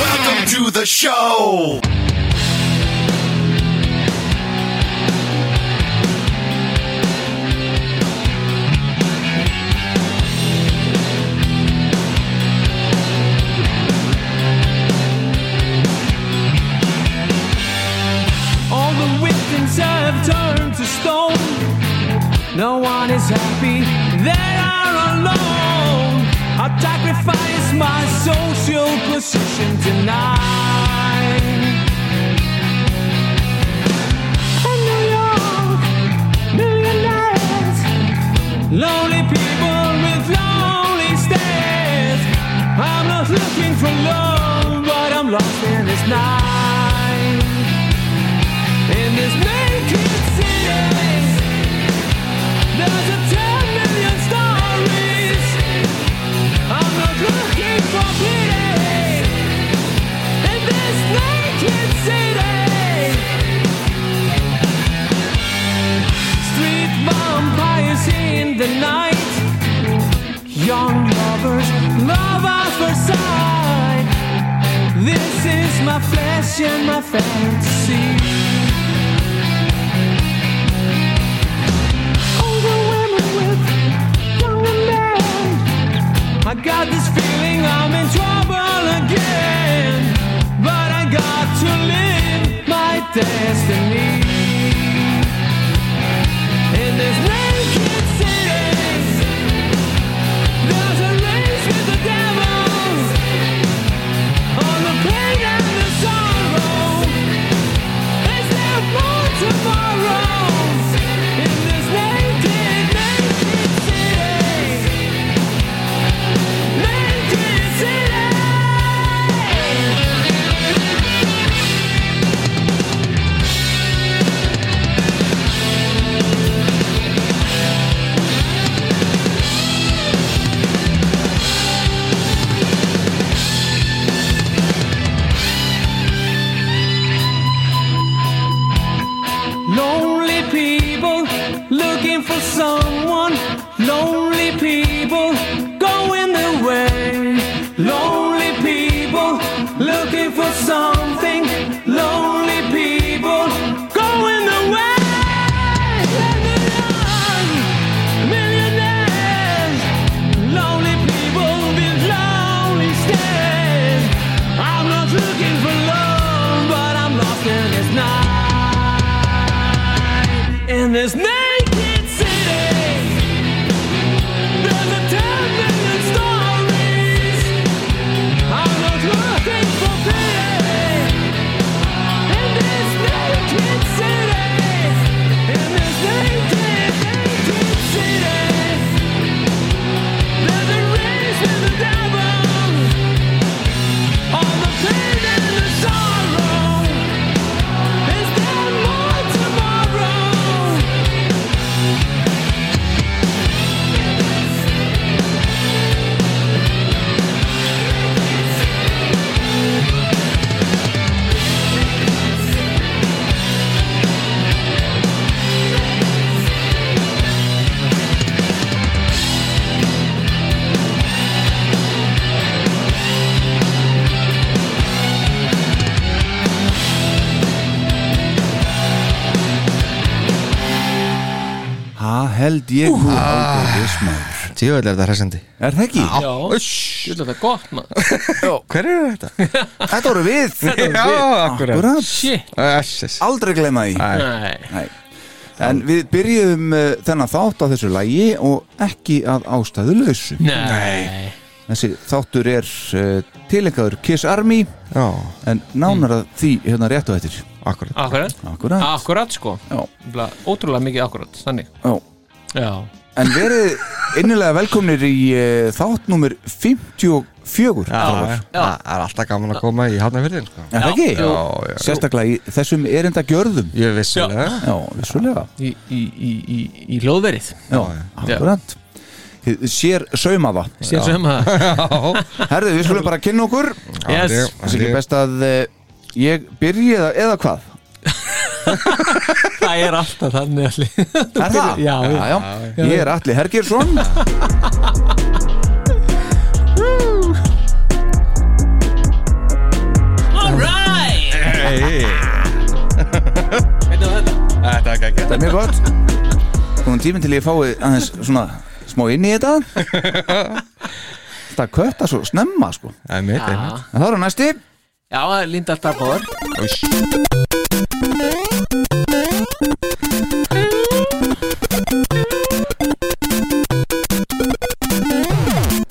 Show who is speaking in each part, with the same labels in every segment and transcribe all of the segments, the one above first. Speaker 1: Welcome to the show.
Speaker 2: All the victims have turned to stone. No one is happy that are alone. I sacrifice my social position tonight. In New York, millionaires, lonely people with lonely stares. I'm not looking for love, but I'm lost in this night. In this naked city, there's a ten million stories. I'm not looking for pity. In this naked city, street vampires in the night, young lovers, love at first sight. This is my flesh and my fantasy. older women with younger men. I got this feeling I'm in trouble again, but I got to live my destiny. In this naked city, there's a race with the devil. On the pain and the sorrow. Is there more tomorrow in this naked, naked city? Naked city. Lonely people looking for someone. Lonely people going their way. Lonely people looking for something. Lonely people going their way. And the young millionaires, lonely people with lonely stares. I'm not looking for love, but I'm lost in this night in this naked city. There's a ten million stories. I'm not looking for pity. In this naked city. In this naked, naked city. There's a race with the devil. All the pain and the sorrow. Is there more tomorrow?
Speaker 3: Ha, held ég nú ágætis maður
Speaker 4: Tíðvæl er þetta hressandi
Speaker 3: Er það ekki?
Speaker 4: Já
Speaker 5: Þú þetta gott, maður.
Speaker 4: Hver eru þetta?
Speaker 3: Þetta voru við
Speaker 4: Já, akkurat
Speaker 3: Akkurat
Speaker 5: Shit.
Speaker 4: Æsses
Speaker 3: Aldrei glema því
Speaker 5: Nei.
Speaker 3: Nei En við byrjuðum uh, þennan þátt á þessu lægi og ekki að ástæðu lausu.
Speaker 6: Nei
Speaker 3: Þessi þáttur er uh, tilengaður Kiss Army
Speaker 4: Já,
Speaker 3: en nánar að því hérna rétt og eftir.
Speaker 4: akkurat
Speaker 6: Akkurat
Speaker 3: Akkurat.
Speaker 6: Akkurat sko
Speaker 3: Já,
Speaker 6: Nefnilega Ótrúlega mikið akkurat Þannig
Speaker 3: já.
Speaker 6: Já
Speaker 3: En verið innilega velkomnir í uh, þátt nummer 54.
Speaker 4: Það
Speaker 3: Já,
Speaker 4: það er alltaf gaman að koma í hafnafyrðin sko.
Speaker 3: Er það ekki?
Speaker 6: Já,
Speaker 4: já.
Speaker 3: Sérstaklega í þessum erinda gjörðum.
Speaker 4: Ég vissilega
Speaker 3: Já, vissulega.
Speaker 6: Í, í, í, í, í hlóðverið
Speaker 3: Já, akkurat. Hið Sér saumaða.
Speaker 6: Sér sem að
Speaker 3: Herðu, við skulum bara kynna okkur.
Speaker 6: Yes.
Speaker 3: Það sé ekki best að eh, ég byrji eða, eða hvað?
Speaker 6: Það er alltaf þannig allir
Speaker 3: Er það?
Speaker 6: já,
Speaker 3: já, já. Ég er Atli Hergjersson
Speaker 6: Alright
Speaker 4: Þetta
Speaker 6: Veitum við þetta?
Speaker 4: er ekki ekki
Speaker 3: Það er mjög gott Komum tíminn til ég fái aðeins svona smá inn í þetta Það kötta svo snemma sko En
Speaker 4: Það er mitt,
Speaker 6: Já
Speaker 4: einmitt
Speaker 3: það eru næsti
Speaker 6: Já, það er Linda Starbóður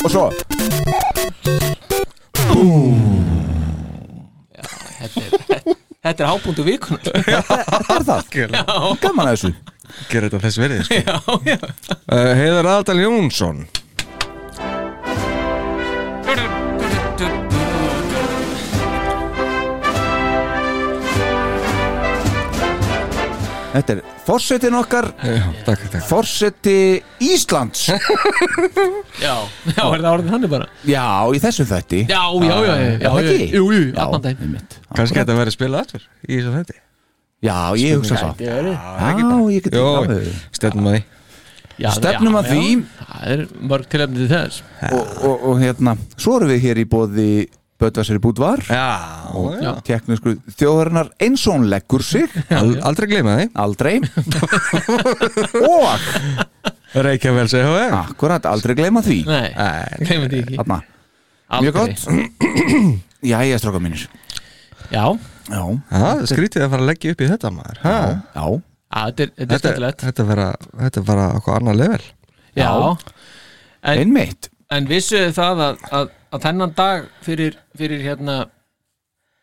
Speaker 3: Og svo
Speaker 6: Þetta er Þetta er hábúndu vikun
Speaker 3: Þetta er það
Speaker 4: Gerðu-
Speaker 3: Gaman að þessu
Speaker 4: Gerðu þetta þess verið sko.
Speaker 6: Já, já
Speaker 4: uh, Heiðar Adal Jónsson
Speaker 3: Þetta er forsetin okkar
Speaker 4: Já, takk, takk
Speaker 3: Forseti Íslands
Speaker 6: Já, já, er það orðin þannig bara
Speaker 3: Já, í þessum þætti
Speaker 6: Já, já, já, já, já,
Speaker 3: Er það
Speaker 6: já,
Speaker 3: ekki?
Speaker 6: Jú, jú,
Speaker 3: Já,
Speaker 6: allan daginn
Speaker 3: einmitt.
Speaker 4: Kannski þetta verið spilað aftur í þessu þætti
Speaker 3: Já, ég hugsa það
Speaker 6: Þetta er-
Speaker 3: Já, ég geti
Speaker 4: Jó, stefnum að því
Speaker 6: Já,
Speaker 3: Stefnum
Speaker 6: já,
Speaker 3: að
Speaker 6: já.
Speaker 3: því.
Speaker 6: Það er mörg tilefni til þess
Speaker 3: og, og, og hérna, svo erum við hér í bóði Böðvarsir Búdvar
Speaker 4: Já, já.
Speaker 3: teknisku þjóðarinnar eins og hún leggur sig
Speaker 4: Al- Aldrei gleyma því
Speaker 3: aldrei og
Speaker 4: Reykjavels EHF
Speaker 3: akkurat aldrei gleyma því
Speaker 6: Nei,
Speaker 4: Nei.
Speaker 6: glemum því ekki
Speaker 3: Þarna,
Speaker 6: Aldrei.
Speaker 3: mjög gott jæja stráka mínir
Speaker 6: Já,
Speaker 3: já,
Speaker 4: Já, Skrítið að fara að leggja upp í þetta maður ha,
Speaker 3: já,
Speaker 6: á, þetta er, þetta er skemmtilegt
Speaker 4: þetta, vera, þetta er bara okkur annað level
Speaker 6: Já, en,
Speaker 3: einmitt
Speaker 6: en vissuðu það að, að, að þennan dag fyrir, fyrir hérna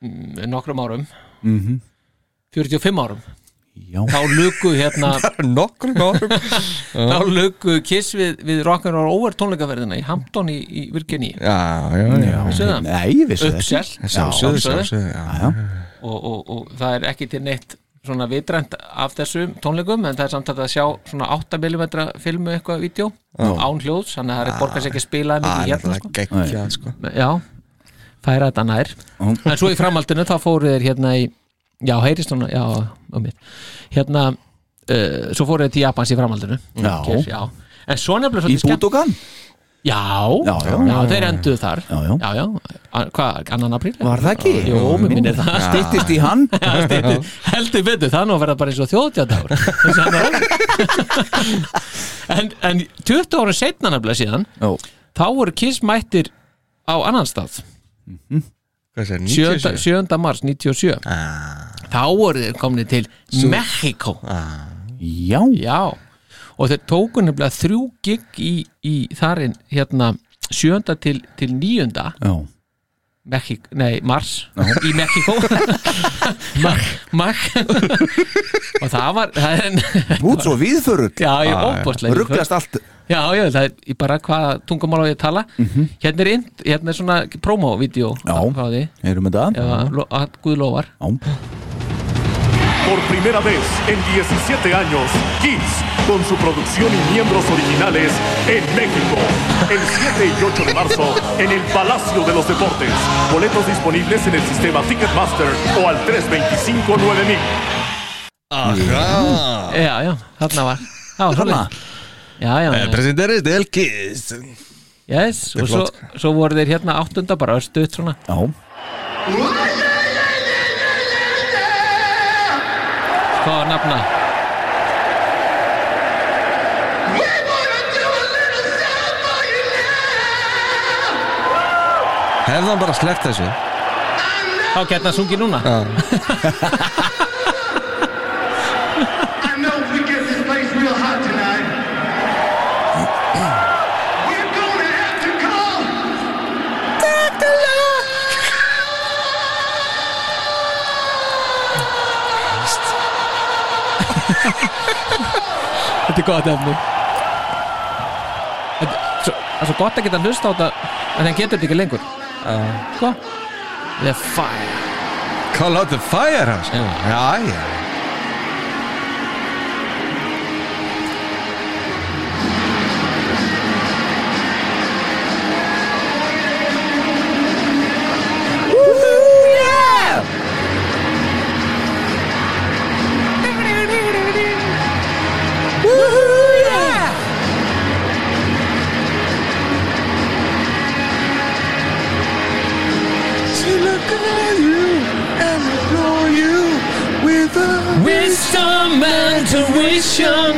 Speaker 6: mm, nokkrum árum 45 árum
Speaker 3: Mhm. já,
Speaker 6: þá luku hérna
Speaker 4: Nokkur árum
Speaker 6: þá luku Kiss við, við Rock'n'Roll Over tónleikaverðina í Hampton í, í Virginia
Speaker 4: Já, já, já
Speaker 6: Vissu það?
Speaker 3: nei, ég vissi það
Speaker 6: uppsell
Speaker 4: Sjálfsögðu,
Speaker 6: Já,
Speaker 4: sjálfsögðu, já.
Speaker 6: og, og, og það er ekki til neitt svona vitrænt af þessum tónleikum en það er samt að sjá svona 8mm filmu eitthvað vídeo án hljóðs þannig að það
Speaker 3: Ah.
Speaker 6: er borgast ekki að spila
Speaker 4: Það
Speaker 6: mikið
Speaker 4: er
Speaker 6: hérna
Speaker 4: náttúrulega
Speaker 6: sko.
Speaker 4: geggja, sko
Speaker 6: já, færa þetta nær en svo í framhaldinu þá fóru þeir hérna í já, heyrist svona, já, um mitt hérna, uh, svo fóru þeir til Japans í framhaldinu
Speaker 3: Já.
Speaker 6: Hér, já. en svo nefnilega
Speaker 3: í
Speaker 6: svolítið skemmt
Speaker 3: Búdokan
Speaker 6: já,
Speaker 3: Já, já.
Speaker 6: þeir enduðu þar
Speaker 3: Já, já.
Speaker 6: já, já. A- hvað, annan apríl?
Speaker 3: var það ekki?
Speaker 6: Jú, mér minnir það.
Speaker 3: stýttist í hann
Speaker 6: Já, styttir, heldur betur, það er nú að verða bara eins og þjóðtjáttagur en, en 20 ára setna nefnilega síðan
Speaker 3: já,
Speaker 6: þá voru Kiss mættir á annan stað
Speaker 4: Hvað
Speaker 6: 7.
Speaker 4: sér, 97?
Speaker 6: 7. mars 97 þá voru þeir komni til Mexiko
Speaker 3: já,
Speaker 6: já, og þeir tóku nefnilega þrjú gig í, í þarinn hérna 7. til, til 9.
Speaker 3: já.
Speaker 6: Mexik, nei, Mars í Mexiko Mak, mak og það var það er,
Speaker 3: út svo viðförull
Speaker 6: Já, ég er óbúrslega
Speaker 3: rugglast allt
Speaker 6: Já, já, það er ég bara hvaða tungumál á ég að tala hérna, er inn, hérna er svona promo-vídeó
Speaker 3: Já.
Speaker 6: frá því
Speaker 3: erum við það?
Speaker 6: ef að lo- að Guð lofar
Speaker 3: já,
Speaker 7: Por primera vez en 17 años, Kiss, con su producción y miembros originales en México. El 7 y 8 de marzo, en el Palacio de los Deportes. Boletos disponibles en el sistema Ticketmaster o al 325-9000.
Speaker 6: Já, já, þarna var Já,
Speaker 3: þarna Eh,
Speaker 6: svoleiðis. Já, já, já,
Speaker 4: Presenterist El Kiss
Speaker 6: yes, og svo, svo voru þeir hérna áttunda bara örstuðt svona
Speaker 3: já,
Speaker 6: Hvað var nafna?
Speaker 4: Hefðan bara sleppt þessu
Speaker 6: Þá getna sungið núna
Speaker 5: I know we get
Speaker 6: þetta er gott efni Þetta- svo- Það er svo gott að geta hlusta á þetta en það getur þetta ekki lengur Sko The Fire
Speaker 4: Call out the fire hans
Speaker 6: Já.
Speaker 4: Já, já
Speaker 6: Wisdom and tuition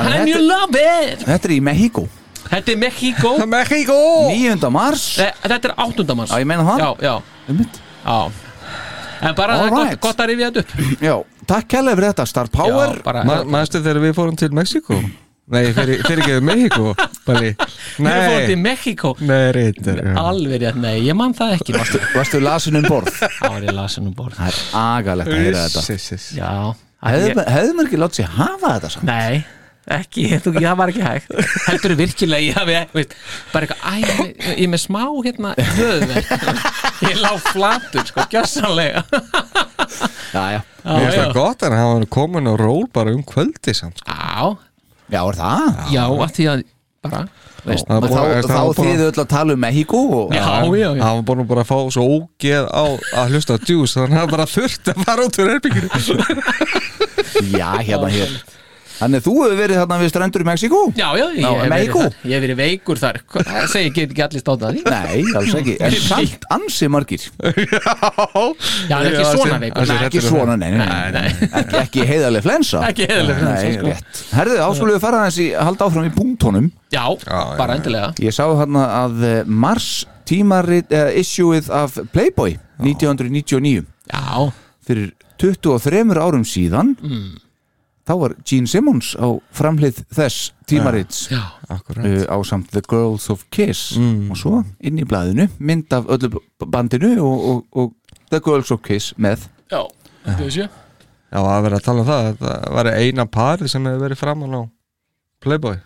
Speaker 6: And you love it
Speaker 3: Þetta er í Mexico
Speaker 6: Þetta er Mexico
Speaker 4: Mexico
Speaker 3: 9. mars
Speaker 6: Nei, Þetta er áttundamanns
Speaker 3: Já, ég meina það.
Speaker 6: Já, já,
Speaker 3: Einmitt.
Speaker 6: já En bara það er
Speaker 3: Alright.
Speaker 6: gott, gott að rifja þetta upp
Speaker 3: Já, takk kærlega fyrir þetta Star Power
Speaker 6: Já, bara
Speaker 4: Ma- Manstu þegar við fórum til Mexiko? Nei, fyrir, fyrir ekki við Mexiko Bali
Speaker 6: Nei Við fórum til
Speaker 4: Nei,
Speaker 6: Mexico
Speaker 4: nei, reyndar já.
Speaker 6: Alveg rétt, nei, ég man það ekki
Speaker 3: Varstu, varstu lasin um borð
Speaker 6: Það var ég lasin um borð
Speaker 3: Það er agalegt að heyra þetta
Speaker 4: Iss, iss, iss.
Speaker 6: Já
Speaker 3: Hefðu
Speaker 6: ég,
Speaker 3: ég... hefðu maður ekki látt sér hafa þetta samt
Speaker 6: Nei, ekki, þú, það var ekki hægt Heldur virkilega, ég hafi, veist Bara eitthvað, æ, ég- ég er með smá hérna höfðverk Ég lá flatur, sko, gjössanlega
Speaker 3: Já, já,
Speaker 4: Mér finnst
Speaker 6: já.
Speaker 4: það gott en hann var komin á ról bara um kvöldi samt sko.
Speaker 6: Já,
Speaker 3: já, er það
Speaker 6: já, að því að bara, veist
Speaker 4: Það
Speaker 3: Og Þá,
Speaker 4: var búin-
Speaker 3: þá
Speaker 4: það var búin-
Speaker 3: þýðu öll að tala um Mexico og...
Speaker 6: Já, já, já
Speaker 4: Hann var búin að bara fá svo ógeð á að hlusta á djús þannig að hann bara þurft að fara út úr erbyggjur
Speaker 3: Já, hérna hér Þannig þú hefur verið þarna við strendur í Mexíkó?
Speaker 6: Já, já, ég
Speaker 3: Já,
Speaker 6: hef verið
Speaker 3: Mexico.
Speaker 6: þar. Ég hef verið veikur þar Hva- Það segir ekki, ekki allir státt að því
Speaker 3: Nei, alls ekki En samt ansi margir
Speaker 6: Já, hann er ekki svona veikur
Speaker 3: Nei, ekki svona, nei, nei, nei, Ekki, ekki heiðarlega flensa
Speaker 6: Ekki heiðarleg flensa,
Speaker 3: Nei,
Speaker 6: sko.
Speaker 3: rétt Herðu, áskulegu fara aðeins í halda áfram í punktónum
Speaker 6: Já,
Speaker 4: já,
Speaker 6: bara
Speaker 4: já.
Speaker 6: endilega
Speaker 3: Ég sá hérna að eh, Mars tímarit uh, issueið af Playboy 1999
Speaker 6: Já,
Speaker 3: fyrir 23 árum síðan þá var Gene Simmons á framhlið þess tímarits
Speaker 6: já,
Speaker 4: Akkurat
Speaker 3: uh, á samt The Girls of Kiss og svo inn í blaðinu mynd af öllu b- bandinu og, og, og The Girls of Kiss með
Speaker 6: já Þú veist ég
Speaker 4: Já, að vera að tala um það Það var eina pari sem hefur verið framan á Playboy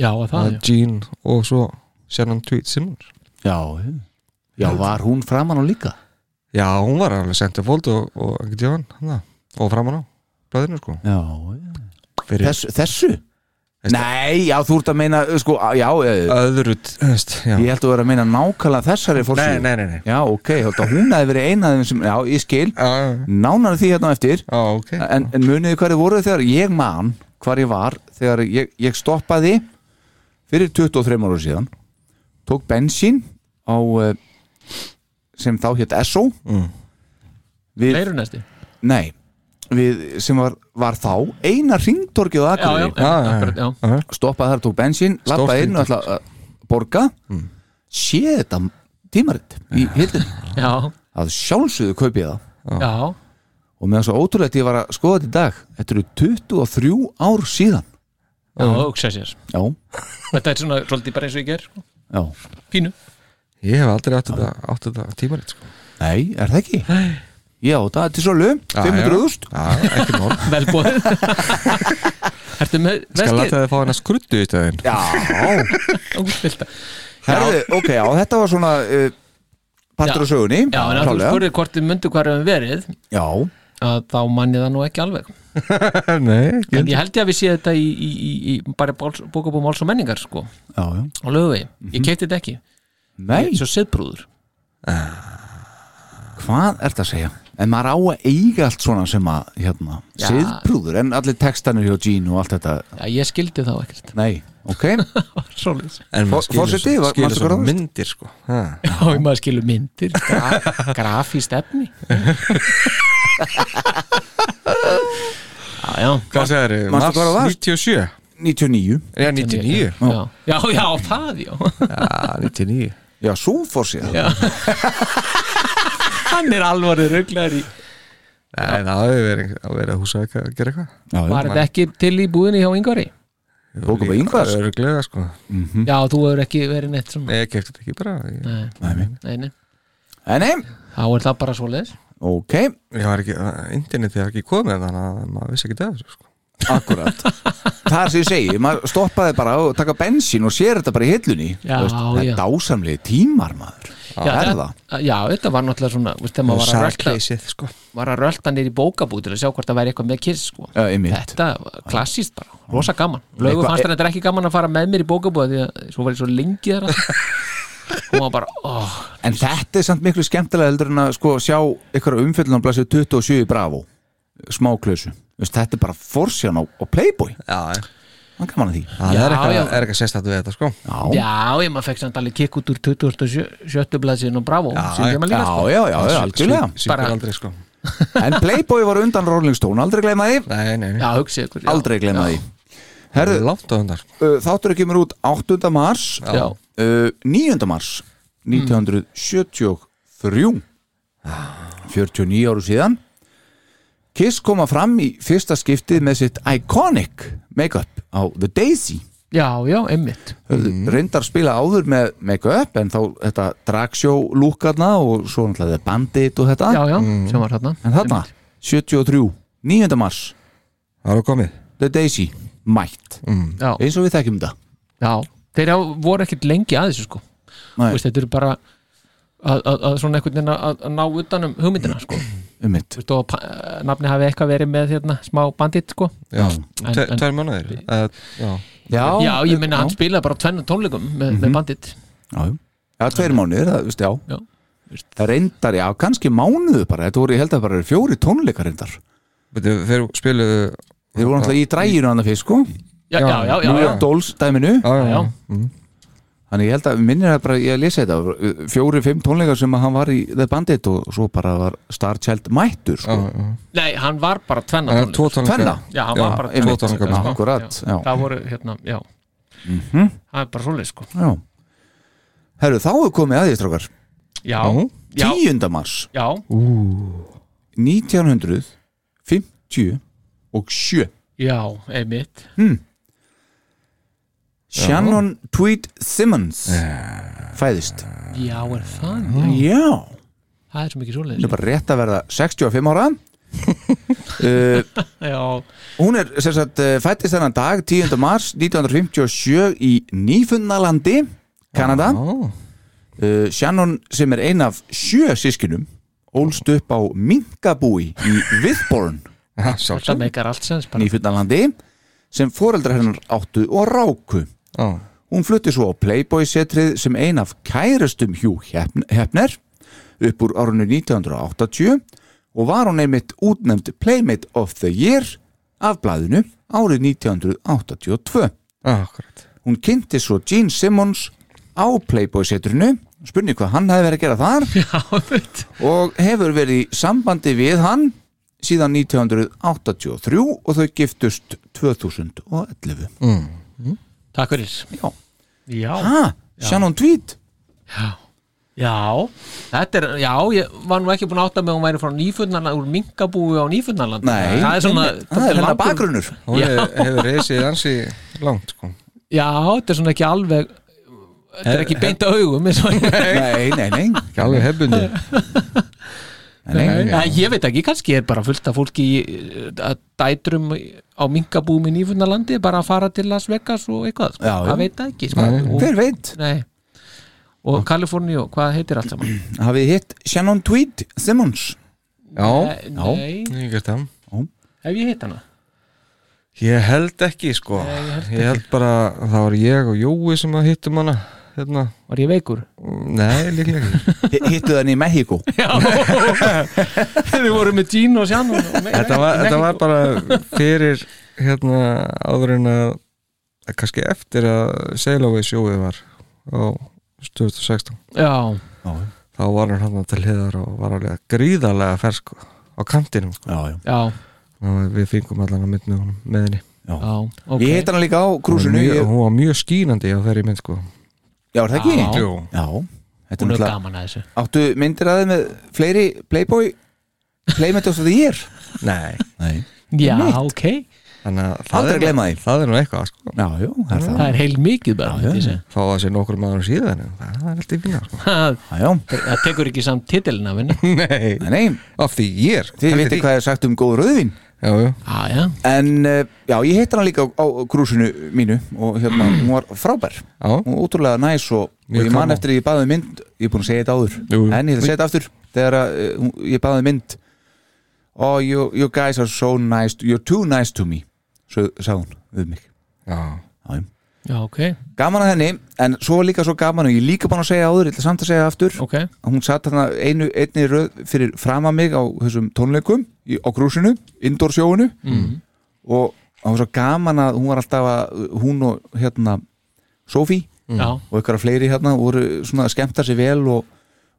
Speaker 6: Já, að það, já
Speaker 4: Gene og svo Shannon Tweed Simmons
Speaker 3: Já, já var hún framan og líka
Speaker 4: Já, hún var alveg centerfold og, og ekkert ég hann og framan á blæðinu sko
Speaker 3: Já,
Speaker 4: fyrir
Speaker 3: Þess, þessu? Nei, já, þú ert að meina uh, sko, á- já, uh,
Speaker 4: öðru t- þú veist, já.
Speaker 3: ég held að vera að meina nákvæmlega þessari
Speaker 4: Nei,
Speaker 3: fórsíðu
Speaker 4: nei, nei, nei.
Speaker 3: Já, ok, þetta hún hefði verið eina af þeim sem, já, ég skil
Speaker 4: Já, já,
Speaker 3: nánar því hérna á eftir
Speaker 4: já, ok
Speaker 3: en, en muniði hvar þið voruð þegar ég man hvar ég var þegar ég, ég stoppaði fyrir 23 ára síðan tók bensín á eh, sem þá hétt SO
Speaker 4: Mm.
Speaker 3: við,
Speaker 6: Leirunesti
Speaker 3: nei við, sem var, var þá eina ringtorkið á
Speaker 6: Já, já,
Speaker 3: Akureyri
Speaker 6: já,
Speaker 4: já, já.
Speaker 6: akkurat, já
Speaker 3: stoppaði þar, tók bensín, lappaði inn og ætlaði að borga sé þetta tímaritt í hildinni
Speaker 6: Já,
Speaker 3: að sjálfsögðu kaupið það
Speaker 6: já
Speaker 3: og meðan svo ótrúlegt ég var að skoða þetta í dag þetta eru 23 ár síðan
Speaker 6: Já, hugsa sér
Speaker 3: já,
Speaker 6: Þetta er svona svolítið bara eins og ég ger sko.
Speaker 3: já
Speaker 6: Pínu
Speaker 4: Ég hef aldrei átt þetta, átt þetta tímarit sko
Speaker 3: nei, er það ekki? já, það er til svo lög,
Speaker 4: Já,
Speaker 3: 500.000
Speaker 4: Já, ekki mál
Speaker 6: Velbóð Ertu með
Speaker 4: Skal
Speaker 6: veskið?
Speaker 4: láta þið fá hana skruddu í stæðin
Speaker 3: já,
Speaker 6: Útfylta
Speaker 3: herðu, ok, já, þetta var svona uh, partur á
Speaker 6: Já.
Speaker 3: sögunni
Speaker 6: Já, en að þú
Speaker 3: klárlega.
Speaker 6: spurði hvort þið myndu hvar hefum verið
Speaker 3: já,
Speaker 6: að þá manni það nú ekki alveg
Speaker 4: Nei, ekki
Speaker 6: En ég held ég að við séð þetta í, í, í, í bara bókabú máls og menningar sko á
Speaker 3: já, já
Speaker 6: lögvegi, ég keipti þetta ekki
Speaker 3: nei,
Speaker 6: Ég er svo siðbrúður
Speaker 3: hvað er það að segja? en maður á að eiga allt svona sem að hérna,
Speaker 6: Já.
Speaker 3: siðbrúður en allir textanir hjá Gene og allt þetta
Speaker 6: Já, ég skildi þá ekkert
Speaker 3: nei, ok,
Speaker 6: Svoleiðis.
Speaker 4: En
Speaker 3: Fo- forseti, var- manstu
Speaker 4: skilur
Speaker 3: hvað
Speaker 4: svona
Speaker 3: það var?
Speaker 4: myndir sko ha.
Speaker 6: Já, ég maður skilur myndir gra grafíst efni Já, já
Speaker 4: Hvað segir þið?
Speaker 3: Manstu hvað það var?
Speaker 4: 97
Speaker 3: 99
Speaker 4: Já, 99
Speaker 6: Já, já, já það já
Speaker 4: Já, 99
Speaker 3: já, svo fór sér
Speaker 6: Hann er alvarið rugglar í
Speaker 4: Nei, það hefur verið, það hefur verið að húsa að gera eitthvað
Speaker 6: Var þetta ekki til í búðinni hjá Ingvari?
Speaker 3: Tók upp að yngvars
Speaker 4: Öruglega sko
Speaker 6: Já, þú hefur ekki verið neitt svona
Speaker 4: Nei, ég kefti þetta ekki bara Ég,
Speaker 6: Mhm. Nei, nei, nei
Speaker 3: En nei,
Speaker 6: Þá er það bara svoleiðis
Speaker 3: ok
Speaker 4: ég var ekki, internetið var ekki komið þannig að maður vissi ekki það sko.
Speaker 3: akkurat það er sem ég segi, maður stoppaði bara og taka bensín og sér þetta bara í hillunni
Speaker 6: Já,
Speaker 3: Þú það
Speaker 6: já.
Speaker 3: er dásamlega tímar maður
Speaker 6: já,
Speaker 3: það er það
Speaker 6: já, þetta var náttúrulega svona þú veist, þegar maður var að rölda
Speaker 4: Sarkleysið, sko
Speaker 6: var að rölda neyri í bókabúð til að sjá hvort það væri eitthvað með kiss sko.
Speaker 3: Já, einmitt.
Speaker 6: þetta var klassíst bara, rosa gaman lögu
Speaker 3: Eitthvað- e-
Speaker 6: fannst hann þetta er ekki gaman að fara með mér í bókabúð því að svo var ég svo lengi þar alltaf. hún var bara, óh,
Speaker 3: En þetta er samt miklu skemmtilega heldur en að sko, sjá ykkur umfyllun á blæsið 27 í Bravo smáklausu, Veist, þetta er bara forsjan á, á Playboy,
Speaker 4: Já, já.
Speaker 3: hann gaman að því
Speaker 4: það
Speaker 6: Já,
Speaker 4: er
Speaker 6: já.
Speaker 4: eitthvað, er eitthvað sérstættu við þetta, sko
Speaker 3: Já,
Speaker 6: já, ég maður fekk samt alveg kikk út úr 27. blaðsinn og bravo
Speaker 4: Já,
Speaker 6: sem ég maður
Speaker 3: já,
Speaker 6: líka sko.
Speaker 3: já, já, já algjörlega
Speaker 4: Sýndur
Speaker 6: Bara-
Speaker 4: aldrei, sko
Speaker 3: En Playboy var undan Rolling Stone, aldrei gleyma því
Speaker 4: Nei, nei, nei
Speaker 6: já, hugsið ykkur já.
Speaker 3: Aldrei gleyma því
Speaker 4: Það
Speaker 3: Herðu,
Speaker 4: er langt á sko. hundar
Speaker 3: uh, þáttur er kemur út 8. mars uh,
Speaker 6: já.
Speaker 3: 9. mars 1973 49 áru síðan Kiss koma fram í fyrsta skiptið með sitt iconic make-up á The Daisy
Speaker 6: já, já, einmitt
Speaker 3: mm. reyndar spila áður með make-up en þá þetta dragsjó lúkarna og svo náttúrulega The bandit og þetta
Speaker 6: já, já,
Speaker 3: Mm.
Speaker 6: sem var þarna
Speaker 3: en þarna, 73, 9. mars
Speaker 4: Það er komið
Speaker 3: The Daisy, mætt
Speaker 6: já,
Speaker 3: eins og við þekkjum þetta
Speaker 6: já, þeir hafa- voru ekkert lengi að þessu sko
Speaker 3: Nei,
Speaker 6: Vist, þetta eru bara að, að, að svona einhvern veginn að, að ná utan um hugmyndina sko.
Speaker 3: um mitt
Speaker 6: Vist, og pa- eh, nafni hafi eitthvað verið með hérna, smá bandit sko.
Speaker 4: Já,
Speaker 6: En-
Speaker 4: Tve-
Speaker 6: en-
Speaker 4: tveir mánuðir Eh, Já,
Speaker 6: já, ég minna hann
Speaker 3: já,
Speaker 6: spilaði bara tvenna tónleikum með, með bandit
Speaker 3: já, já. já, tveir mánuðir, það, veist, já.
Speaker 6: Já.
Speaker 3: það reyndar, já, kannski mánuðu bara þetta voru, ég held að bara eru fjóri tónleikar reyndar
Speaker 4: veitu, þeir spiluðu
Speaker 3: þeir voru náttúrulega í dræginu annað fyrst, sko
Speaker 6: já, já, já, já,
Speaker 3: New
Speaker 6: já.
Speaker 3: York Dolls dæminu
Speaker 4: Já, já,
Speaker 6: Já.
Speaker 4: já Mm.
Speaker 3: þannig ég held að minnir að bara, ég lesi þetta fjóri, fimm tónleikar sem að hann var í The Bandit og svo bara var Star Child mættur,
Speaker 4: Já,
Speaker 6: Ah,
Speaker 3: sko,
Speaker 4: já.
Speaker 6: nei, hann var bara tvenna
Speaker 4: Það er tvo
Speaker 6: tónleikum
Speaker 4: tónleika.
Speaker 3: Tvenna?
Speaker 6: já, hann
Speaker 4: Já,
Speaker 6: var bara
Speaker 4: einmitt.
Speaker 6: tvenna
Speaker 3: Já,
Speaker 6: tónleikum sko.
Speaker 3: akkurat, já.
Speaker 6: það voru hérna, já það er bara svoleið sko
Speaker 3: já herru, þá hefur komið aðeins, strákar
Speaker 6: já, já,
Speaker 3: 10. mars
Speaker 6: já,
Speaker 3: 1957
Speaker 6: já, einmitt
Speaker 3: Shannon Tweed Simmons fæðist
Speaker 6: já, er það
Speaker 3: Já,
Speaker 6: það er svo
Speaker 3: hún
Speaker 6: mikið svoleið
Speaker 3: er bara rétt að verða 65 ára uh,
Speaker 6: já,
Speaker 3: Hún er sem sagt eh, fæddist þennan dag 10. mars 1957 í Nýfunnalandi, Kanada
Speaker 4: Ó.
Speaker 3: uh, Shannon sem er ein af sjö sískinum ólst upp á Minkabúi í Viðborn,
Speaker 4: Já, sjálfsagt.
Speaker 6: þetta meikar allt sens bara.
Speaker 3: Nýfunnalandi sem foreldrar hennar áttu og ráku
Speaker 4: Já.
Speaker 3: Hún flutti svo á Playboy-setrið sem ein af kærustum Hugh Hefn- Hefner upp úr árunni 1980 og var hún einmitt útnefnd Playmate of the Year af blæðinu árið 1982.
Speaker 4: Já, akkurat
Speaker 3: Hún kynnti svo Gene Simmons á Playboy-setrinu, spurning hvað hann hefði verið að gera þar
Speaker 6: já, einmitt
Speaker 3: og hefur verið í sambandi við hann síðan 1983 og þau giftust 2011.
Speaker 6: Mm. Takk fyrir
Speaker 3: Já.
Speaker 6: Já,
Speaker 3: Ha, Shannon Tweed?
Speaker 6: já. Þetta er, já, ég var nú ekki búin að átta með að hún væri frá nýfunnarland úr minkabúi á nýfunnarland
Speaker 3: Nei,
Speaker 6: það er svona
Speaker 3: það er hennar
Speaker 6: langur-
Speaker 3: bakgrunnur
Speaker 4: Hún
Speaker 6: Já.
Speaker 4: hefur hefur reisið ansi langt, sko
Speaker 6: Já, þetta er svona ekki alveg þetta er ekki beint á augum eins og-
Speaker 3: Nei, nei, nei,
Speaker 4: Ekki alveg hefbundi
Speaker 3: nei, nei.
Speaker 6: Nei, ég veit ekki, kannski er bara fullt af fólki í- að dætrum á minkabúmi nýfunnarlandi bara að fara til Las Vegas og eitthvað sko.
Speaker 3: Já, já.
Speaker 6: það veit það ekki sko. Og-
Speaker 3: Hver veit,
Speaker 6: Nei. og Kaliforni og hvað heitir allt saman
Speaker 3: hafið hitt Shannon Tweed Simmons
Speaker 4: Já,
Speaker 6: Nei, Nei,
Speaker 4: ég gert það
Speaker 6: hef ég hitt hana?
Speaker 4: Ég held ekki, sko Ég held bara, að það var ég og Jói sem að hittum hana Hérna,
Speaker 6: Var ég veikur?
Speaker 4: nei, líklega ekki
Speaker 3: Hi- Hittuð hann í Mexiko
Speaker 6: Já Þið voru með Gino og Shannon og með-
Speaker 4: Þetta var,
Speaker 6: með-
Speaker 4: þetta var bara fyrir, hérna, áður en að að kannski eftir að Sailaway Jói var á 2016
Speaker 6: Já,
Speaker 4: þá var hann hann til hliðar og var alveg gríðarlega fersk á kantinum sko.
Speaker 3: Já, já,
Speaker 6: já,
Speaker 4: og við fengum allan að mynd með honum með henni
Speaker 6: já ok.
Speaker 3: Ég hitt hann líka á krúsinu
Speaker 4: Mjög-
Speaker 3: ég-
Speaker 4: hún var mjög skínandi á þeirri mynd sko.
Speaker 3: Já, er það ekki?
Speaker 6: Já.
Speaker 4: Jú.
Speaker 3: Já, þetta er
Speaker 6: Hún er
Speaker 3: náttúrulega
Speaker 6: gaman að þessu
Speaker 3: Áttu myndir aðeins með fleiri Playboy Playmate of the Year
Speaker 4: nei
Speaker 3: Nei
Speaker 6: Já, ok,
Speaker 4: þannig að það
Speaker 3: Aldrei
Speaker 4: er-
Speaker 3: gleyma því.
Speaker 4: það er nú eitthvað sko.
Speaker 3: Já, jú, það er það
Speaker 6: það er heil mikið bara
Speaker 3: Já, já.
Speaker 6: myndi ég segja.
Speaker 4: fá að sé nokkur maður síðan það er alltaf fína sko.
Speaker 6: Það
Speaker 3: Já, já,
Speaker 6: það tekur ekki samt titilina minni
Speaker 4: nei,
Speaker 3: nei, nei,
Speaker 4: af því ég er
Speaker 3: þið viti hvað er sagt um góð rauðvin
Speaker 4: já, já,
Speaker 6: Já, Ah, já,
Speaker 3: en eh, já, ég hitt hana líka á, á krúsinu mínu og hérna, hún var frábær
Speaker 4: já,
Speaker 3: hún var ótrúlega næs og, og
Speaker 4: Mjög
Speaker 3: ég man
Speaker 4: gaman.
Speaker 3: eftir að ég baði um mynd ég er búin að segja þetta áður,
Speaker 4: Jú, jú.
Speaker 3: en ég ætla að segja þetta aftur þegar að, eh, hún- ég baði um mynd oh, you, you guys are so nice you're too nice to me svo sagði hún við mig
Speaker 4: já.
Speaker 3: Já, já.
Speaker 6: já, ok,
Speaker 3: gaman að henni, en svo var líka svo gaman og ég er líka búin að segja áður, ég ætla samt að segja aftur
Speaker 6: ok
Speaker 3: að hún satt þarna einu, einni röð fyrir frama mig á þessum tónleikum í, á krúsinu, indoor sjóinu og það var svo gaman að hún var alltaf að, hún og hérna Sophie
Speaker 6: Já,
Speaker 3: og ykkur fleiri hérna voru svona að skemmta sér vel og,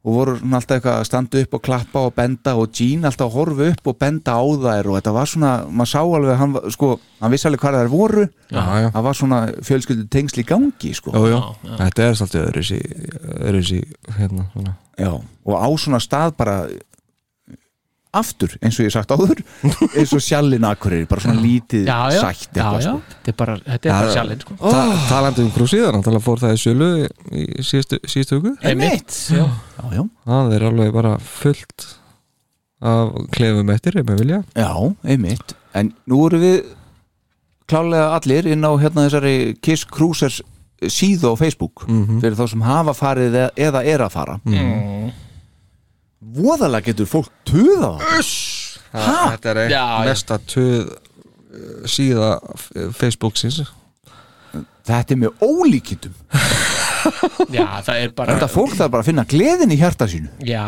Speaker 3: og voru svona alltaf eitthvað að standa upp og klappa og benda og Jean alltaf að horfa upp og benda á þær og þetta var svona, maður sá alveg að hann, var- sko, hann vissi alveg hvað þær voru
Speaker 4: já, já.
Speaker 3: það var svona fjölskyldu tengsl í gangi sko.
Speaker 4: Jú, jú. Þetta er svolítið öðruvísi, öðruvísi hérna, svona.
Speaker 3: Já, og á svona stað bara aftur, eins og ég hef sagt áður eins og sjallin akkurir, bara svona lítið
Speaker 6: já, já,
Speaker 3: sætt
Speaker 6: já,
Speaker 3: eitthvað
Speaker 6: já.
Speaker 3: sko.
Speaker 6: Þetta er bara, þetta er
Speaker 4: Já,
Speaker 6: bara
Speaker 4: já.
Speaker 6: sjálfinn sko.
Speaker 4: Ta talandi um krúsiðar, náttúrulega fór það í sölu í síðustu, síðustu hugu.
Speaker 6: Einmitt, já,
Speaker 3: Já, já,
Speaker 4: Það er alveg bara fullt af klefum eftir, ef við vilja.
Speaker 3: já, einmitt en nú erum við klálega allir inn á hérna þessari Kiss Cruisers síðu á Facebook
Speaker 6: Mhm.
Speaker 3: fyrir þá sem hafa farið eða- eða er að fara Voðalega getur fólk tuða það
Speaker 4: Ha? Þetta er eitt
Speaker 6: Já, já.
Speaker 4: mesta töð eh, síða eh, Facebooksins.
Speaker 3: Þetta er með ólíkindum
Speaker 6: já, það er bara
Speaker 3: Þetta fólk þarf bara að finna gleðin í hjarta sínu
Speaker 6: Já,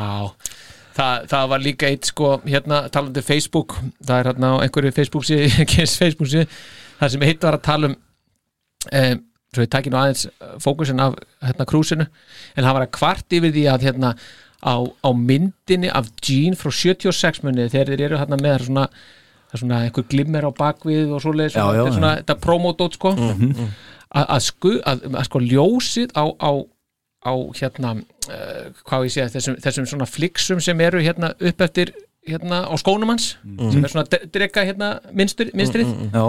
Speaker 6: Þa, það var líka eitt sko, hérna talandi um Facebook, það er hérna á einhverju Facebook síðu, Kiss Facebook síðu það sem eitt var að tala um um, svo ég tæki nú aðeins eh, fókusin af hérna krúsinu, en hann var að kvart yfir því að hérna á, á myndinni af Gene frá 76 munið þegar þeir eru hérna með það er svona, það er svona einhver glimmer á bakvið og svoleiðis,
Speaker 3: Já, já,
Speaker 6: svona,
Speaker 3: Mhm.
Speaker 6: þetta er svona, þetta promodót sko að, að, sku, að, að sko ljósið á, á, á hérna uh, hvað á ég segja, þessum, þessum svona fliksum sem eru hérna upp eftir hérna á skónum hans sem er svona dre- drega hérna minstrið, minstrið
Speaker 3: Já,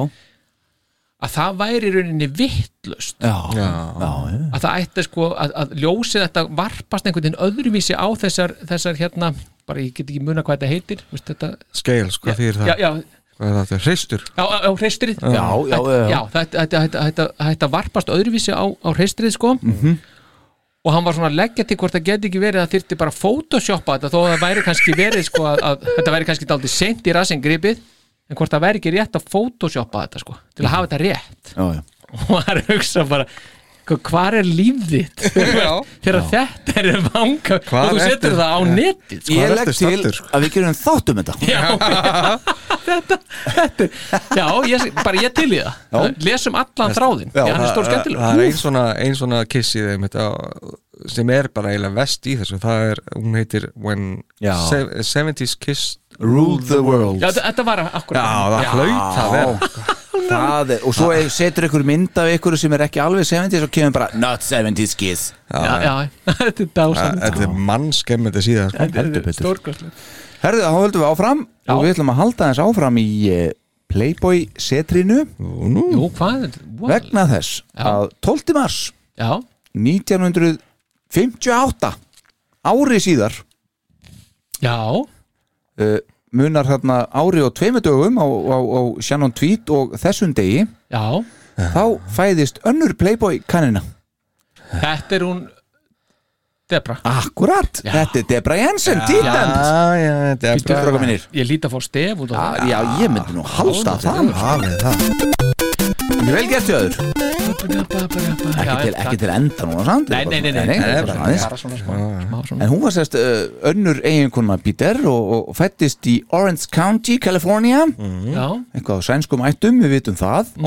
Speaker 6: að það væri í rauninni vittlust
Speaker 3: já, já, já.
Speaker 6: að það ætti sko að, að ljósið þetta varpast einhvern veginn öðruvísi á þessar, þessar hérna, bara ég get ekki muna hvað þetta heitir veist þetta,
Speaker 4: Scales, hvað þýr sko, það?
Speaker 6: já, já,
Speaker 4: Hvað er þetta? Hreistur?
Speaker 6: á, á, á hreistrið já,
Speaker 3: já, já.
Speaker 6: já þetta, þetta, þetta, þetta, þetta varpast öðruvísi á, á hreistrið sko og hann var svona að leggja til hvort það geti ekki verið að þyrfti bara að photoshoppa þetta þó að það væri kannski verið sko að, að þetta væri kannski daldið seint í rassingripið en hvort það væri ekki rétt að photoshoppa þetta sko til að hafa þetta rétt
Speaker 3: já, já.
Speaker 6: og hann er að hugsa bara hvað er líf þitt
Speaker 4: Já.
Speaker 6: þegar þetta er vanga
Speaker 4: Hvar
Speaker 6: og þú setur
Speaker 4: ertu?
Speaker 6: það á netið sko.
Speaker 3: Ég
Speaker 4: Hvar
Speaker 3: legg
Speaker 4: ertu
Speaker 3: til
Speaker 4: staddur, sko?
Speaker 3: að við gerum þáttum þetta
Speaker 6: Já, þetta, þetta er- Já, ég, bara ég til í það
Speaker 3: Já.
Speaker 6: Lesum allan þráðin Því hann er stór
Speaker 4: Það er
Speaker 6: skemmtileg
Speaker 4: ein svona, ein svona kiss í þeim þetta, sem er bara eiginlega vest í þessu það er, hún heitir When
Speaker 3: Já.
Speaker 4: Se- 70s Kiss
Speaker 3: Rule the world
Speaker 6: Já, þe- þetta var akkur
Speaker 4: Já, það hlaut að vera
Speaker 3: Það er, og svo er- setur ykkur mynd af ykkur sem er ekki alveg 70s og kemur bara Not 70s kiss
Speaker 6: já, já, Þetta er
Speaker 4: Það-
Speaker 6: dásan
Speaker 4: Þetta er mannskemmandi síðan sko.
Speaker 6: Stórkostlegt
Speaker 3: Herðu, þá höldum við áfram
Speaker 6: Já.
Speaker 3: og við ætlum að halda þess áfram í eh, Playboy setrinu
Speaker 6: Jú, hvað er þetta?
Speaker 3: vegna þess að 12. mars
Speaker 6: Já,
Speaker 3: 1958 ári síðar
Speaker 6: já,
Speaker 3: uh, munar þarna ári og tveimu dögum á, á, á Shannon Tweet og þessum degi
Speaker 6: já
Speaker 3: þá fæðist önnur Playboy kannina
Speaker 6: Þetta er hún Debra
Speaker 3: Akkurat,
Speaker 6: Já.
Speaker 3: þetta er Debra Jensen Títend
Speaker 4: Já, já, þetta er
Speaker 6: Býttu,
Speaker 3: Stráka mínir Ah.
Speaker 6: Ég líti að fá stef út á það
Speaker 3: Já, ég myndi nú halda það
Speaker 4: Hafið það
Speaker 3: Mjög vel gert jöður
Speaker 6: Ekki
Speaker 3: ekki, til- ekki til enda núna samt
Speaker 6: Nei, nei, nei, nei.
Speaker 3: bara
Speaker 6: Bara-
Speaker 3: aðeins. En hún var sérst uh, önnur eiginkunna Peter og, og fættist í Orange County, California
Speaker 6: Já,
Speaker 3: Eitthvað á sænskum ættum, við vitum það mm.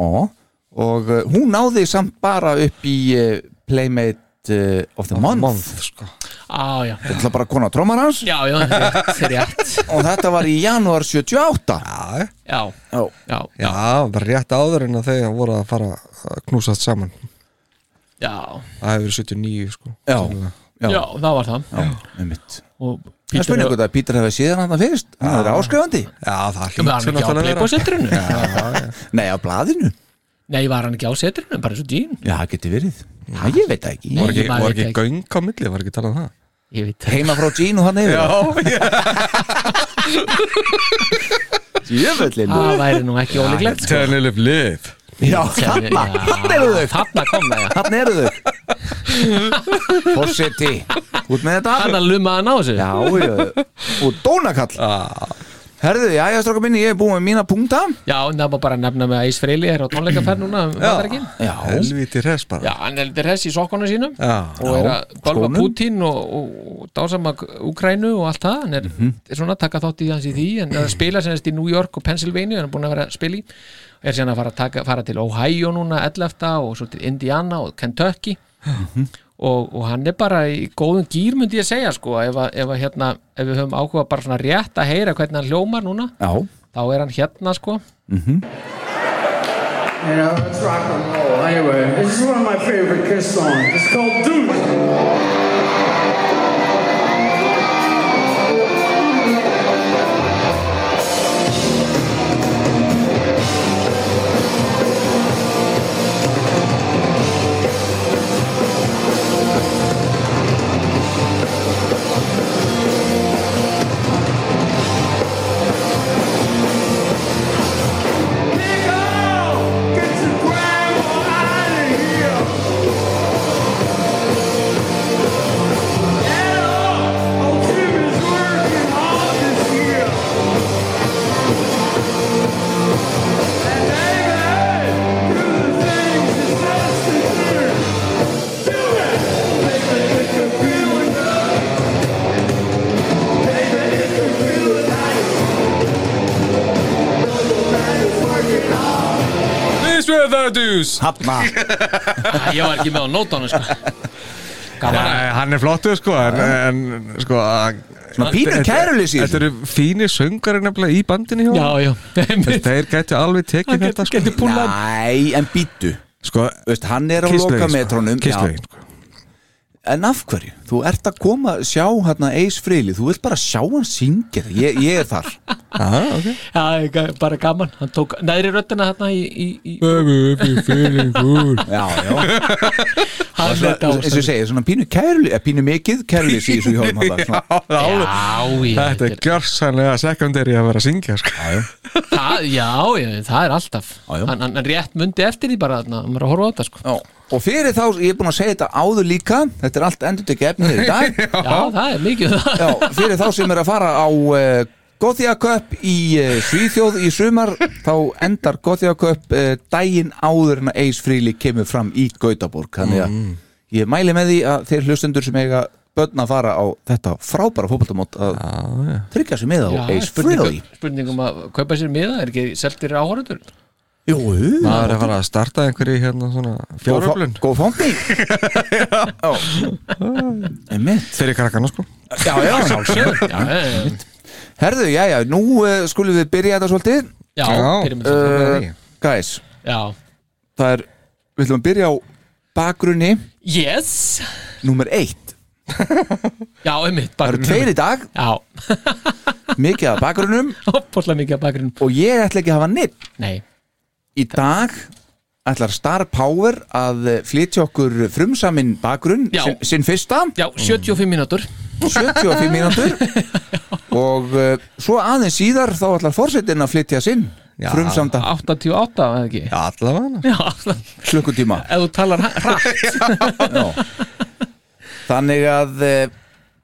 Speaker 3: og, og uh, hún náði samt bara upp í uh, Playmate uh, of the Month, month.
Speaker 4: sko.
Speaker 6: á, já
Speaker 3: Það var bara kona trómar hans
Speaker 6: Já, já, þetta er rétt, þetta er rétt
Speaker 3: og þetta var í janúar 78
Speaker 4: Já,
Speaker 6: Já,
Speaker 3: Já.
Speaker 6: já,
Speaker 4: já, bara rétt áður en að þau voru að fara að knúsast saman
Speaker 6: já
Speaker 4: Það hefur verið 79 sko.
Speaker 3: Já.
Speaker 4: Sennilega.
Speaker 3: Já.
Speaker 6: Já, það var það
Speaker 3: Já, einmitt
Speaker 6: og
Speaker 3: Það spurning hvort að Pítur hefði síðan hann fyrst Hann er áskrifandi
Speaker 4: já, það
Speaker 6: Var hann ekki
Speaker 4: hlýtur
Speaker 6: á
Speaker 4: náttúrulega að vera.
Speaker 6: Playboy-setrinu?
Speaker 3: Nei, á blaðinu
Speaker 6: Nei, var hann ekki á setrinu, bara svo dýn
Speaker 3: Já, það geti verið Já, ég veit það ekki
Speaker 6: Nei.
Speaker 4: Var ekki,
Speaker 6: Ég maður
Speaker 4: var
Speaker 6: veit
Speaker 4: ekki göng á milli, var ekki talað um það
Speaker 6: Ég veit það
Speaker 3: Heima frá Gín og hann yfir
Speaker 4: Já, já
Speaker 3: Jöfullin
Speaker 6: það væri nú ekki ólíklegt sko.
Speaker 4: Turn it up live
Speaker 3: Já,
Speaker 6: Sem-
Speaker 3: þarna,
Speaker 6: já,
Speaker 3: þarna eru þau
Speaker 6: þarna kom það já
Speaker 3: Þarna eru þau Fossetti Út með þetta
Speaker 6: hann að luma hann á þessu
Speaker 3: Já, já, og dónakall
Speaker 4: ah,
Speaker 3: Herðu, já, já, stráka minni, ég er búin með mína punkta
Speaker 6: já en það má bara nefna með að Ís Freyli er á tónleikaferð núna um Bandaríkin.
Speaker 3: Já,
Speaker 4: helviti res
Speaker 6: já,
Speaker 4: bara
Speaker 6: hann er lítið hess í sokkunum sínum
Speaker 4: Já.
Speaker 6: og er að bálfa
Speaker 3: skónum.
Speaker 6: Putin og, og, og dásama Ukrænu og allt það hann er, er svona að taka þátt í hans í því en er að spila sem þess í New York og Pennsylvania hann er búin að vera að spila í er síðan að fara, að taka, fara til Ohio núna 11. og svo til Indiana og Kentucky og, og hann er bara í góðum gýr myndi ég segja sko ef, að, ef, að, hérna, ef við höfum ákveða bara svona rétt að heyra hvernig hann hljómar núna
Speaker 3: já,
Speaker 6: þá er hann hérna sko
Speaker 8: You know, it's rock and roll. Anyway, this is one of my favorite Kiss songs. It's called Dude.
Speaker 4: This with the deuce
Speaker 3: hafna
Speaker 6: Æ, ég var ekki með á nótunum sko gaman að
Speaker 4: Nei, hann er flottur sko en, en sko að-
Speaker 3: Svona pínur kæruleysi í
Speaker 4: Þetta eru fínir söngari nefnilega í bandinu hjá
Speaker 6: Já,
Speaker 4: honum.
Speaker 6: já,
Speaker 4: Þeir- Þeir gætu alveg tekið þetta sko
Speaker 6: getur púlað
Speaker 3: Nei, en býtu
Speaker 4: Sko,
Speaker 3: Veist, hann er á
Speaker 4: Kiss-lögin,
Speaker 3: loka
Speaker 4: sko.
Speaker 3: metrónum
Speaker 4: Kiss-lögin, sko.
Speaker 3: En af hverju? Þú ert að koma að sjá hérna Ace Frehley, þú vilt bara sjá hann syngja það. ég, ég er þar
Speaker 4: Aha, ok.
Speaker 6: Já, ég ga- bara gaman, hann tók neðri röddina þarna í, í, í
Speaker 3: Já, já,
Speaker 6: hann leit á
Speaker 3: eins og ég segi, svona pínu kæruleysi eh, Pínu mikið kæruleysi í þessu hjóðum
Speaker 4: Já,
Speaker 3: hann
Speaker 4: það er alveg-
Speaker 6: Já, ég,
Speaker 4: Þetta er gjörsanlega sekundari að vera að syngja sko.
Speaker 6: það, Ah, já, já, það er alltaf
Speaker 3: Já, já.
Speaker 6: Hann, hann rétt mundi eftir því bara þarna, maður er að horfa á þetta sko.
Speaker 3: Já, og fyrir þá, ég er búin að segja þetta áður líka þetta er allt endur tekið efnið hér í dag
Speaker 6: Já, það er mikið um það
Speaker 3: Já, fyrir þá sem er að fara á uh, Gothia Cup í uh, Svíþjóð í sumar, þá endar Gothia Cup uh, daginn áður en að Ace Frehley kemur fram í Gautaborg þannig að ég mæli með því að þeir hlustendur sem eiga börn að fara á þetta frábæra fótboltamót að tryggja sig með á
Speaker 6: Já,
Speaker 3: Ace Frehley
Speaker 6: spurning, spurning um að kaupa sér miða er ekki seltir áhörður
Speaker 3: Jú, jú.
Speaker 4: Það er að fara að starta einhverju hérna svona
Speaker 3: Góð fá-
Speaker 4: fjáröflun
Speaker 3: góð fangi Já Einmitt.
Speaker 4: Fyrir krakkana sko
Speaker 3: Já, já, sjálfsög
Speaker 6: Já, já, já.
Speaker 3: Herðu, já, já, nú uh, skulum við byrja þetta svolítið Eh,
Speaker 6: já,
Speaker 4: Já.
Speaker 6: pyramid.
Speaker 4: Uh,
Speaker 3: Guys,
Speaker 6: já.
Speaker 3: það er, við ætlum að byrja á bakgrunni
Speaker 6: Yes
Speaker 3: Númer eitt,
Speaker 6: Já, einmitt,
Speaker 3: það eru tveir í dag
Speaker 6: Já,
Speaker 3: Mikið af bakgrunnum
Speaker 6: opposlega mikið að bakgrunn
Speaker 3: Og ég ætla ekki að hafa neitt
Speaker 6: Nei,
Speaker 3: Í dag ætlar Star Power að eh, flytja okkur frumsamin bakgrunn
Speaker 6: Já.
Speaker 3: sin, sinn fyrsta,
Speaker 6: já, 75 mínútur
Speaker 3: 75 mínútur Og uh, svo aðeins síðar Þá ætlar forsetin að flytja sinn
Speaker 4: Já.
Speaker 3: Frumsamda
Speaker 6: 88, eða ekki
Speaker 4: Já, allavega
Speaker 6: Já, alltaf
Speaker 3: klukkutíma
Speaker 6: ef þú talar hratt
Speaker 3: Já. Þannig að eh,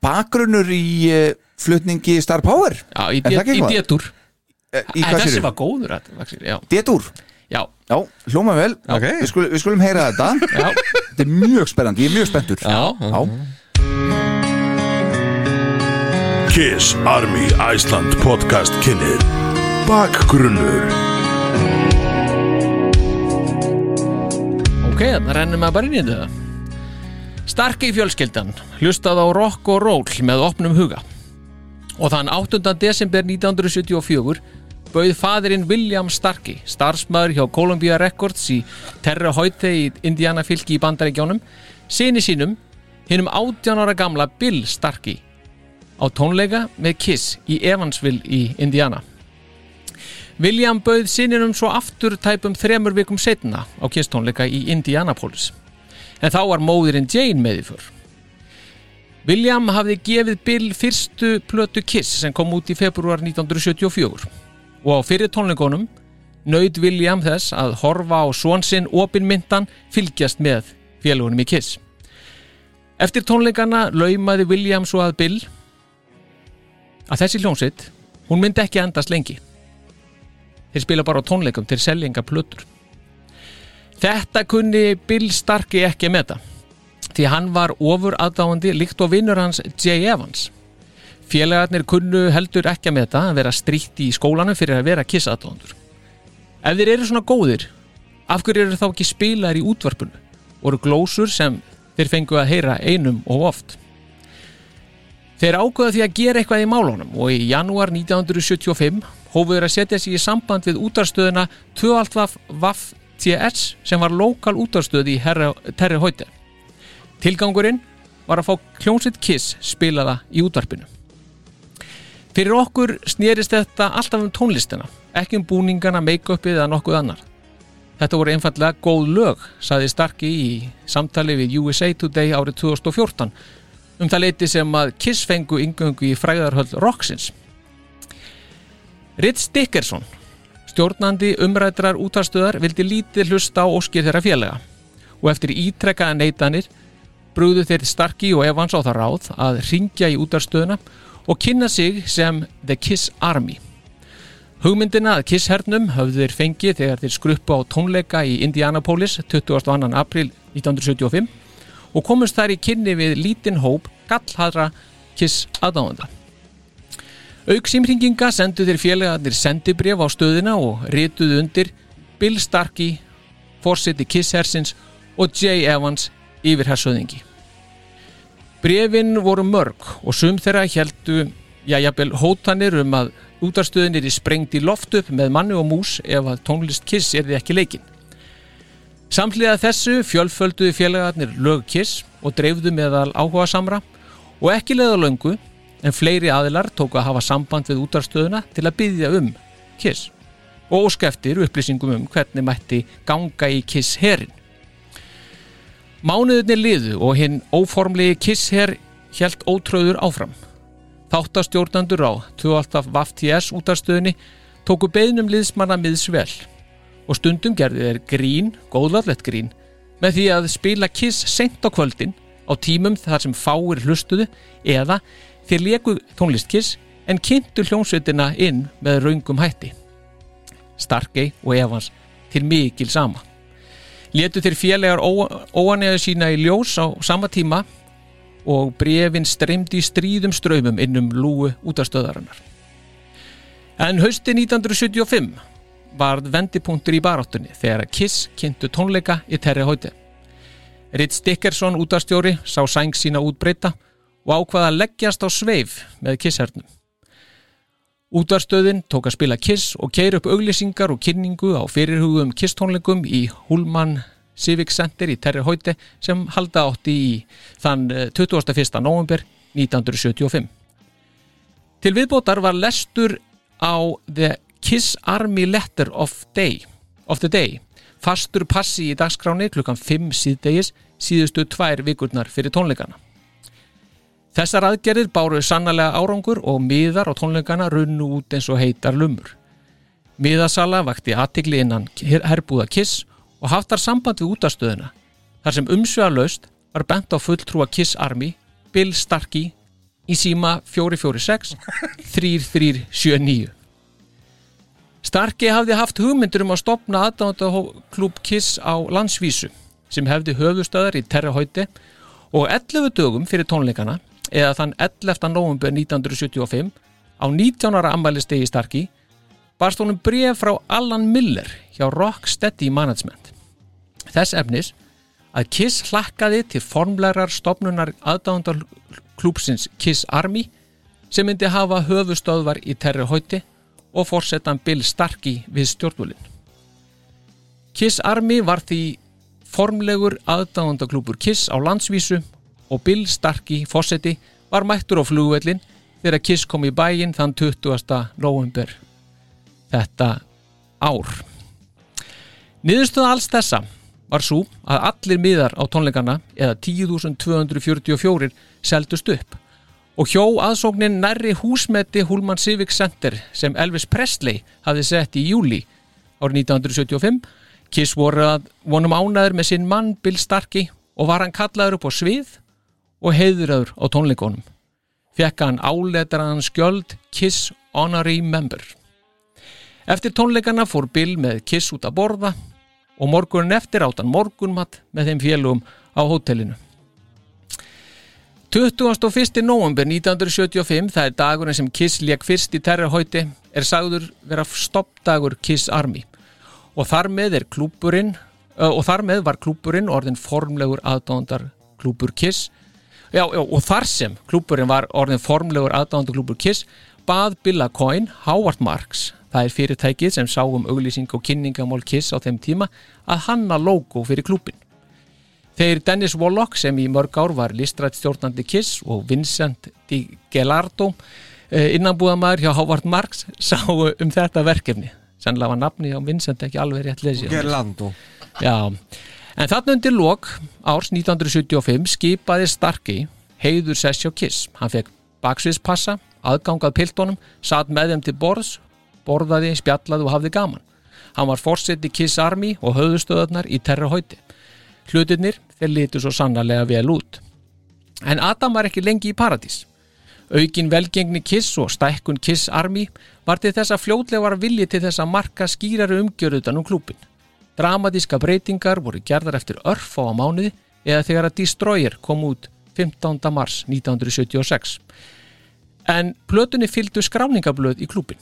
Speaker 3: bakgrunnur í eh, flutningi Star Power
Speaker 6: Já, í,
Speaker 3: Er það ekki
Speaker 6: dét- í
Speaker 3: eitthvað?
Speaker 6: détur
Speaker 3: Eh, í
Speaker 6: Æ,
Speaker 3: hvað
Speaker 6: Þessi
Speaker 3: sérum?
Speaker 6: var góður að, vaxir, já.
Speaker 3: Détúr,
Speaker 6: já,
Speaker 3: já, hljóma vel
Speaker 4: Ok.
Speaker 3: við, skulum, við skulum heyra þetta
Speaker 6: já,
Speaker 3: Þetta er mjög spennandi, ég er mjög spenntur
Speaker 6: já
Speaker 3: Já.
Speaker 1: Kiss Army Iceland podcast kynir Bakgrunnur
Speaker 6: Ok, þannig rennum maður bara inn í þetta Starki fjölskyldan hlustað á rock og roll með opnum huga og þann 8. desember 1974 bauð fadirinn William Starkey starfsmæður hjá Columbia Records í Terra Haute í Indiana fylki í Bandaríkjónum sinni sínum hinnum 18 ára gamla Bill Starkey á tónleika með Kiss í Evansville í Indiana William bauð sininum svo aftur tæpum þremur vikum setna á Kiss tónleika í Indianapolis en þá var móðirinn Jane með í fyrr William hafði gefið Bill fyrstu plötu Kiss sem kom út í februar 1974 og á fyrir tónleikunum nöyð William þess að horfa á svonsinn opinmyndan fylgjast með félagunum í Kiss. Eftir tónleikana laumaði William svo að Bill að þessi hljónsitt, hún myndi ekki endast lengi. Þeir spila bara á tónleikum til seljenga plötur. Þetta kunni Bill Starkey ekki að meta því hann var ofur aðdáandi líkt og vinnur hans Jay Evans. Félagarnir kunnu heldur ekki að meta að vera stríkt í skólanum fyrir að vera kissaðdóðandur. Ef þeir eru svona góðir, af hverju eru þá ekki spilaðir í útvarpinu og eru glósur sem þeir fengu að heyra einum og oft? Þeir ákveða því að gera eitthvað í málunum og í janúar 1975 hófuður að setja sig í samband við útarstöðuna 2.5 Vaff TS sem var lokal útarstöð í Herra- Terri Hóti. Tilgangurinn var að fá Closet Kiss spilaða í útvarpinu. Fyrir okkur snýrist þetta alltaf um tónlistina, ekki um búningana, make-upið eða nokkuð annar. Þetta voru einfallega góð lög, saði Starki í samtali við USA Today árið 2014 um það leiti sem að Kiss fengu yngöngu í fræðarhöll Roxins. Ritz Dickerson, stjórnandi umræðrar útastöðar, vildi lítið hlusta á óskir þeirra félaga og eftir ítrekkaða neytanir brúðu þeir Starkey og Evans á það ráð að ringja í útarstöðuna og kynna sig sem The Kiss Army. Hugmyndina að Kiss-hernum höfðu þeir fengið þegar þeir skruppu á tónleika í Indianapolis 22. april 1975 og komust þær í kynni við lítinn hóp gallhadra Kiss aðdáðanda. Auk símringinga sendu þeir félagarnir sendibréf á stöðina og rituðu undir Bill Starkey, Forseti Kiss hersins og Jay Evans yfir hersöðingi. Brefin voru mörg og sum þeirra heldu já, jafnvel hótanir um að útarstöðin er í sprengt í loft upp með manni og mús ef að tónlist Kiss er því ekki leikinn. Samhliða þessu fjölfölduðu félagarnir lög Kiss og dreifðu meðal áhuga samra og ekki leða löngu en fleiri aðilar tóku að hafa samband við útarstöðuna til að byggja um Kiss og óskeftir upplýsingum um hvernig mætti ganga í Kiss herin. Mánuðinni liðu og hinn óformlegi kissherr hjælt ótröður áfram. Þáttastjórnandur á 28 VAFTS útarstöðinni tóku beðnum liðsmanna miðsvel og stundum gerði þeir grín, góðlarlegt grín, með því að spila kiss sent á kvöldin á tímum þar sem fáir hlustuðu eða þeir leku tónlistkiss en kynntu hljómsveitina inn með raungum hætti. Starkey og Evans til mikil sama letu þeir félagar óanæðu sína í ljós á sama tíma og brefin streymdi í stríðum ströymum innum lúu útastöðarinnar. En hausti 1975 varð vendipunktur í baráttunni þegar að Kiss kynntu tónleika í Terri Hóti. Ritz Dickerson útastjóri sá sæng sína útbreyta og ákvaða að leggjast á sveif með Kisshernum. Útarstöðin tók að spila Kiss og keir upp auglýsingar og kynningu á fyrirhugum Kiss-tónleikum í Hullman Civic Center í Terri Hóti sem halda átti í þann eh, 21. november 1975. Til viðbótar var lestur á The Kiss Army Letter of, day, of the Day, fastur passi í dagskráni klukkan 5 síðdegis síðustu tvær vikurnar fyrir tónleikana. Þessar aðgerðir báru sannarlega árangur og miðar á tónleikana runnu út eins og heitar lumur. Miðasala vakti aðtikli innan her- herbúða Kiss og haftar samband við útastöðuna þar sem umsvegarlaust var bent á fulltrúa Kiss Army Bill Starkey í síma 446 3379. Starkey hafði haft hugmyndur um að stopna aðdándaklúb Kiss á landsvísu sem hefði höfustöðar í Terra Hóti og 11 dögum fyrir tónleikana eða þann 11. november 1975 á 19 ára ammælistegi Starkey barst honum bréf frá Alan Miller hjá Rocksteady Management þess efnis að Kiss hlakkaði til formlegar stopnunar aðdáðandar klúpsins Kiss Army sem myndi hafa höfustöðvar í Terri Hóti og fórsetan Bill Starkey við stjórnvölin Kiss Army var því formlegur aðdáðandaklúpur Kiss á landsvísu og Bill Starkey fósetti var mættur á flugvellin þegar Kiss kom í bæinn þann 20. november þetta ár. Niðurstöða alls þessa var svo að allir miðar á tónleikana eða 10.244 seldust upp og hjó aðsóknin nærri húsmeti Hulman Civic Center sem Elvis Presley hafði sett í júli árið 1975. Kiss voru að vonum ánæður með sinn mann Bill Starkey og var hann kallaður upp á svið og heiðraður á tónleikonum. Fekk hann áletraðan skjöld Kiss Honorary Member. Eftir tónleikana fór Bill með Kiss út að borða og morgunin eftir átt hann morgunmatt með þeim félugum á hótelinu. 21. november 1975, það er dagurinn sem Kiss lék fyrst í terrarhóti, er sagður vera stoppdagur Kiss Army og þar með er klúburinn ö, og þar með var klúburinn orðin formlegur aðdándar klúbur Kiss já, já, og þar sem klúburinn var orðin formlegur aðdándar klúbur Kiss bað Billa Coyne Howard Marks það er fyrirtækið sem sá um auglýsing og kynningamál Kiss á þeim tíma að hanna logo fyrir klúbin Þeir Dennis Wallock sem í mörg ár var listrætt stjórnandi Kiss og Vincent Di Gelardo eh, innanbúðamaður hjá Howard Marks sáu um þetta verkefni. Sannlega var nafni hjá Vincent ekki alveg rétt lesið.
Speaker 4: Gerlando
Speaker 6: Já, en þarna undir lok árs 1975 skipaði Starkey heiður sessjó Kiss. Hann fekk baksviðspassa, aðgangað piltónum, satt með þeim til borðs, borðaði, spjallaði og hafði gaman. Hann var fórseti Kiss Army og höfðustöðarnar í terrahóti. Hlutirnir þeir litu svo sannarlega vel út. En Adam var ekki lengi í paradís. Aukin velgengni Kiss og stækkun Kiss Army var til þess að fljótlega var vilji til þess að marka skýrari umgjörð utan um klúpin. Dramatíska breytingar voru gerðar eftir örf á mánuði eða þegar að Destroyer kom út 15. mars 1976. En plötunni fylgdu skráningablöð í klúpin.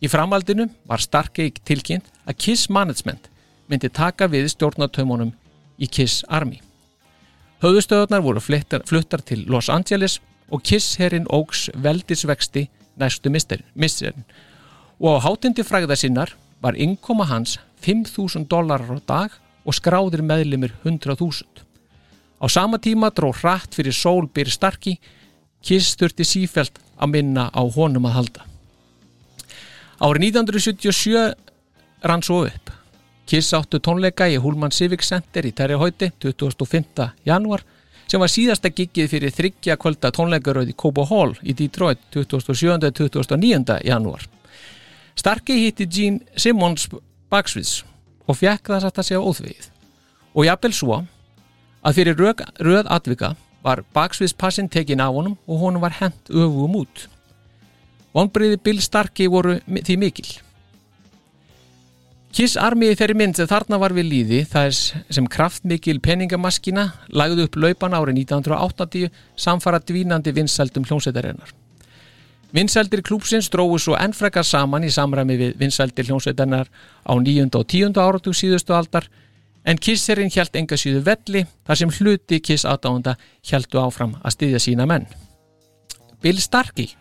Speaker 6: Í framhaldinu var Starkey tilkynnt að Kiss Management myndi taka við stjórnartömmunum í Kiss Army. Höfðustöðunar voru fluttar, fluttar til Los Angeles og Kiss herrin ógs veldisvexti næstu misserin. Og á hátindi fræða sinnar var innkoma hans 5.000 dólarar á dag og skráðir meðlimir 100.000. Á sama tíma dró hratt fyrir sól byrði starki, Kiss þurfti sífelt að minna á honum að halda. Árið 1977 rann svo upp. Kiss áttu tónleika í Hulman Civic Center í Terjahóti 25. januar sem var síðasta giggið fyrir þryggja kvölda tónleikaröð í Cobo Hall í Detroit 27. 29. januar. Starkey hitti Gene Simmons baksviðs og fekk það satt að segja óþvegið. Og jafnvel svo að fyrir rög, röð atvika var baksviðspassin tekin af honum og honum var hent öfum út. Vonbriði Bill Starkey voru mi- því mikil. Kiss Army í þeirri mynd sem þarna var við líði, það er sem kraftmikil peningamaskina lagði upp laupan árið 1980 samfara dvínandi vinsældum hljómsveitarinnar. Vinsældir klúpsins dróðu svo ennfrekar saman í samræmi við vinsældir hljómsveitarinnar á 9. og 10. áratug síðustu aldar en Kisserinn hjælt enga síðu velli þar sem hluti Kiss aðdánda hjæltu áfram að styðja sína menn. Bill Starkey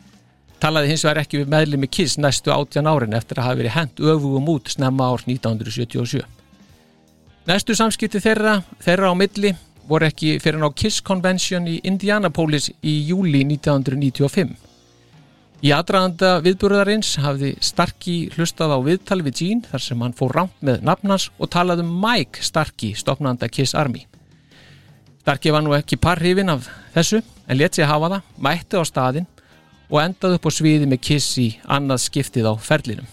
Speaker 6: talaði hins vegar ekki við meðlimi Kiss næstu 18 árin eftir að hafa verið hent öfugum út snemma ár 1977. Næstu samskipti þeirra, þeirra á milli voru ekki fyrir ná Kiss Convention í Indianapolis í júli 1995. Í aðdraðanda viðburðarins hafði Starkey hlustað á viðtal við Gene þar sem hann fór rámt með nafnans og talaði um Mike Starkey, stopnanda Kiss Army. Starkey var nú ekki parrifin af þessu en let sig hafa það, mætti á staðinn og endaði upp á sviði með Kiss í annað skiptið á ferlinum.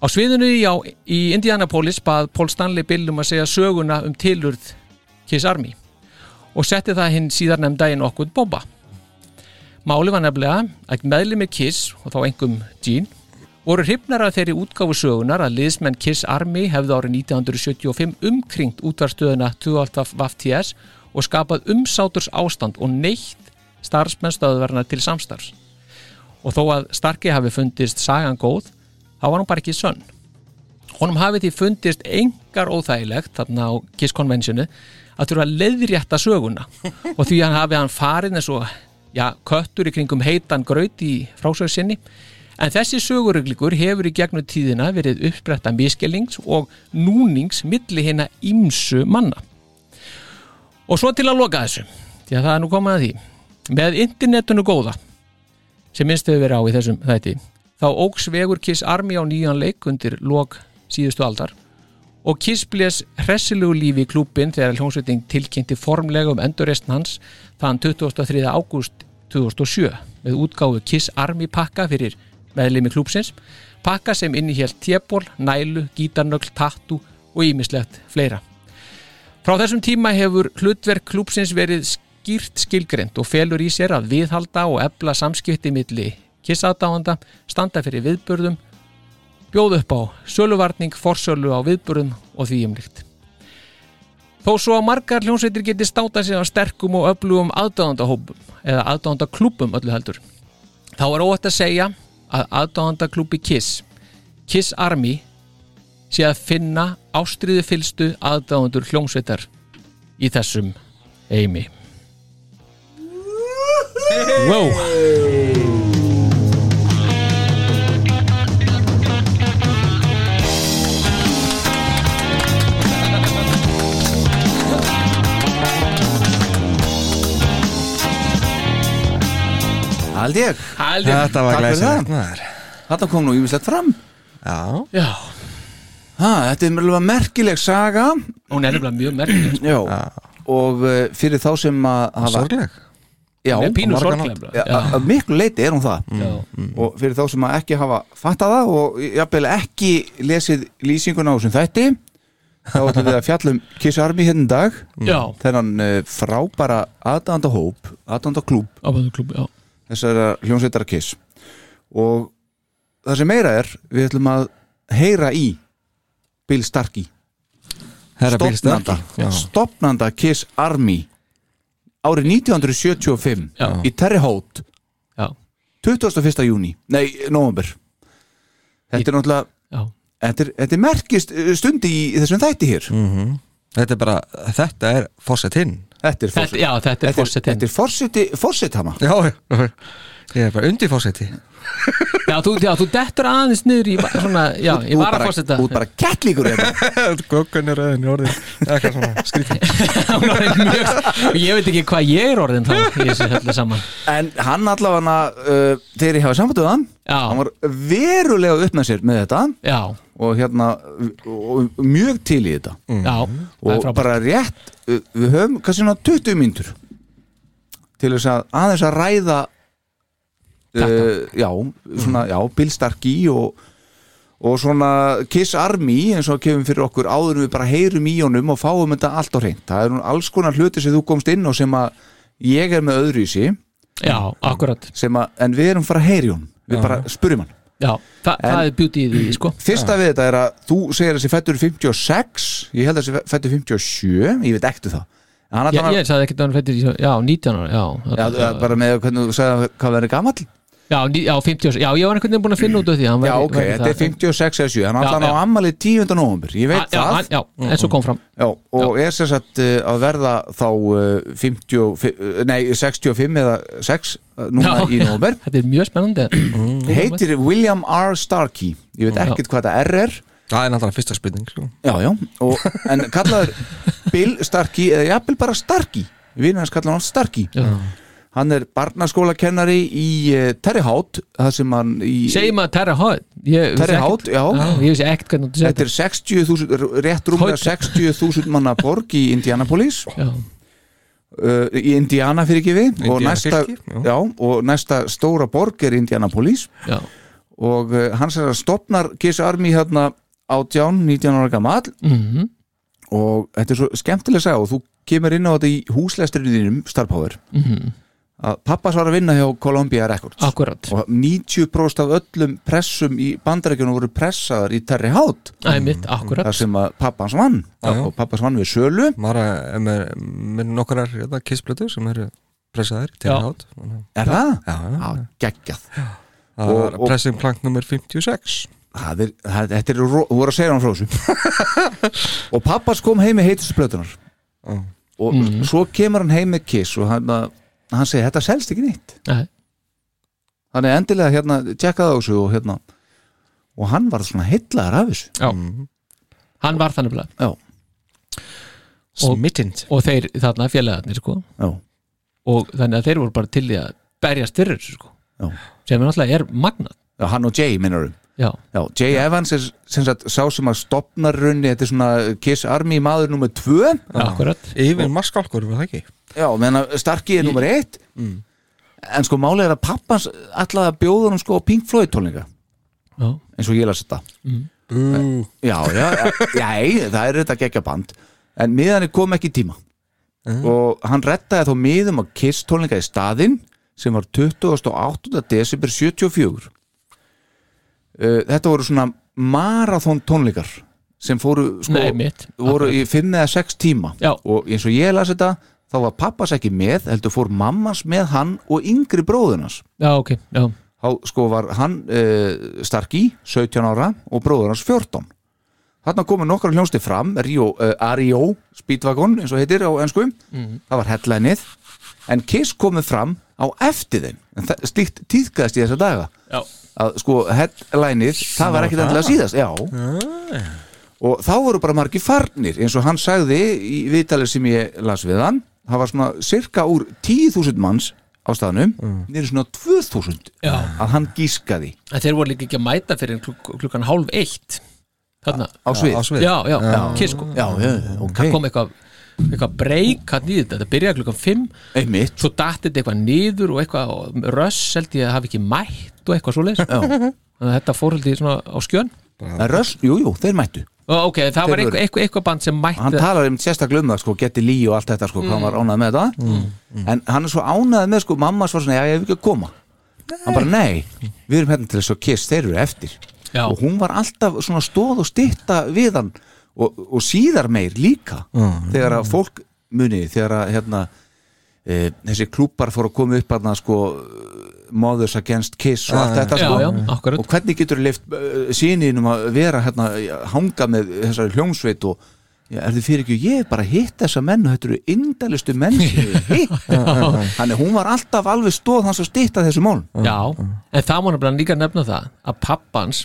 Speaker 6: Á sviðinu í, á, í Indianapolis bað Paul Stanley Bill um að segja söguna um tilurð Kiss Army og setti það hinn síðar nefnda inn okkur bomba. Máli var nefnilega að meðlimi Kiss og þá engum Gene voru hrifnar af þeirri útgáfu sögunar að liðsmenn Kiss Army hefði árið 1975 umkringt útvarstöðuna 12 VFTS og skapað umsáturs ástand og neitt starfsmenn stöðverna til samstarfs. Og þó að Starki hafi fundist sagan góð, þá var hann bara ekki sönn. Honum hafi því fundist engar óþægilegt þarna á Kiss Conventionu að þurfa að leiðrétta söguna og því hann hafi hann farin eins og ja, köttur í kringum heitan graut í frásögsinni en þessi söguruglikur hefur í gegnum tíðina verið uppbretta miskelings og núnings milli hérna ímsu manna. Og svo til að loka þessu, því að það er nú komað að því með internetinu góða sem minnst hefur verið á í þessum þætti þá óks vegur Kiss Army á nýjan leik undir lok síðustu aldar og Kiss blés hressilegu lífi í klúbin þegar hljómsveiting tilkynnti formlega um endurreistn hans þann 23. ágúst 2007 með útgáfu Kiss Army pakka fyrir meðlimi klúpsins pakka sem innihélt tjeból, nælu, gítarnögl, tattu og ímislegt fleira Frá þessum tíma hefur hlutverk klúpsins verið skýrt skilgrend og felur í sér að viðhalda og ebla samskipti milli kissaðdáanda, standa fyrir viðburðum, bjóð upp á söluvarning, forsölu á viðburðum og því umlíkt. Þó svo að margar hljónsveitir geti státa sig á sterkum og öflugum aðdáðandahópum eða aðdáðandaklúpum öllu heldur. Þá er óætt að segja að aðdáðandaklúpi Kiss, Kiss Army, sé að finna ástriðu fylstu aðdáðandur hljónsveitar í þessum eimi. Wow!
Speaker 3: Hald ég,
Speaker 6: Aldrei.
Speaker 4: Þetta var
Speaker 3: Takk fyrir
Speaker 4: glæsilegt
Speaker 3: það.
Speaker 4: maður.
Speaker 3: þetta kom nú ímislegt fram
Speaker 4: Já,
Speaker 6: Já,
Speaker 3: ha, Þetta er mjög merkileg saga
Speaker 6: hún er nefnilega mjög merkileg.
Speaker 3: Já, og uh, fyrir þá sem að hafa
Speaker 4: sorgleg
Speaker 3: Já,
Speaker 6: Hún er pínu
Speaker 4: margar
Speaker 6: sorgleg.
Speaker 4: nátt.
Speaker 3: Já, að- að miklu leiti er hún það
Speaker 4: Mm.
Speaker 6: Já.
Speaker 4: Mhm.
Speaker 3: og fyrir þá sem að ekki hafa fattað það og jafnvel ekki lesið lýsinguna á þessum þætti þá ætlum við að fjalla um Kiss Army hérna í dag
Speaker 6: Mm. Já,
Speaker 3: þennan eh, frábæra aðdanda hóp, aðdanda klúb
Speaker 6: aðdáðandaklúpi, já.
Speaker 3: þessara hljónsveitara Kiss og það sem meira er við ætlum að heyra í Bill Starkey
Speaker 4: Herra Bill
Speaker 3: stopnanda,
Speaker 4: Starkey. Já.
Speaker 3: stopnanda Kiss Army árið 1975
Speaker 6: Já.
Speaker 3: í Terry Holt
Speaker 6: Já.
Speaker 3: 21. júni, nei, november þetta er náttúrulega
Speaker 6: Já.
Speaker 3: þetta er, þetta er merkist uh, stundi í þessum þætti hér
Speaker 6: Mm.
Speaker 4: Þetta er bara, þetta er fórsetinn
Speaker 3: þetta er
Speaker 6: Þetta,
Speaker 3: forseti
Speaker 6: já, þetta er fórsetin
Speaker 3: þetta er forseti, forseti hana
Speaker 4: Já, já, já. ég er bara undir fórseti
Speaker 6: já, þú, já, þú dettur aðeins niður í va- svona, já, ég var að fórseta
Speaker 3: út bara kettlíkur hérna
Speaker 4: Gökkunni röðin í orðin Eitthvað svona, skrítið
Speaker 6: Hún er mjög, ég veit ekki hvað ég er orðin þá í þessu höllu saman
Speaker 3: En hann allavega uh, þegar ég hafa samfættuð hann
Speaker 6: Já.
Speaker 3: hann var verulega upp með sér með þetta
Speaker 6: já,
Speaker 3: og hérna og, og mjög til í þetta
Speaker 6: já, það er
Speaker 3: Mhm. og
Speaker 6: frábært
Speaker 3: bara rétt uh, við höfum kannski svona 20 mínútur til þess að aðeins að ræða uh, já, svona, já, Bill Starkey og, og svona Kiss Army eins og kemum fyrir okkur áður en við bara heyrum í honum og fáum þetta allt á hreint það er nú alls konar hluti sem þú komst inn og sem að ég er með öðru í sí
Speaker 6: já, akkurat,
Speaker 3: sem að, en við erum fara að heyri hún við bara spurjum hann
Speaker 6: já, þa það er beauty í því sko,
Speaker 3: fyrsta við þetta er að þú segir þessi fættur 56, ég held að þessi fættur 57 ég veit ekkert það En hann
Speaker 6: ég,
Speaker 3: allan að-
Speaker 6: ég sagði ekkert að hann fættir í- já, 19 ára, já
Speaker 3: Já, það er bara með hvernig þú sagði hvað verður gamall
Speaker 6: já, ní- já, 50 ára, já, ég var einhvern veginn búin að finna út af því
Speaker 3: Já, ok, þetta er 56 eða 7 hann ætla hann á
Speaker 6: já.
Speaker 3: ammali 10. november ég veit
Speaker 6: já,
Speaker 3: það
Speaker 6: hann- já, en svo kom fram
Speaker 3: Já, og er sem sagt uh, að verða þá uh, 50, uh, nei, 65 eða 6 uh, núna
Speaker 6: já,
Speaker 3: í Mhm. november
Speaker 6: þetta er mjög spennandi
Speaker 3: heitir William R. Starkey ég veit
Speaker 6: Já.
Speaker 3: ekkert hvað þetta R er
Speaker 4: Það er náttúrulega fyrsta spurning sko.
Speaker 3: já, já, og, en kallaður Bill Starkey eða jafnvel bara Starkey vinur hans kallar hann Starkey
Speaker 6: Já.
Speaker 3: hann er barnaskólakennari í uh, Terry Hout það sem hann í
Speaker 6: segjum að Terra Hot ég vissi
Speaker 3: Terry
Speaker 6: ekkert-
Speaker 3: Hout, já,
Speaker 6: Já, ég vissi ekkert hvernig þú
Speaker 3: Þetta er 60.000, r- rétt rúmlega
Speaker 6: Hoyt.
Speaker 3: 60.000 manna borg í Indianapolis uh,
Speaker 6: já,
Speaker 3: í Indiana fyrir ekki við og
Speaker 4: Indiana
Speaker 3: næsta,
Speaker 4: fylki,
Speaker 3: já.
Speaker 4: já.
Speaker 3: og næsta stóra borg er Indianapolis
Speaker 6: já,
Speaker 3: og uh, hans er að stopnar Kiss Army hérna átján, 19 ára gamall
Speaker 6: mhm
Speaker 3: og þetta er svo skemmtilega að segja og þú kemur inn á þetta í húslestrinu þínum starfháður mm að pappas var að vinna hjá Columbia Records
Speaker 6: Akkurat,
Speaker 3: og 90% af öllum pressum í bandarækjunum voru pressaðar í Terry Hout
Speaker 6: æmitt, akkurat
Speaker 3: þar sem að pappans vann
Speaker 4: já.
Speaker 3: og pappans vann við sölu
Speaker 4: Mara er með, með nokkrar hérna, kissblötu sem eru pressaðir til
Speaker 6: Já.
Speaker 4: hát Það
Speaker 3: er það?
Speaker 4: Já, já, já.
Speaker 3: geggjað Og-
Speaker 4: var
Speaker 3: og-
Speaker 4: pressing plank nummer 56
Speaker 3: það er, það, þetta er, ro- hún voru að segja hann frá þessu og pappans kom heim með heitustu blötunar
Speaker 4: Já.
Speaker 3: og svo kemur hann heim með kiss og hann, hann segir þetta selst ekki neitt
Speaker 6: Nei.
Speaker 3: þannig endilega hérna, tjekka það á þessu og hérna og hann var svona heitlaður af þessu
Speaker 6: Já. Hann var þannig blað
Speaker 3: já,
Speaker 6: Og-
Speaker 4: Smittind
Speaker 6: og þeir þarna félagarnir sko
Speaker 3: já,
Speaker 6: og þannig að þeir voru bara til í að berjast fyrir þessu sko
Speaker 3: Já.
Speaker 6: sem er náttúrulega er magnað
Speaker 3: já hann og Jay minnarum
Speaker 6: Já,
Speaker 3: já, Jay Evans er sem sagt sá sem að stopnar runni, þetta er svona kiss army maður nummer 2
Speaker 6: akkurat
Speaker 4: Yfir maskálkur var það ekki
Speaker 3: já, menna starki er nummer 1 en sko málið er að pappans ætlaði að bjóða hann sko á Pink Floyd tónleika
Speaker 6: Já.
Speaker 3: eins og ég las þetta
Speaker 4: Ú,
Speaker 3: já, já, já, já, það er þetta gekkja band en miðan kom ekki í tíma og hann rettaði þá miðum á Kiss tónleika í staðinn sem var 28. desember 74 uh, þetta voru svona marathon tónleikar sem fóru sko,
Speaker 6: Nei, mitt.
Speaker 3: voru í fimm eða sex tíma
Speaker 6: Já.
Speaker 3: og eins og ég las þetta þá var pappas ekki með, heldur fór mammas með hann og yngri bróðunars
Speaker 6: Já, ok, já,
Speaker 3: þá sko var hann uh, starki, 17 ára og bróður hans 14 þarna komu nokkra hljónsti fram Rio, uh, Ario, Speedwagon eins og heitir á ennsku, það var hellænið en Kiss komu fram á eftir þeim, en það- slíkt tíðkaðist í þessa daga
Speaker 6: já.
Speaker 3: að sko headlineið, það Ah. var ekkit endilega síðast já og þá voru bara margir farnir eins og hann sagði í viðtalið sem ég las við hann það var svona cirka úr 10.000 manns á staðnum mm. nýri svona 2.000
Speaker 6: Já.
Speaker 3: að hann gískaði
Speaker 6: En þeir voru líka ekki að mæta fyrir kluk klukkan hálf eitt Þarna,
Speaker 3: á svið
Speaker 4: á svið
Speaker 6: já, já, kiss sko
Speaker 3: já, já, ok
Speaker 6: kom eitthvað eitthvað breyk hann í þetta, þetta byrjaði klukkan 5
Speaker 3: einmitt
Speaker 6: svo datt þetta eitthvað niður og eitthvað og röss held ég að hafi ekki mætt og eitthvað svoleiðis þannig að þetta fór held ég svona á skjön
Speaker 3: En Russ, jú, jú, þeir mættu
Speaker 6: og ok, það var
Speaker 3: Þeir voru-
Speaker 6: eitthvað, eitthvað, eitthvað band sem
Speaker 3: hann
Speaker 6: mætti
Speaker 3: talar um sérstaklega um það sko, geti lí og allt þetta sko, hvað hann
Speaker 6: Mm.
Speaker 3: var ánað með þetta en hann er svo ánað með sko, mamma svo svona, já, ég hef ekki að koma hann bara, nei, við erum hérna til þess að kiss þeir eru eftir
Speaker 6: Já.
Speaker 3: og hún var alltaf svona stóð og stytta við hann og, og síðar meir líka þegar að fólk muni þegar að hérna e, þessi klúpar fóru að koma upp hann sko Mothers Against Kiss og allt þetta
Speaker 6: já,
Speaker 3: sko
Speaker 6: já, akkurat.
Speaker 3: og hvernig getur leift uh, síninum að vera hérna, hanga með þessari hljómsveit og já, er þið fyrir ekki, ég er bara að hitta þessa menn og þetta eru indalistu menn sem ég hef hitt þannig hún var alltaf alveg stóð hans að stýtta þessu mál
Speaker 6: já, en það má nefnilega líka nefna það að pappans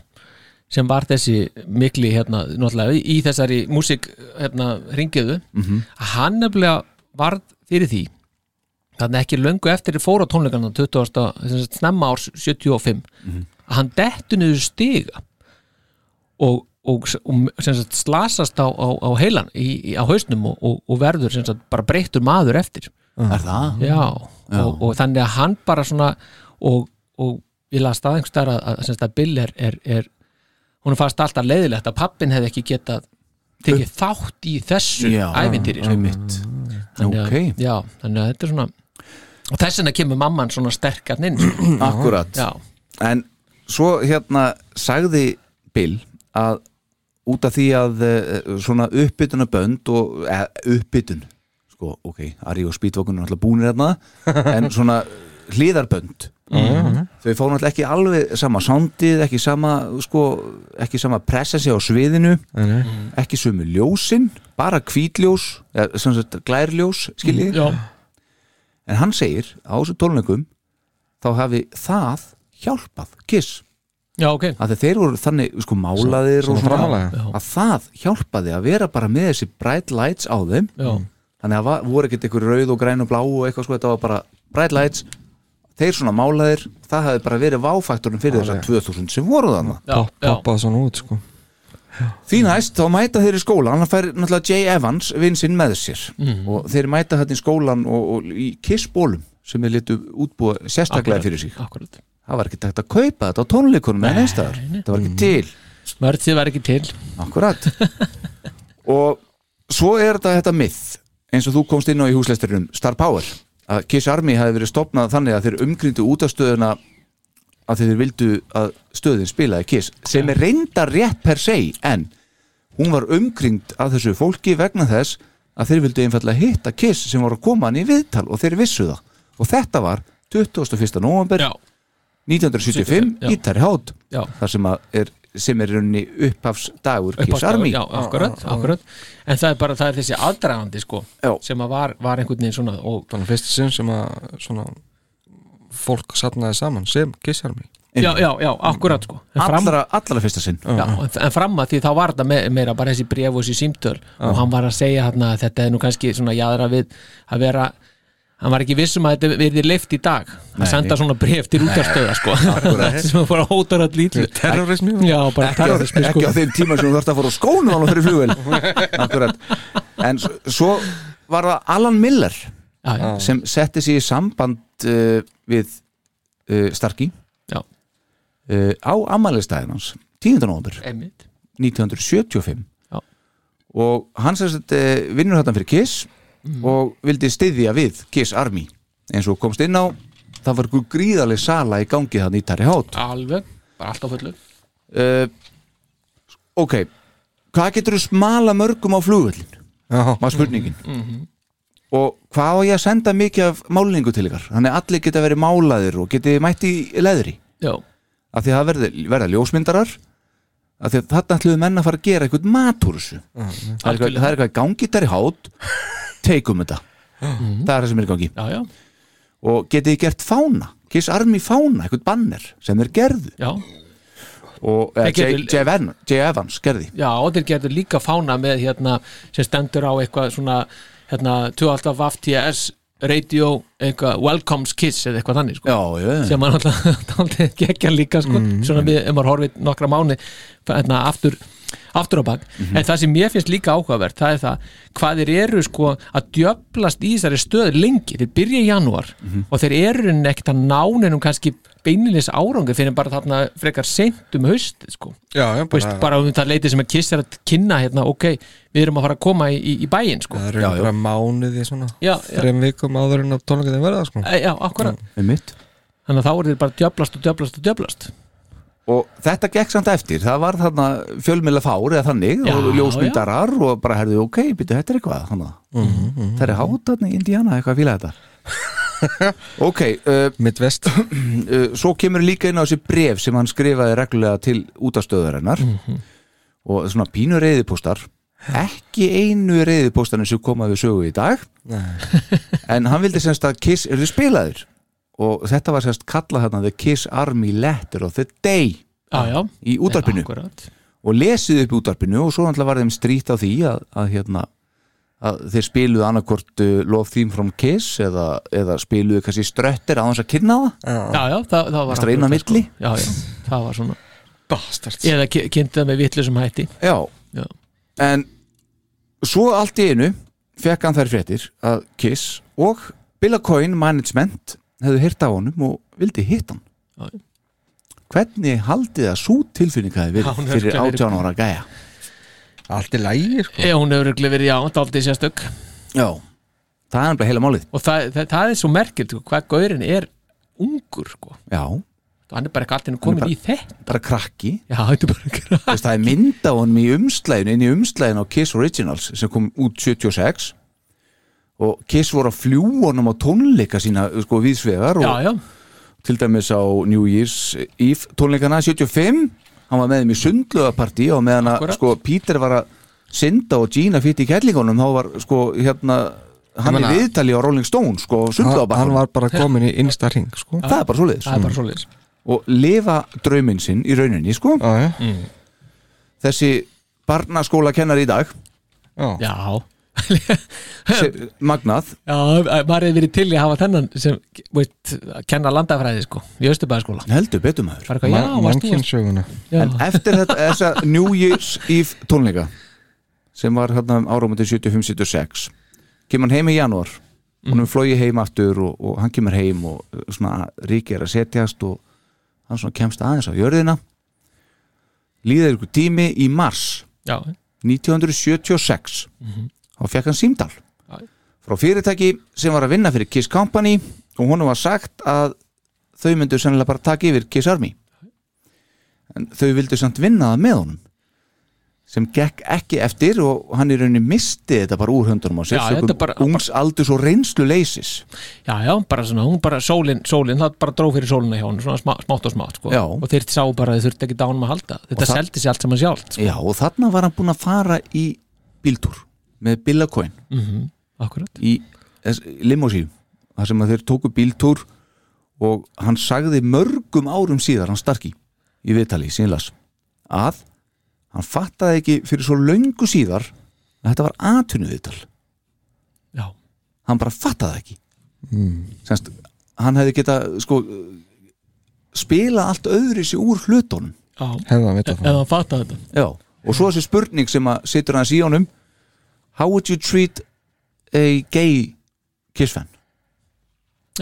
Speaker 6: sem var þessi mikli hérna, náttúrulega í- í þessari músík hérna, ringiðu, að hann nefnilega varð fyrir því þannig ekki löngu eftir fór á tónleikana 20. sem sagt, snemma árs 75 að hann dettu niður stiga og, og, og sem sagt, slasast á, á, á heilan í, í, á hausnum og, og, og verður sem sagt, bara breyttur maður eftir
Speaker 3: er það?
Speaker 6: já, Og, og þannig að hann bara svona og, og ég las það einhvers staðar að, að, sem sagt að Bill er, er, er hún fannst alltaf leiðilegt að pappin hefði ekki getað tekið þátt í þessu
Speaker 3: Já,
Speaker 6: ævintýri sko.
Speaker 3: einmitt
Speaker 6: þannig, að-
Speaker 3: ok.
Speaker 6: já, þannig að þetta er svona og þess vegna kemur mamman svona sterkarn inn
Speaker 3: Mm.
Speaker 6: sko.
Speaker 3: akkurat
Speaker 6: já,
Speaker 3: en svo hérna sagði Bill að út af því að eh, svona uppbytuna bönd og eh, uppbytun sko, ok, Ari og Spítvokunum er alltaf búinir hérna en svona hliðarbönd Mhm. þau fá náttúrulega ekki alveg sama sándið, ekki sama sko, ekki sama pressensi á sviðinu ekki sömu ljósin bara hvítljós, eða sem sagt glærljós skiljið
Speaker 6: já,
Speaker 3: En hann segir á þessu tónleikum þá hafi það hjálpað Kiss,
Speaker 6: já, ok
Speaker 3: að þeir- þeir voru þannig sko málaðir og
Speaker 4: svona framarlega.
Speaker 6: Já.
Speaker 3: að það hjálpaði að vera bara með þessi bright lights á þeim
Speaker 6: já,
Speaker 3: þannig að það voru ekkert einhver rauð og græn og blá og eitthvað sko, þetta var bara bright lights þeir svona málaðir, það hafi bara verið váfaktorinn fyrir þessar 2000 sem voru þannig
Speaker 6: já, já,
Speaker 4: Poppaði svona út sko
Speaker 3: Því næst þá mæta þeir í skólan hann fær náttúrulega Jay Evans vinsinn með sér og þeir mæta þetta í skólan og, og í Kiss-bólum sem þeir litu útbúa sérstaklega fyrir sig
Speaker 6: akkurat
Speaker 3: það var ekki takt að kaupa þetta á tónleikunum en einstæðar, það var ekki til
Speaker 6: mörðið var ekki til
Speaker 3: akkurat og svo er þetta þetta myth eins og þú komst inn á í húsleisturinum Star Power, að Kiss Army hafi verið stopnað þannig að þeir umgrindu út af stöðuna að þeir vildu að stöðin spilaði Kiss, sem er reyndar rétt per se, en hún var umgringd af þessu fólki vegna þess að þeir vildu einfallega hitta Kiss sem voru að koma hann í viðtal og þeir vissu það og þetta var 21. november
Speaker 6: já,
Speaker 3: 1975
Speaker 6: já.
Speaker 3: í Terri Hátt
Speaker 6: Já.
Speaker 3: þar sem að er sem er í rauninni upphafsdagur
Speaker 6: upp á
Speaker 3: Kiss Army
Speaker 6: já, akkurat, akkurat en það er bara, það er þessi aðdragandi sko
Speaker 3: Já.
Speaker 6: sem að var, var einhvern veginn svona og,
Speaker 4: Þannig fyrst sinn sem að svona fólk sapnaði saman sem kissarmi
Speaker 6: já, já, já, akkurat sko en fram,
Speaker 3: allra, allra fyrsta sinn
Speaker 6: já, en- en fram að því þá var þetta me, meira bara þessi bref og þessi símtöl og hann var að segja hérna að þetta er nú kannski svona jaðra við að vera hann var ekki vissum að þetta verði leift í dag að senda svona bref til útastöða sko sem að fara hótar all lítlu
Speaker 4: Terrorismi
Speaker 6: já, bara
Speaker 3: ekki,
Speaker 6: terrorismi
Speaker 3: á- ekki
Speaker 6: sko
Speaker 3: á þeim tíma sem þú þarfst að fóra á skónu á fyrir flugvel akkurat en s- svo var það Alan Miller
Speaker 6: Já, já.
Speaker 3: sem setti sig í samband rætt uh, við uh, Starki
Speaker 6: Já.
Speaker 3: uh, á ammælistæðin hans 10. november
Speaker 6: einmitt
Speaker 3: 1975
Speaker 6: Já.
Speaker 3: og hann sem sagt eh, vinnur hættan fyrir Kiss og vildi styðja við Kiss Army eins og komst inn á það var einhver gríðaleg sala í gangi þannig í Tarri Hátt
Speaker 6: alveg, bara allt á fullu
Speaker 3: uh, ok hvað getur þú smala mörgum á flugvöllin
Speaker 4: Já,
Speaker 3: var spurningin og hvað á ég að senda mikið af málingu til ykkar þannig að allir geta verið málaðir og geti mætt í leðri
Speaker 6: já,
Speaker 3: af því að það verða, verða ljósmyndarar af því að þarna ætluðu menn að fara að gera eitthvað mat úr þessu það, er eitthvað,
Speaker 6: Mm, Algjörlega.
Speaker 3: það er eitthvað í gangi þar í hát teikum þetta
Speaker 6: Mm.
Speaker 3: það er það sem er í gangi
Speaker 6: já, já,
Speaker 3: og getið þið gert fána, Kiss Army fána eitthvað banner sem þeir gerðu
Speaker 6: já
Speaker 3: og eh,
Speaker 6: Þeir
Speaker 3: J.
Speaker 6: gerðu-
Speaker 3: J. Evans- J. Evans gerði
Speaker 6: já, og þeir gerðu líka fána með hérna, sem stendur á eitthvað svona hérna, 2.5 FTS radio, eitthvað Welcomes Kiss eða eitthvað þannig, sko
Speaker 3: já, já,
Speaker 6: sem maður alltaf aldrei gekkja líka sko, svona við, ef maður horfið nokkra mánu hérna, aftur, aftur á bak en það sem mér finnst líka áhugavert það er það, hvað þeir eru sko að djöflast í þessari stöð lengi þeir byrja í janúar og þeir eru neitt að nánunum kannski beinilis árangur fyrir bara þarna frekar seint um haust sko,
Speaker 4: já, já
Speaker 6: Þú veist,
Speaker 4: bara,
Speaker 6: bara um það leiti sem að kiss er að kynna hérna, ok, við erum að fara að koma í, í, í bæinn sko,
Speaker 4: það eru bara mánuði svona
Speaker 6: Já, já.
Speaker 4: Þreim vikum áður en að tónleika þeim verða sko.
Speaker 6: Eh, já, akkurat
Speaker 3: um mitt
Speaker 6: þannig að þá eru þeir bara að djöflast og djöflast og djöflast
Speaker 3: og þetta gekk samt eftir, það var þarna fjölmjöla fár eða þannig
Speaker 6: Já,
Speaker 3: og ljósmyndarar og bara herðu ok, byrju, þetta er eitthvað hana.
Speaker 6: Mm,
Speaker 3: það er hát þarna í Indiana, eitthvað að fíla þetta ok, uh,
Speaker 4: Midwest
Speaker 3: uh, svo kemur líka inn á þessi bref sem hann skrifaði reglulega til útastöðarinnar mm
Speaker 6: Mhm.
Speaker 3: og svona pínu reyðipóstar ekki einu reyðipóstarinn sem koma við sögu í dag en hann vildi semst að Kiss eru spilaðir og þetta var semst kallað hérna The Kiss Army Letter of the Day
Speaker 6: já, já,
Speaker 3: í útarpinu
Speaker 6: akkurat
Speaker 3: og lesið upp í útarpinu og svo náttúrulega var þeim strýtt á því að, að hérna að þeir spiluðu annarkvort uh, Love Theme from Kiss eða, eða spiluðu kannski ströttir á þess að kynna það
Speaker 6: já, já, það, það var
Speaker 3: Varstu að reyna á
Speaker 6: akkurat,
Speaker 3: milli?
Speaker 6: sko. já, já, það var svona
Speaker 4: Bastards
Speaker 6: eða ki- kynnti það með vitlusum hætti
Speaker 3: Já.
Speaker 6: Já.
Speaker 3: En svo allt í einu fekk hann þær fréttir að Kiss og Bill Coyne Management hefðu hýrt af honum og vildi hitt hann.
Speaker 6: Já, já.
Speaker 3: Hvernig haldið það svo tilfinning hafi
Speaker 6: Já,
Speaker 3: verið
Speaker 6: hún er
Speaker 3: fyrir
Speaker 6: örugglega verið-
Speaker 3: 18 ára gæja?
Speaker 4: Allt í lægi sko.
Speaker 6: eða hún hefur örugglega verið já, daldið sérstök
Speaker 3: Já. Það er nefnilega heila málið.
Speaker 6: og það, það, það er svo merkilt sko, hvað gaurin er ungur sko.
Speaker 3: Já,
Speaker 6: og hann er bara ekki allir
Speaker 3: Hann er
Speaker 6: komin
Speaker 3: bara-
Speaker 6: í þetta
Speaker 3: bara krakki.
Speaker 6: já, þetta er bara
Speaker 3: Þú
Speaker 6: ekki
Speaker 3: Veist, það er mynd á honum í umslæðinu, inn í umslæðinu á Kiss Originals sem kom út 76 og Kiss voru að fljú honum á tónleika sína sko viðsvegar og,
Speaker 6: já, já,
Speaker 3: til dæmis á New Year's Eve tónleikana 75 hann var með þeim í sundlöðapartí og meðan að
Speaker 6: Akkúrat.
Speaker 3: sko, Peter var að synda og Gina fyrt í kellingunum þá var sko hérna hann
Speaker 4: meina-
Speaker 3: í viðtali á Rolling Stone sko
Speaker 4: hann, hann
Speaker 3: sundlöðapartí
Speaker 4: var bara komin í insta ring sko.
Speaker 3: það er bara svoleiðis
Speaker 6: það er bara svoleiðis
Speaker 3: og lifa drauminn sinn í rauninni sko
Speaker 4: Já,
Speaker 6: Mm.
Speaker 4: já.
Speaker 3: þessi barnaskóla kennar í dag
Speaker 4: Já.
Speaker 6: já,
Speaker 3: sem- magnað
Speaker 6: já, maður hefur verið til í að hafa þennan sem, veit, að kenna landafræði sko, í Östubæðaskóla
Speaker 3: heldur betur maður
Speaker 6: bara eitthvað, já, varst þú
Speaker 4: Mannkynssöguna
Speaker 6: já,
Speaker 3: en eftir þetta þessa New Year's Eve tónleika sem var hérna um áramöndin 75-76 kemur hann heim í janúar hann er flóið heim aftur og, og hann kemur heim og uh, svona ríki er að setjast og hann svona kemst aðeins á jörðina líður ykkur tími í mars
Speaker 6: já,
Speaker 3: 1976 þá fekk hann símdal
Speaker 6: Já.
Speaker 3: frá fyrirtæki sem var að vinna fyrir Kiss Company og honum var sagt að þau myndu sennilega bara taka yfir Kiss Army en þau vildu samt vinna það með honum sem gekk ekki eftir og hann í rauninni misti þetta bara úr höndunum á sér
Speaker 6: Já, þetta
Speaker 3: sökum
Speaker 6: bara-
Speaker 3: ungs aldurs og reynslu leysis
Speaker 6: já, já, bara svona, hún bara sólin, sólin það bara dró fyrir sólina hjá hún, svona smá, smátt og smátt sko.
Speaker 3: Já.
Speaker 6: og þeir sá bara að þeir þurfti ekki dánum að halda þetta
Speaker 3: það-
Speaker 6: seldi sér allt saman sjálft sko.
Speaker 3: Já, og þarna var hann búin að fara í bíltúr með Bill Coyne
Speaker 6: akkurat,
Speaker 3: í limósíum þar sem að þeir tóku bíltúr og hann sagði mörgum árum síðar hann starki í viðtali sínlas að hann fattaði ekki fyrir svo löngu síðar að þetta var atvinnu viðtal
Speaker 6: já
Speaker 3: hann bara fattaði ekki mm. Semst, hann hefði geta sko, spila allt öðri sér úr hlutunum
Speaker 6: Já,
Speaker 4: Hefði hann vitað
Speaker 6: ef
Speaker 4: það
Speaker 6: hann fattar þetta
Speaker 3: Já. og svo þessi spurning sem að situr hans í honum how would you treat a gay kiss fan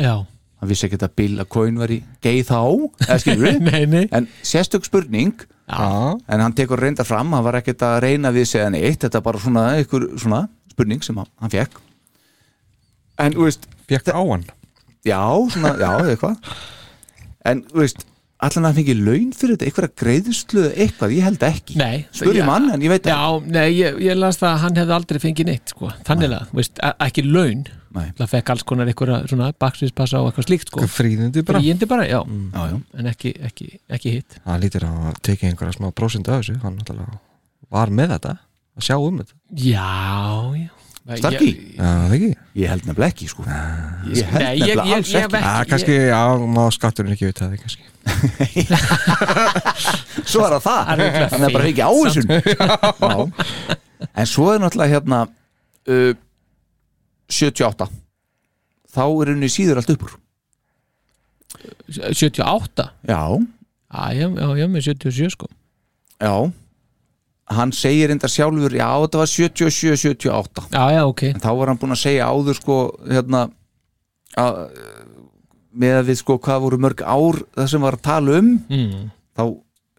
Speaker 6: Já,
Speaker 3: hann vissi ekkert að Bill að Coyne var í geið þá, eða skilur við
Speaker 6: Nei, nei
Speaker 3: en sérstök spurning
Speaker 4: Já,
Speaker 3: en hann tekur reynda fram, hann var ekkert að reyna við segja neitt, þetta er bara svona, ykkur, svona spurning sem hann, hann fekk en, þú veist,
Speaker 4: fekk á hann
Speaker 3: já, svona, já, eða eitthvað en, þú veist allan að hann fengi laun fyrir þetta, einhverja greiðslu eða eitthvað, ég held ekki
Speaker 6: Nei,
Speaker 3: spurði
Speaker 6: ég-
Speaker 3: mann, en ég veit
Speaker 6: Já, nei, ég, ég las það að hann hefði aldrei fengið neitt sko. þannig að, þú veist, e- ekki laun
Speaker 3: Nei.
Speaker 6: það fekk alls konar einhverja svona baksvíspassa og eitthvað slíkt sko.
Speaker 4: Hvað fríðindi bara
Speaker 6: fríindi bara, já,
Speaker 3: já, já,
Speaker 6: en ekki, ekki, ekki hitt
Speaker 4: Hann lítir að hafa tekið einhverja smá prósind af þessu Hann náttúrulega var með þetta að sjá um þetta
Speaker 6: Já, já
Speaker 3: Starkey?
Speaker 6: Ég-
Speaker 4: Já, það ekki?
Speaker 3: ég held nefnilega ekki, sko ég held
Speaker 6: Nei, ég-
Speaker 3: nefnilega
Speaker 6: ég-
Speaker 3: alls
Speaker 6: ég
Speaker 3: ekki
Speaker 6: veit-
Speaker 4: Já, kannski, já, má skatturinn ekki vita það kannski
Speaker 3: svo er það það,
Speaker 6: Það er örugglega
Speaker 3: hann er bara
Speaker 6: fínt,
Speaker 3: ekki áhersun en svo er náttúrulega hérna uh, 78 þá er henni síður allt uppur
Speaker 6: 78
Speaker 3: já,
Speaker 6: Já, ég já, ég er með 77 sko
Speaker 3: já hann segir enda sjálfur, já þetta var 77, 78
Speaker 6: Já, já, ok
Speaker 3: en þá var hann búinn að segja áður sko hérna að með að við sko hvað voru mörg ár það sem var að tala um
Speaker 6: mm.
Speaker 3: þá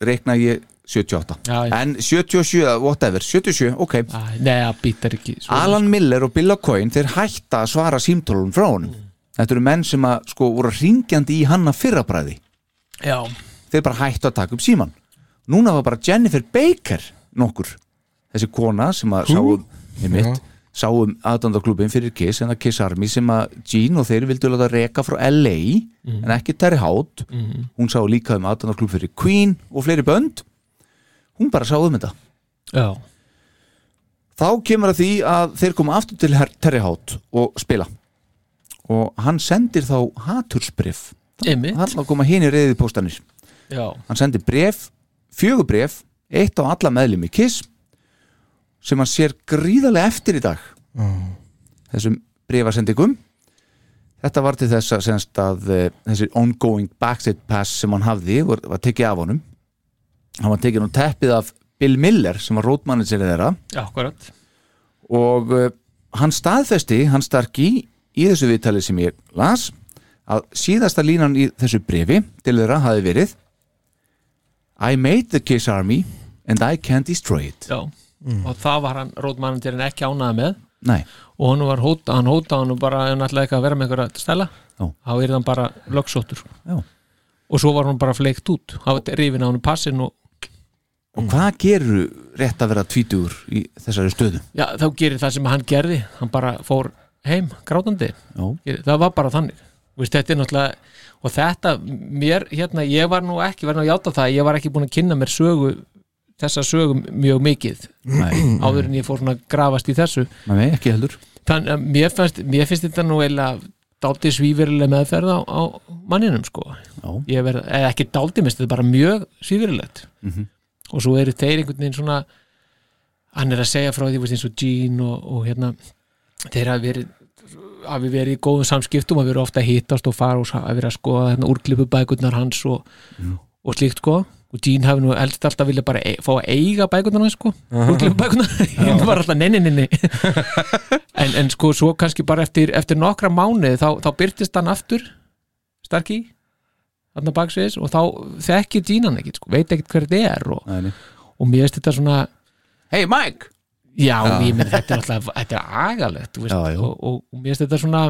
Speaker 3: reikna ég 78
Speaker 6: Já, já
Speaker 3: en 77, whatever, 77, ok
Speaker 6: Æ, Nei, það býtar ekki sko. svo,
Speaker 3: Alan Miller og Bill O'Coin þeir hætta að svara símtólum frá honum þetta eru menn sem að sko voru ringjandi í hanna fyrrabræði
Speaker 6: Já,
Speaker 3: þeir bara hættu að taka upp síman núna var bara Jennifer Baker nokkur, þessi kona sem að sáum, einmitt, sáum aðdandarklubin fyrir Kiss en að Kiss Army sem að Gene og þeir vildu láta reka frá LA en ekki Terry Hout hún sá líka um aðdandarklub fyrir Queen og fleiri bönd hún bara sá um þetta
Speaker 6: já
Speaker 3: þá kemur að því að þeir koma aftur til Her- Terry Hout og spila og hann sendir þá hatursbrif
Speaker 6: Einmitt,
Speaker 3: hann að koma hinn í reyðið póstanir
Speaker 6: já,
Speaker 3: hann sendir bref, fjögurbref eitt á alla meðlum í KISS sem hann sér gríðarlega eftir í dag þessum brefasendingum þetta var til þess að, semst að eh, þessi ongoing backstage pass sem hann hafði var, var tekið af honum hann var tekið nú teppið af Bill Miller sem var rótmannin sinni þeirra
Speaker 6: já, akkurat
Speaker 3: og uh, hann staðfesti, hann starki í þessu viðtali sem ég las að síðasta línan í þessu brefi til þeirra hafi verið I made the Kiss Army and I can't destroy it
Speaker 6: Já,
Speaker 3: Mm.
Speaker 6: og það var hann rótmannandirinn ekki ánaði með
Speaker 3: Nei,
Speaker 6: og hann var hóta, hann hóta hann bara ef hann ætlaði ekki að vera með einhverja stæla
Speaker 3: Já.
Speaker 6: þá er hann bara lögsóttur sko.
Speaker 3: Já.
Speaker 6: og svo var hann bara fleikt út hann var rifin á hann passin og
Speaker 3: og hvað gerur rétt að vera tvítugur í þessari stöðu?
Speaker 6: já, þá gerir það sem hann gerði hann bara fór heim grátandi
Speaker 3: Já,
Speaker 6: Ég- það var bara þannig Vist, þetta er náttúrulega, og þetta mér, hérna, ég var nú ekki verðin að játa það ég var ekki búin að kynna mér sögu þessa sögu mjög mikið
Speaker 3: nei,
Speaker 6: áður en ég fór svona að grafast í þessu
Speaker 3: nei, ekki heldur
Speaker 6: þannig að eh, mér finnst, mér finnst þetta nú eiginlega dálítið svífyrirlega meðferð á, á manninum sko
Speaker 3: Já.
Speaker 6: Ég verð, eða ekki dálítið minnst, þetta er bara mjög svífyrirlegt
Speaker 3: Mhm.
Speaker 6: og svo eru þeir einhvern veginn svona hann er að segja frá því, þú veist, eins og Gene og, og hérna, þeir hafi verið hafi verið í góðum samskiptum hafi verið ofta að hittast og fara og sa- hafi verið að skoða hérna, úrklippu bækurnar hans og,
Speaker 3: Mhm.
Speaker 6: og slíkt sko og Gene hafi nú eldst alltaf vilja bara e fá að eiga bækurnar hans sko, úrklippu bækurnar ég var alltaf neini neini en, en sko svo kannski bara eftir, eftir nokkra mánuði þá, þá byrtist hann aftur starki þarna baksviðis og þá þekkir dínan ekkit sko, veit ekkit hver þetta er og,
Speaker 3: Nei, nei.
Speaker 6: og mér veist þetta svona
Speaker 3: Hey Mike!
Speaker 6: já, ég meni þetta er alltaf þetta er agalegt þú veist,
Speaker 3: Já, já.
Speaker 6: og, og, og mér veist þetta svona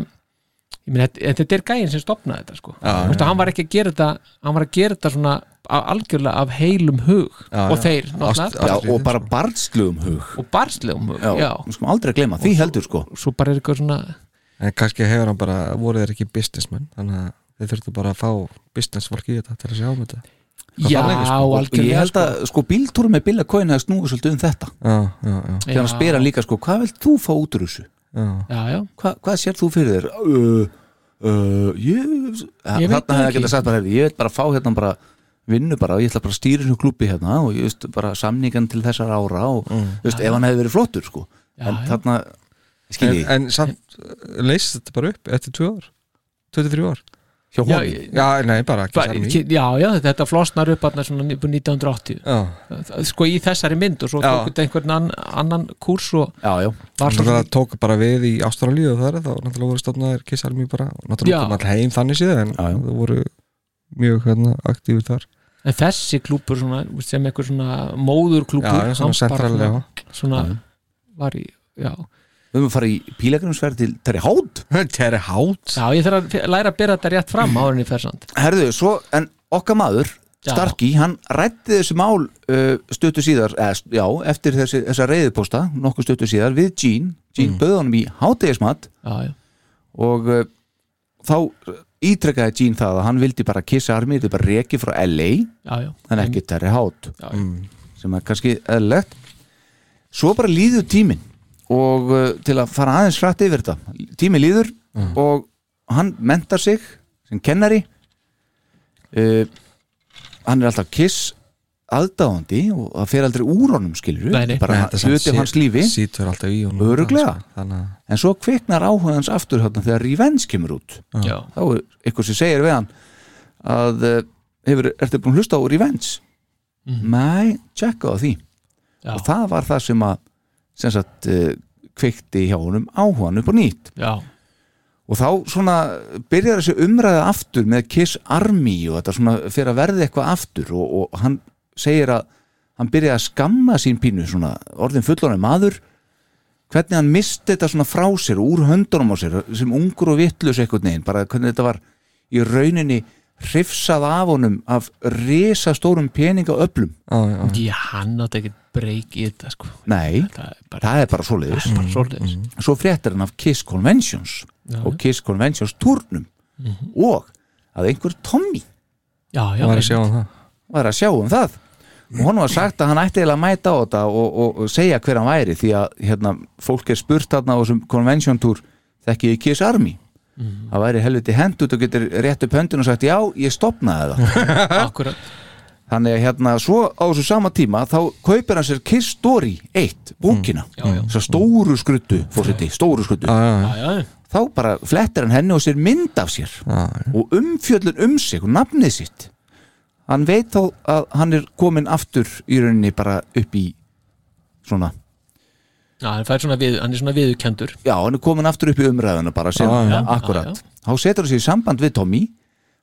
Speaker 6: ég meni þetta, þetta er gæin sem stopnaði þetta sko
Speaker 4: Já,
Speaker 6: Þú veist, hann var ekki að gera þetta hann var að gera þetta svona af- algjörlega af heilum hug
Speaker 4: Já,
Speaker 6: og
Speaker 4: já.
Speaker 6: þeir
Speaker 3: Já,
Speaker 6: náttúrulega
Speaker 4: Allt í
Speaker 3: og
Speaker 4: þeim,
Speaker 3: bara barnslugum hug
Speaker 6: og barslegum hug, já,
Speaker 3: við skulum aldrei gleyma því heldur sko
Speaker 6: svo bara er eitthvað svona
Speaker 4: En kannski hefur hann bara, voru þeir ekki businessmenn Þannig að þeir þurftu bara að fá businessfólk í þetta til að sjá um þetta
Speaker 6: já,
Speaker 4: þannig, sko. Og
Speaker 3: og ég
Speaker 6: algjörlega
Speaker 3: held að sko bíltúrum með Bill að Coyne hafi snúið svolítið um þetta
Speaker 4: Já, já, já,
Speaker 3: þegar hann
Speaker 6: Já.
Speaker 3: spyr hann líka sko, hvað vilt þú fá út úr þessu?
Speaker 4: já.
Speaker 6: já, já,
Speaker 3: Hva, hvað sér þú fyrir þér? Uh, uh, ég,
Speaker 6: Ég veit
Speaker 3: þarna
Speaker 6: það
Speaker 3: hefði
Speaker 6: ekki.
Speaker 3: ekki sagt bara, heyrðu, ég vil bara fá hérna bara vinnu bara, ég ætla bara að stýra hérna klubbi hérna og ég veist bara samningan til þessar ára og þú veist, ef hann hefði verið flottur sko
Speaker 6: Mm. Já,
Speaker 3: en
Speaker 6: já.
Speaker 3: þarna, skil
Speaker 4: En, eh,
Speaker 3: ég,
Speaker 4: en samt leysið þetta bara upp eftir 2 ár 23 ár
Speaker 3: hjá
Speaker 6: Já,
Speaker 3: honum
Speaker 6: ég-
Speaker 4: Já, nei, bara ekki
Speaker 6: Bara-
Speaker 4: sarmi
Speaker 6: ki- já, já, þetta flosnar upp hann svona upp úr 1980
Speaker 4: Já,
Speaker 6: Það- sko í þessari mynd og svo
Speaker 4: Já.
Speaker 6: tók þetta einhvern ann, annan kúrs og
Speaker 3: já, já,
Speaker 6: var svo
Speaker 4: þannig að það tók bara við í Ástralíu og það er þá náttúrulega voru stofnaðir Kiss Army bara og
Speaker 6: Já.
Speaker 4: náttúrulega kom all heim þannig síðan en
Speaker 3: Já, já.
Speaker 4: það voru mjög hérna, aktífur þar
Speaker 6: en þessi klúpur svona, sem eitthvað svona móður klúpur
Speaker 4: Já, já, svona sentrallega
Speaker 6: svona
Speaker 3: Já.
Speaker 6: var í já.
Speaker 3: við höfum að fara í pílegrinsferð til Terry Hout
Speaker 4: Terry Hout
Speaker 6: já, ég þarf að f- læra að byrja þetta rétt fram áður en ég fer samt
Speaker 3: herðu, svo, en okkar maður
Speaker 6: Já.
Speaker 3: Starkey, hann rætti þessu mál uh, stöttu síðar, eða, st- já, eftir þessi, þessa reyðupósta, nokkuð stöttu síðar við Gene, Gene mm. bauð honum í hátegismat
Speaker 6: já, já.
Speaker 3: og uh, þá ítrekkaði Gene það að hann vildi bara kissa armi, þetta bara reki frá LA
Speaker 6: Já, já.
Speaker 3: en ekki Terry Hout
Speaker 6: Mm. Já, já.
Speaker 3: sem er kannski eðlilegt svo bara líður tíminn og uh, til að fara aðeins hratt yfir þetta tíminn líður
Speaker 6: Mm.
Speaker 3: og hann mentar sig sem kennari uh, hann er alltaf kiss aðdáðandi og það fer aldrei úr honum skilur
Speaker 6: Nei, nei.
Speaker 3: bara hluti af hans lífi
Speaker 4: Sýtur alltaf í honum
Speaker 3: Örugglega.
Speaker 4: sko, Þannig að
Speaker 3: en svo kviknar áhugans aftur þarna þegar Revenge kemur út
Speaker 6: Já.
Speaker 3: þá er eitthvað sem segir við hann að uh, hefur, ertu búin að hlusta á Revenge nei, tjekka á því
Speaker 6: Mhm. Já.
Speaker 3: og það var það sem að sem sagt, eh, kveikti hjá honum áhugan upp á nýtt
Speaker 6: já,
Speaker 3: og þá svona byrjar þessi umræða aftur með Kiss Army og þetta svona fyrir að verði eitthvað aftur og, og hann segir að hann byrja að skamma sín pínu svona orðin fullorinn maður hvernig hann misti þetta svona frá sér og úr höndunum á sér sem ungur og vittlus eitthvað neginn, bara hvernig þetta var í rauninni hrifsað af honum af risastórum peninga öflum,
Speaker 4: Já, já,
Speaker 6: já, hann átti ekki breyk í þetta sko
Speaker 3: nei,
Speaker 6: það er bara,
Speaker 3: það er bara svoleiðis
Speaker 6: það er bara svolítið
Speaker 3: svo fréttir hann af Kiss Conventions og Kiss Conventions turnum og að einhver Tommy
Speaker 6: já, já,
Speaker 4: það var að
Speaker 6: einmitt.
Speaker 4: sjá um það
Speaker 3: var að sjá um það og honum var sagt að hann ætti eiginlega að mæta á þetta og, og, og segja hver hann væri því að hérna, fólk er spurt þarna á þessum Convention Tour þekkið í Kiss Army það væri helviti hendut og getur rétt upp höndin og sagt já, ég stopnaði það
Speaker 6: Akkurat,
Speaker 3: þannig að hérna svo á þessu sama tíma þá kaupir hann sér Kiss Story 1 bókina, þessar stóru skruttu fórseti, stóru skruttu
Speaker 4: Mm. Já, já, já,
Speaker 6: já, já,
Speaker 3: þá bara flettir hann henni og sér mynd af sér
Speaker 4: já,
Speaker 3: og umfjöllun um sig og nafnið sitt hann veit þá að hann er komin aftur í rauninni bara upp í svona,
Speaker 6: já, hann fær svona við, hann er svona viðurkendur
Speaker 3: já hann er komin aftur upp í umræðuna bara sem
Speaker 4: Já, já.
Speaker 3: akkurat þá
Speaker 6: Ah, Já,
Speaker 3: setur hann sér í samband við Tommy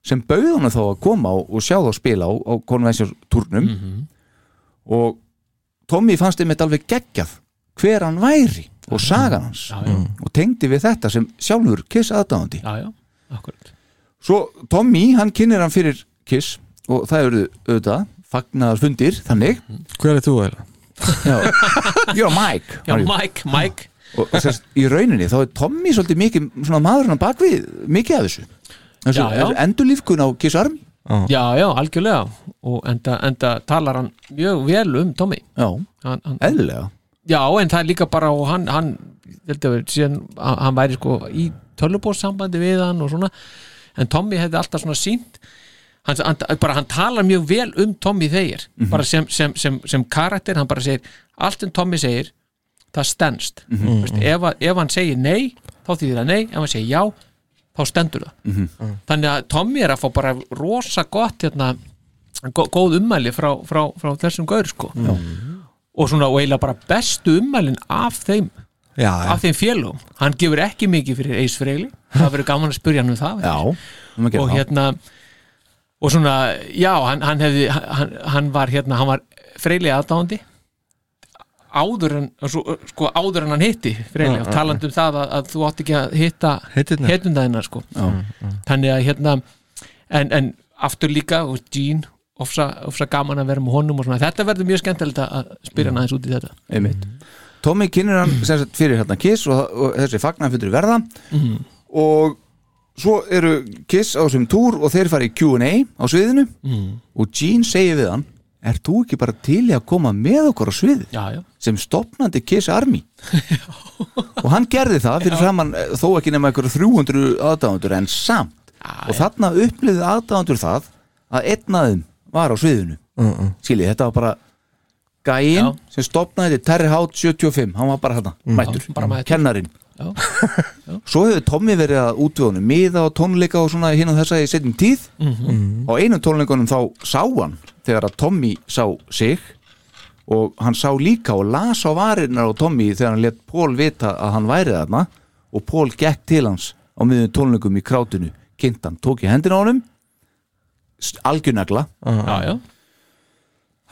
Speaker 3: sem bauð hann þá að koma og, og sjá þá spila á, á konvensjartúrnum
Speaker 6: Mhm.
Speaker 3: og Tommy fannst einmitt alveg geggjað hver hann væri og sagan hans Mm.
Speaker 6: já, já,
Speaker 3: og tengdi við þetta sem sjálfur kiss aðdáðandi
Speaker 6: já, já, akkurat
Speaker 3: Svo Tommy, hann kynir hann fyrir Kiss og það eru auðvitað fagnaðar fundir, þannig
Speaker 4: Hver er þú eiginlega?
Speaker 3: Já, You're Mike
Speaker 6: Já,
Speaker 3: Mario.
Speaker 6: Mike, Mike
Speaker 3: og, og sérst, í rauninni þá er Tommy svolítið mikið svona maðurinn á bakvið, mikið af þessu þessu
Speaker 6: Já, já.
Speaker 3: þessu endurlífkun á Kiss Army
Speaker 6: Já, já, algjörlega og enda, enda talar hann mjög vel um Tommy
Speaker 3: Já,
Speaker 6: hann, hann,
Speaker 3: eðlilega
Speaker 6: Já, en það er líka bara og hann, hann, ég held að, vera, síðan, hann hann væri sko í tölubóðsambandi við hann og svona en Tommy hefði alltaf svona sínt hann, hann, bara hann talar mjög vel um Tommy þeir bara sem, sem, sem, sem karakter hann bara segir, allt um Tommy segir það stendst mm -hmm. ef, að- ef hann segir nei, þá þýðir það nei ef hann segir já, þá stendur það þannig að Tommy er að fá bara rosa gott hérna, gó- góð ummæli frá, frá, frá þessum gaur sko og svona og eiginlega bara bestu ummælin af þeim,
Speaker 4: Já, já,
Speaker 6: af þeim félum hann gefur ekki mikið fyrir Eis Freyli það verður gaman að spyrja hann um það
Speaker 3: Já, um að gera
Speaker 6: og
Speaker 3: það.
Speaker 6: hérna og svona, já, hann, hann hefði hann, hann var hérna, hann var Freyli aðdáandi áður en, svo, sko áður en hann hitti Freyli og talandi um það að, að þú átt ekki að hitta
Speaker 4: Heitirnar.
Speaker 6: heitundæðina sko þannig að hérna en, en aftur líka og Gene ofsa, ofsa gaman að vera með honum og svona, þetta verður mjög skemmtilegt að spyrja hann aðeins út í þetta
Speaker 3: einmitt Mm. Tommy kynir hann sem sagt, fyrir hérna Kiss og, og þessi fagnarfundur verða
Speaker 6: Mhm.
Speaker 3: og svo eru Kiss á þessum túr og þeir fara í Q&A á sviðinu
Speaker 6: Mhm.
Speaker 3: og Gene segir við hann Er þú ekki bara til í að koma með okkur á sviðið
Speaker 6: já, já,
Speaker 3: sem stopnandi Kiss Army og hann gerði það fyrir framann eh, þó ekki nema einhverju 300 aðdáðundur en samt og þarna upplýði aðdáðundur það að einn af þeim var á sviðinu
Speaker 4: Mm, mm.
Speaker 3: skiljið, þetta var bara gæinn
Speaker 6: Já.
Speaker 3: sem stopnaði til Terry Hout 75 hann var bara hann, mættur,
Speaker 6: Já, bara mættur.
Speaker 3: kennarin svo hefur Tommy verið að útvöðunum miða og tónleika og svona hinn og þessa í setjum tíð
Speaker 6: Mhm.
Speaker 3: og einum tónleikunum þá sá hann þegar að Tommy sá sig og hann sá líka og las á varirnar á Tommy þegar hann let Pól vita að hann væri þarna og Pól gekk til hans á miðum tónleikum í krátinu kynnt hann, tók í hendina á honum s- algjörnagla
Speaker 6: já, já,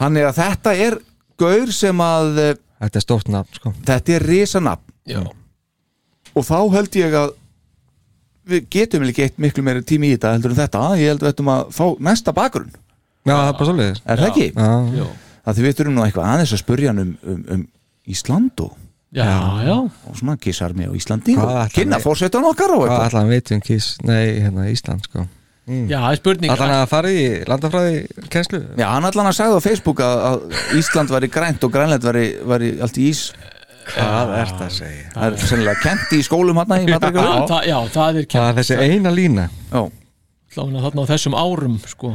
Speaker 3: hann er að þetta er gaur sem að eh,
Speaker 4: Þetta er stórt nafn sko
Speaker 3: þetta er risanafn
Speaker 6: já,
Speaker 3: og þá held ég að við getum ekki eitt miklu meiri tími í þetta heldur en þetta, ég held við ættum að fá næsta bakgrunn,
Speaker 4: Já, það er bara svolítið
Speaker 3: er það ekki?
Speaker 4: Já,
Speaker 6: já,
Speaker 3: Það því við þurfum nú eitthvað aðeins að spurja hann um, um, um Ísland og,
Speaker 6: já, já,
Speaker 3: og svona kissarmi á Íslandi
Speaker 4: Hvað
Speaker 3: og
Speaker 4: ætlar
Speaker 3: kynna
Speaker 4: við-
Speaker 3: fórsetan okkar og
Speaker 4: hvað
Speaker 3: eitthvað
Speaker 4: allan vitum kís um Nei, hérna Ísland sko
Speaker 6: já, það er spurning
Speaker 4: Allan að fara í landafræði kennslu
Speaker 3: Já, hann allan að sagði á Facebook að, að Ísland væri grænt og grænlegt væri, væri allt í ís
Speaker 4: Hvað er það að segja?
Speaker 3: það er sennilega kent í skólum hann í
Speaker 6: Já,
Speaker 3: Madrigal
Speaker 6: það, já, það er
Speaker 4: Það
Speaker 6: kjæmt
Speaker 4: er þessi eina lína
Speaker 6: Lána þarna á þessum árum, sko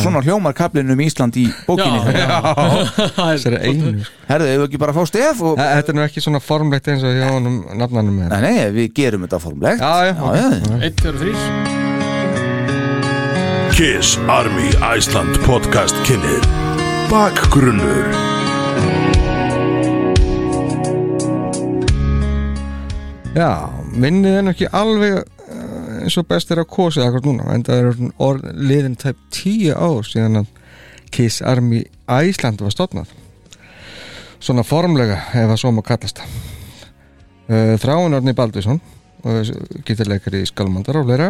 Speaker 3: Svona hljómar kaplinn um Ísland í bókinni
Speaker 6: já, Það er-
Speaker 4: Þessari einu sko.
Speaker 3: Herðu, hefur ekki bara að fá stef og...
Speaker 4: Þa- Þetta er nú ekki svona formlegt eins og hjá honum nafnanum með
Speaker 3: Nei, nei, við gerum þetta formlegt
Speaker 4: Já, já, ok.
Speaker 3: já.
Speaker 6: Einn, tveir og þrír
Speaker 1: Kiss Army Iceland podcast kynir Bakgrunnur
Speaker 4: Já, minnið er nú ekki alveg eh, eins og best er að kosið akkur núna en það eru orð, liðin tæp tíu ár síðan að Kiss Army Æsland var stofnað svona formlega ef að svo má kallast Eh, það Þráin Orni Baldvísson geturleikari í Skalmandar á fleira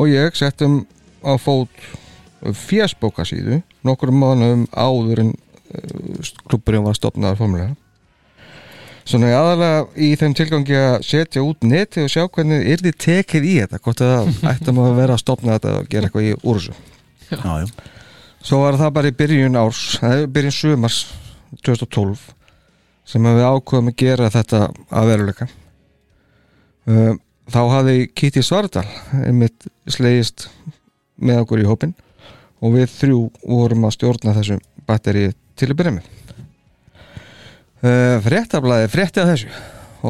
Speaker 4: og ég settum á fót fjersbókasíðu nokkrum mánuðum áður en klubburinn var stofnaður formulega Svona aðalega í þeim tilgangi að setja út neti og sjá hvernig yrði tekið í þetta, hvort að það ættum að vera að stopna þetta og gera eitthvað í úr þessu.
Speaker 3: Já, já.
Speaker 4: Svo var það bara í byrjun árs, eða byrjun sumars 2012 sem að við ákveðum að gera þetta að veruleika. Um, Þá hafði Kitty Svardal einmitt slegist með okkur í hópin og við þrjú vorum að stjórna þessu batteri til að byrja með. Uh, Fréttablaði frétti að þessu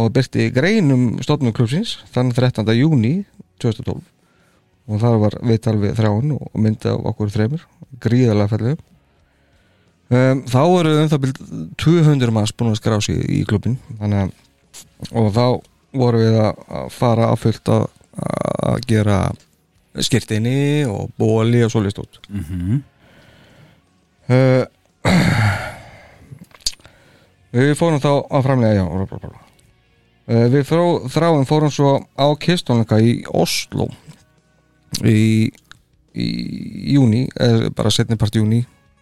Speaker 4: og byrti grein um stofnum klubsins þann 13. júni 2012 og þar var viðtal við þráin og mynda af okkur þreymur gríðalega fællið um, þá eru um það byrjum 200 manns búin að skrá sig í klubin þannig að og þá vorum við að að fara að fullt að, að gera skirtinni og bóli og svoleiðst út mm -hmm. Við fórum þá að framlega, já, bla, bla, bla. Uh, við frá, þráum fórum svo á kistónleika í Oslo í, í júni, eða bara setni part júni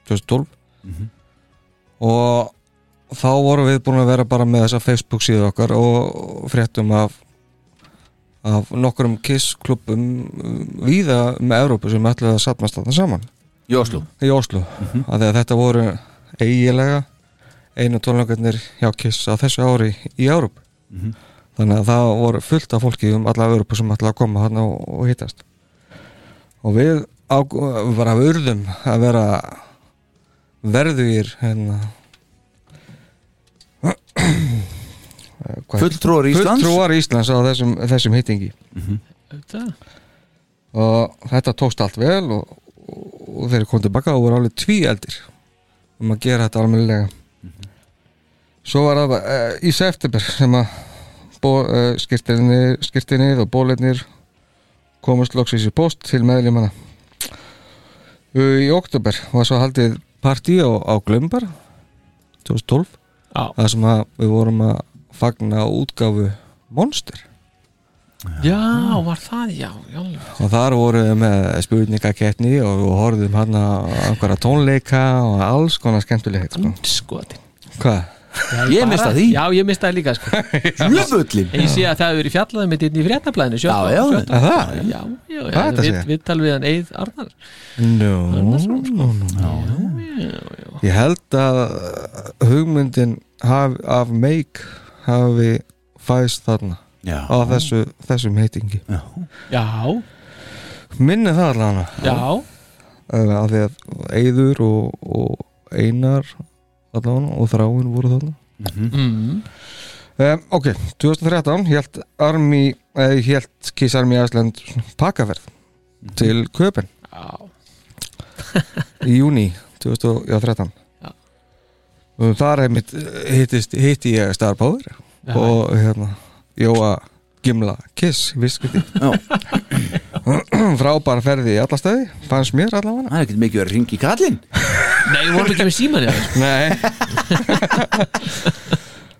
Speaker 4: 2012 og þá vorum við búin að vera bara með þessa Facebook síðu okkar og fréttum af af nokkrum kissklubum víða með Evrópu sem ætlaði að satnast þarna saman
Speaker 3: Jóslú
Speaker 4: í Oslo mm
Speaker 3: Mhm.
Speaker 4: að því að þetta voru eigilega einu tónleikarnir hjá Kiss á þessu ári í Európ
Speaker 3: Mhm.
Speaker 4: þannig að það voru fullt af fólki um alla Európu sem ætla að koma hann og, og hittast og við á, bara urðum að vera verðugir hérna Eh, hvað-
Speaker 3: Fulltrúar Íslands
Speaker 4: fulltrúar Íslands á þessum, þessum hittingi
Speaker 6: Þetta-
Speaker 4: og þetta tókst allt vel og, og þeir kom tilbaka og voru alveg tví eldir um að gera þetta almennilega svo var það uh, í september sem að uh, skirtinni, skirtinni og bólinnir komast loksins í post til meðlumana í oktober var svo haldið partí á, á Glömbar 2012
Speaker 6: Já,
Speaker 4: það sem að við vorum að fagna útgáfu Monster
Speaker 6: já, var það, já, já
Speaker 4: og þar voru við með spurningakeppni og við horfðum hann að einhverja tónleika og alls konar skemmtilegt sko.
Speaker 6: Skotin
Speaker 4: Hvað?
Speaker 3: Ég mista því.
Speaker 6: Já, ég mista það líka, sko
Speaker 3: Jöfullin
Speaker 6: En ég sé að það hefur verið fjallaðum mitt inn hérna í fréttablaðinu
Speaker 3: Já, já,
Speaker 6: sjötta.
Speaker 4: Er það?
Speaker 6: Já, já, já,
Speaker 4: Hvað er þetta að
Speaker 6: við,
Speaker 4: segja?
Speaker 6: við talum við hann Eið Arnar
Speaker 4: No, no, no. Ég held að hugmyndin haf, af Make hafi fæst þarna
Speaker 3: Já,
Speaker 4: á þessu, þessum heitingi
Speaker 3: já.
Speaker 6: Já,
Speaker 4: minni það allan
Speaker 6: já,
Speaker 4: uh, af því að Eður og,
Speaker 6: Mhm.
Speaker 4: og Einar allan og Þráin voru þarna
Speaker 6: mm,
Speaker 4: Um, ok, 2013 hélt Army, eh, hélt Kiss Army Iceland pakkaferð til Köpen
Speaker 6: Mhm. Já.
Speaker 4: í júni 2013
Speaker 6: Já.
Speaker 4: og þar einmitt eh, hittist, hitti ég Star Power og hérna Jóa Gimla Kiss viskviti
Speaker 3: Já.
Speaker 4: frábær ferði í alla staði fannst mér allavega
Speaker 3: Það er ekkert mikið verið að ringi í kallinn
Speaker 6: Nei, við vorum ekki með síman já.
Speaker 4: Nei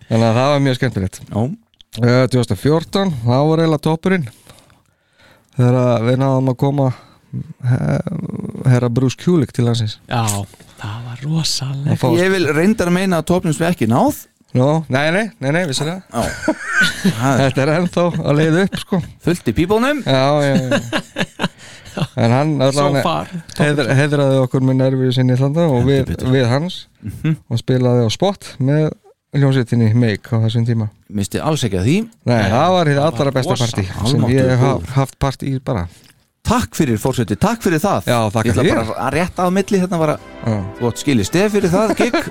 Speaker 4: Þannig að það var mjög skemmtilegt
Speaker 3: Já,
Speaker 4: uh, 2014, það var eiginlega toppurinn þegar að við náðum að koma he- herra Bruce Kulik til hansins
Speaker 6: já, það var rosaleg
Speaker 4: Fá,
Speaker 3: ég vil reyndar að meina að topnum sem ekki náð
Speaker 4: no, nei, nei, nei, nei, vissilega
Speaker 3: Það er
Speaker 4: Þetta er ennþá að leiða upp sko
Speaker 3: fullt í pípónum
Speaker 4: Já, já, já En hann
Speaker 6: So
Speaker 4: allavega
Speaker 6: far
Speaker 4: heiðra, heiðraði okkur með nervið sinni þanda og við, við hans og spilaði á spot með hljómsveitinni Make á þessum tíma
Speaker 3: Misti alls ekki að því
Speaker 4: Nei, það var hér allra besta
Speaker 3: rosa-
Speaker 4: partí sem
Speaker 3: almáttugur
Speaker 4: ég hef
Speaker 3: góður.
Speaker 4: haft partí í bara
Speaker 3: Takk fyrir fórseti, takk fyrir það
Speaker 4: Já, þakka
Speaker 3: Ég ætla
Speaker 4: þér.
Speaker 3: bara að rétta á milli hérna var að
Speaker 4: Já,
Speaker 3: þú átt skilið stef fyrir það, gig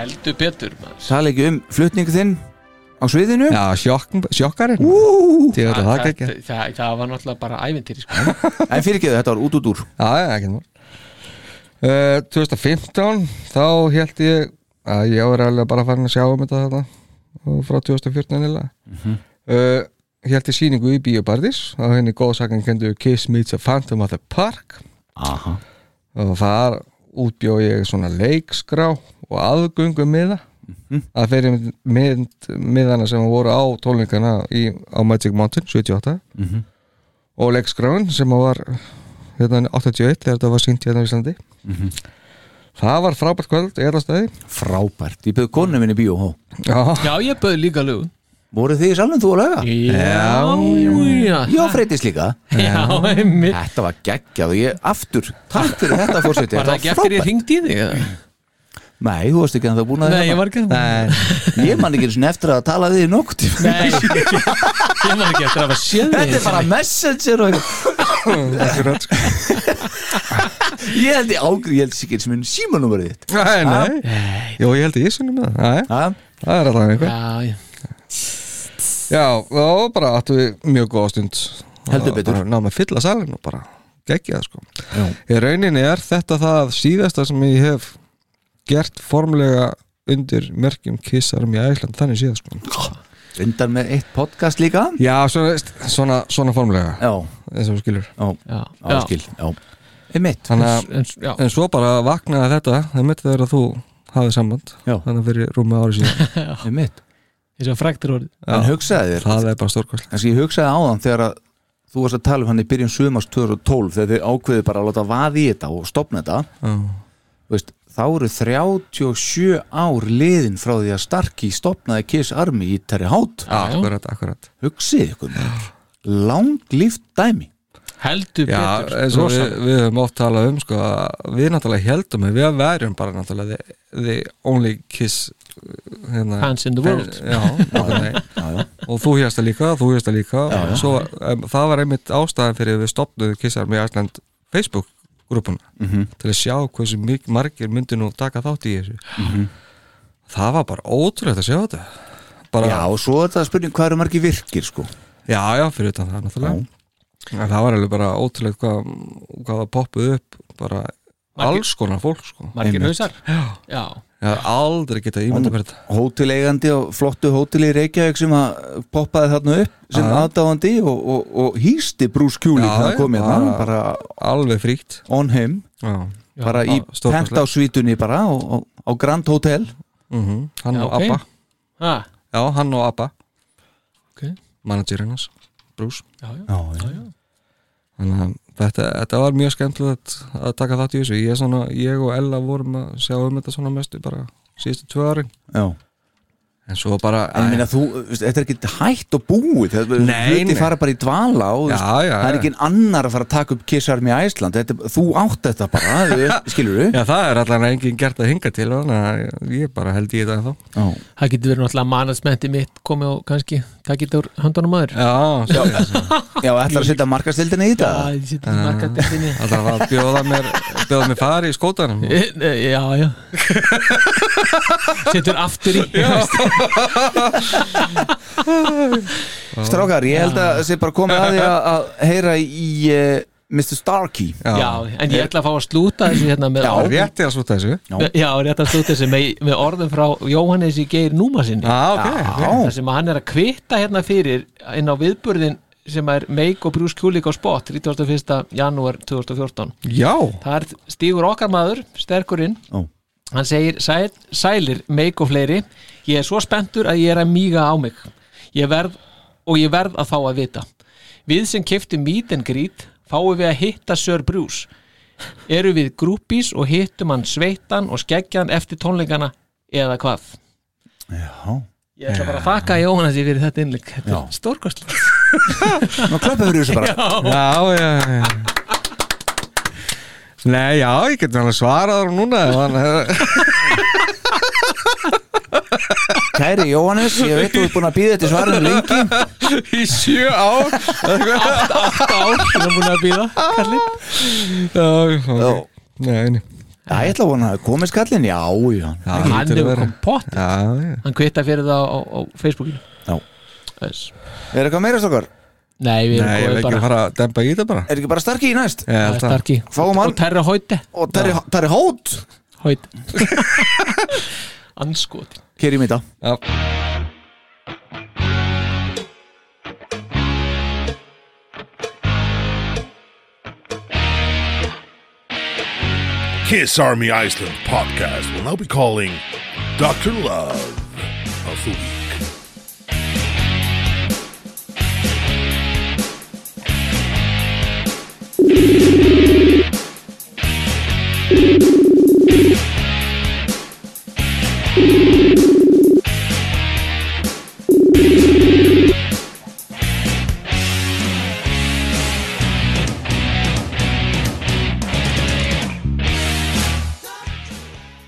Speaker 6: Heldur betur maður.
Speaker 3: Sæl ekki um flutningu þinn á sviðinu
Speaker 4: Já sjokk, sjokkarinn Því að það ekki Já,
Speaker 6: það, það, það var náttúrulega bara ævintýri sko.
Speaker 3: En fyrirgeðu, þetta var út út úr
Speaker 4: já, ekki nú uh, 2015 þá held ég að ég var alveg bara farin að sjá um þetta þetta og frá 2014 nýlega mm -hmm. uh, Held ég sýningu í Bíobardis á henni góðsakan kendu Kiss Meets a Phantom at the Park
Speaker 3: Aha.
Speaker 4: og þar útbjó ég svona leikskrá og aðgöngu miða að fyrir mynd, mynd miðana sem voru á tólningana í, á Magic Mountain 78 og leikskráin sem var hérna 81 þegar þetta var sýnt hérna á Íslandi það var frábært kvöld í alla staði
Speaker 3: Frábært, ég byrði konu minni í bíó hó.
Speaker 4: já,
Speaker 6: Já, ég bauði líka lögum
Speaker 3: Voruð þið í salnum þú að laga?
Speaker 6: Já, já,
Speaker 3: Já, Freydís líka
Speaker 6: já, einmitt
Speaker 3: Þetta var geggjað og ég aftur Takk fyrir þetta fórseti
Speaker 6: Var það ekki eftir ég hringdi í þig? eða?
Speaker 3: Nei, þú varst ekki að það búin að
Speaker 6: Nei, ég var ekki Nei,
Speaker 3: ekki Ég man ekki einu sinni eftir að tala við í nótt
Speaker 6: hérna. Nei ég var ekki eftir að hafa séð
Speaker 3: Þetta er
Speaker 6: þig
Speaker 3: bara messenger og
Speaker 4: akkurat sko.
Speaker 3: ég held ég ágrið, ég held sikir sem minn símanúmerið þitt
Speaker 4: nei, nei, jú, ég held ég sunni með það Nei,
Speaker 3: Ha?
Speaker 4: það er alltaf einhver
Speaker 6: Já, já
Speaker 4: já, og bara áttu við mjög góða stund
Speaker 3: Heldur betur.
Speaker 4: bara náðum að fylla salin og bara geggja það sko í rauninni er þetta það síðasta sem ég hef gert formlega undir merkjum kissarum í Æsland þannig séð sko
Speaker 3: Rindar með eitt podcast líka
Speaker 4: já, svona, svona, svona formlega
Speaker 3: Já,
Speaker 4: eins og þú skilur
Speaker 3: já,
Speaker 6: Já, já.
Speaker 3: áskil Já, er mitt
Speaker 4: þannig að
Speaker 6: En, já,
Speaker 4: En svo bara vaknaði þetta Það mitt þegar að þú hafið samband
Speaker 3: Já.
Speaker 4: Þannig að fyrir rúmið ári síðan
Speaker 3: Er mitt
Speaker 6: eins og fræktir orðið
Speaker 3: En hugsaði þér,
Speaker 4: Það er bara stórkvæslega
Speaker 3: kannski ég hugsaði áðan þegar að þú varst að tala um hann í byrjun sumars 2012 þegar þið ákveðið bara að láta vaði í þetta og stopna þetta Þú veist, þá eru 37 ár liðin frá því að Starkey stopnaði Kiss Army í Terry Hátt
Speaker 4: Akkurat, akkurat
Speaker 3: Hugsið ykkur Lang líft dæmi
Speaker 6: Heldur
Speaker 4: Já,
Speaker 6: betur
Speaker 4: eins og við,
Speaker 6: rosalega.
Speaker 4: við höfum oft talað um sko, að Við náttúrulega heldum að Við verjum bara náttúrulega The, the only kiss hérna,
Speaker 6: Hands in the world
Speaker 4: Já, nákvæmlega. og þú hérst það líka Þú hérst það líka já, já. Svo, um, Það var einmitt ástæðan fyrir við stopnuðum kissar með Æsland Facebook grúpuna til að sjá hversu mik- margir myndi nú taka þátt í þessu Mhm. Það var bara ótrúlegt að sjá þetta bara,
Speaker 3: Já, og svo er það spurning hvað eru margir virkir sko
Speaker 4: já, já, fyrir utan það náttúrulega en það var alveg bara ótrúlegt hvað, hvað það poppuð upp bara alls konar fólk sko.
Speaker 6: Margir
Speaker 3: Einmitt.
Speaker 6: hausar Já,
Speaker 4: Ég hef aldrei getað ímynda mér þetta
Speaker 3: hótileigandi og flottu hóteli í Reykjavík sem að poppaði þarna upp sem aðdáandi og, og, og hýsti Bruce Kulik
Speaker 4: Já,
Speaker 3: þegar hann kom
Speaker 4: já,
Speaker 3: hérna bara
Speaker 4: bara- alveg fríkt
Speaker 3: on him
Speaker 4: já.
Speaker 3: bara í
Speaker 4: stórkostlegt.
Speaker 3: pentásvítunni bara og, og, á Grand Hotel
Speaker 4: Mm hann
Speaker 6: Já,
Speaker 4: og
Speaker 6: ok.
Speaker 4: Abba
Speaker 6: ha,
Speaker 4: já, hann og Abba
Speaker 6: ok Já,
Speaker 4: managerinn hans, Bruce
Speaker 6: já
Speaker 3: já, já.
Speaker 4: þannig að þetta, þetta var mjög skemmtilegt að taka þátt í þessu ég, svona, ég og Ella vorum að sjá um þetta svona mestu bara síðustu tvö árin en svo bara
Speaker 3: en ég meina þú, veist, þetta er ekki hægt og búið þetta
Speaker 4: Nei,
Speaker 3: hluti
Speaker 4: nei.
Speaker 3: fara bara í dvala og
Speaker 4: Já,
Speaker 3: veist,
Speaker 4: já,
Speaker 3: það er
Speaker 4: já.
Speaker 3: ekki annar að fara að taka upp kissarmi í Æsland þetta, er- þú átt þetta bara, skilur við
Speaker 4: eh, Já, það er allan enginn gert að hinga til þannig að ég bara held í þetta ennþá
Speaker 3: já.
Speaker 6: Það getur verið náttúrulega managementi mitt komið og kannski takk í þetta úr handunum maður
Speaker 4: Já, svo er það.
Speaker 3: já, ætlar að setja markastildinni í þetta
Speaker 6: ég seti í markaðdættinni
Speaker 4: alltaf að bjóða mér bjóða mér
Speaker 6: Eh,
Speaker 4: fari í skótanum
Speaker 6: Já, já Setur aftur í Já,
Speaker 3: Strákar, ég held að það sé bara komið að því að- að heyra í uh, Mr. Starkey
Speaker 6: Já, en ég ætla að fá að slúta þessu hérna með
Speaker 3: Já,
Speaker 6: orðum-
Speaker 4: Rétt er að slúta þessu Já,
Speaker 3: Já.
Speaker 6: Já, rétt að slúta þessu með, með orðum frá Jóhannes í Geir Núma sinni
Speaker 4: ok
Speaker 6: þar sem að hann er að kvitta hérna fyrir inn á viðburðin sem er Meik og Bruce Kulik á spot 31. janúar 2014
Speaker 4: Já,
Speaker 6: þar stígur okkar maður, sterkurinn
Speaker 3: Ó.
Speaker 6: hann segir Sæl, sælir Meik og fleiri ég er svo spenntur að ég er að míga á mig ég verð, og ég verð að fá að vita við sem kefti meet and greet fáum við að hitta Sir Bruce eru við grúpís og hittum hann sveittan og skeggjan eftir tónleikana eða hvað
Speaker 3: Já.
Speaker 6: Ég ætla bara að þakka Jóhannes fyrir þetta innleik Þetta er stórkostlega
Speaker 3: Nú klöpum við þessu bara
Speaker 4: já, já, já. Nei, já, ég getur alveg svarað hún núna ef hann hefur-
Speaker 3: Kæri Jóhannes, ég veit þú er búin að býða þetta svarinu lengi
Speaker 4: Í sjö ár
Speaker 6: Átta ár sem er búin að býða Kallinn
Speaker 4: Já,
Speaker 3: Já.
Speaker 4: ok Nei, nei
Speaker 3: Já, ég ætla að vona að komið skallin, já, já
Speaker 4: Já,
Speaker 6: Hann
Speaker 4: hlýtur að
Speaker 6: hefur
Speaker 4: vera.
Speaker 6: kom pott
Speaker 4: Já, já
Speaker 6: Hann kvita fyrir það á, á Facebookinu
Speaker 3: Já.
Speaker 6: Þess.
Speaker 3: Er eitthvað meira stokkar?
Speaker 6: Nei, við
Speaker 4: Nei, ég
Speaker 6: erum góðið
Speaker 4: vil ekki
Speaker 6: bara
Speaker 4: fara að dempa í þetta bara
Speaker 3: Er ekki bara Starkey í næst?
Speaker 4: Ég
Speaker 6: Það
Speaker 4: held
Speaker 6: er
Speaker 4: að-
Speaker 6: starki
Speaker 3: Fáum hann.
Speaker 6: Og Terra Hóti
Speaker 3: Og það er hót
Speaker 6: Hóti Anskoti
Speaker 3: Kæri í dag
Speaker 4: Já.
Speaker 1: Kiss Army Iceland podcast will now be calling Dr. Love of the Week.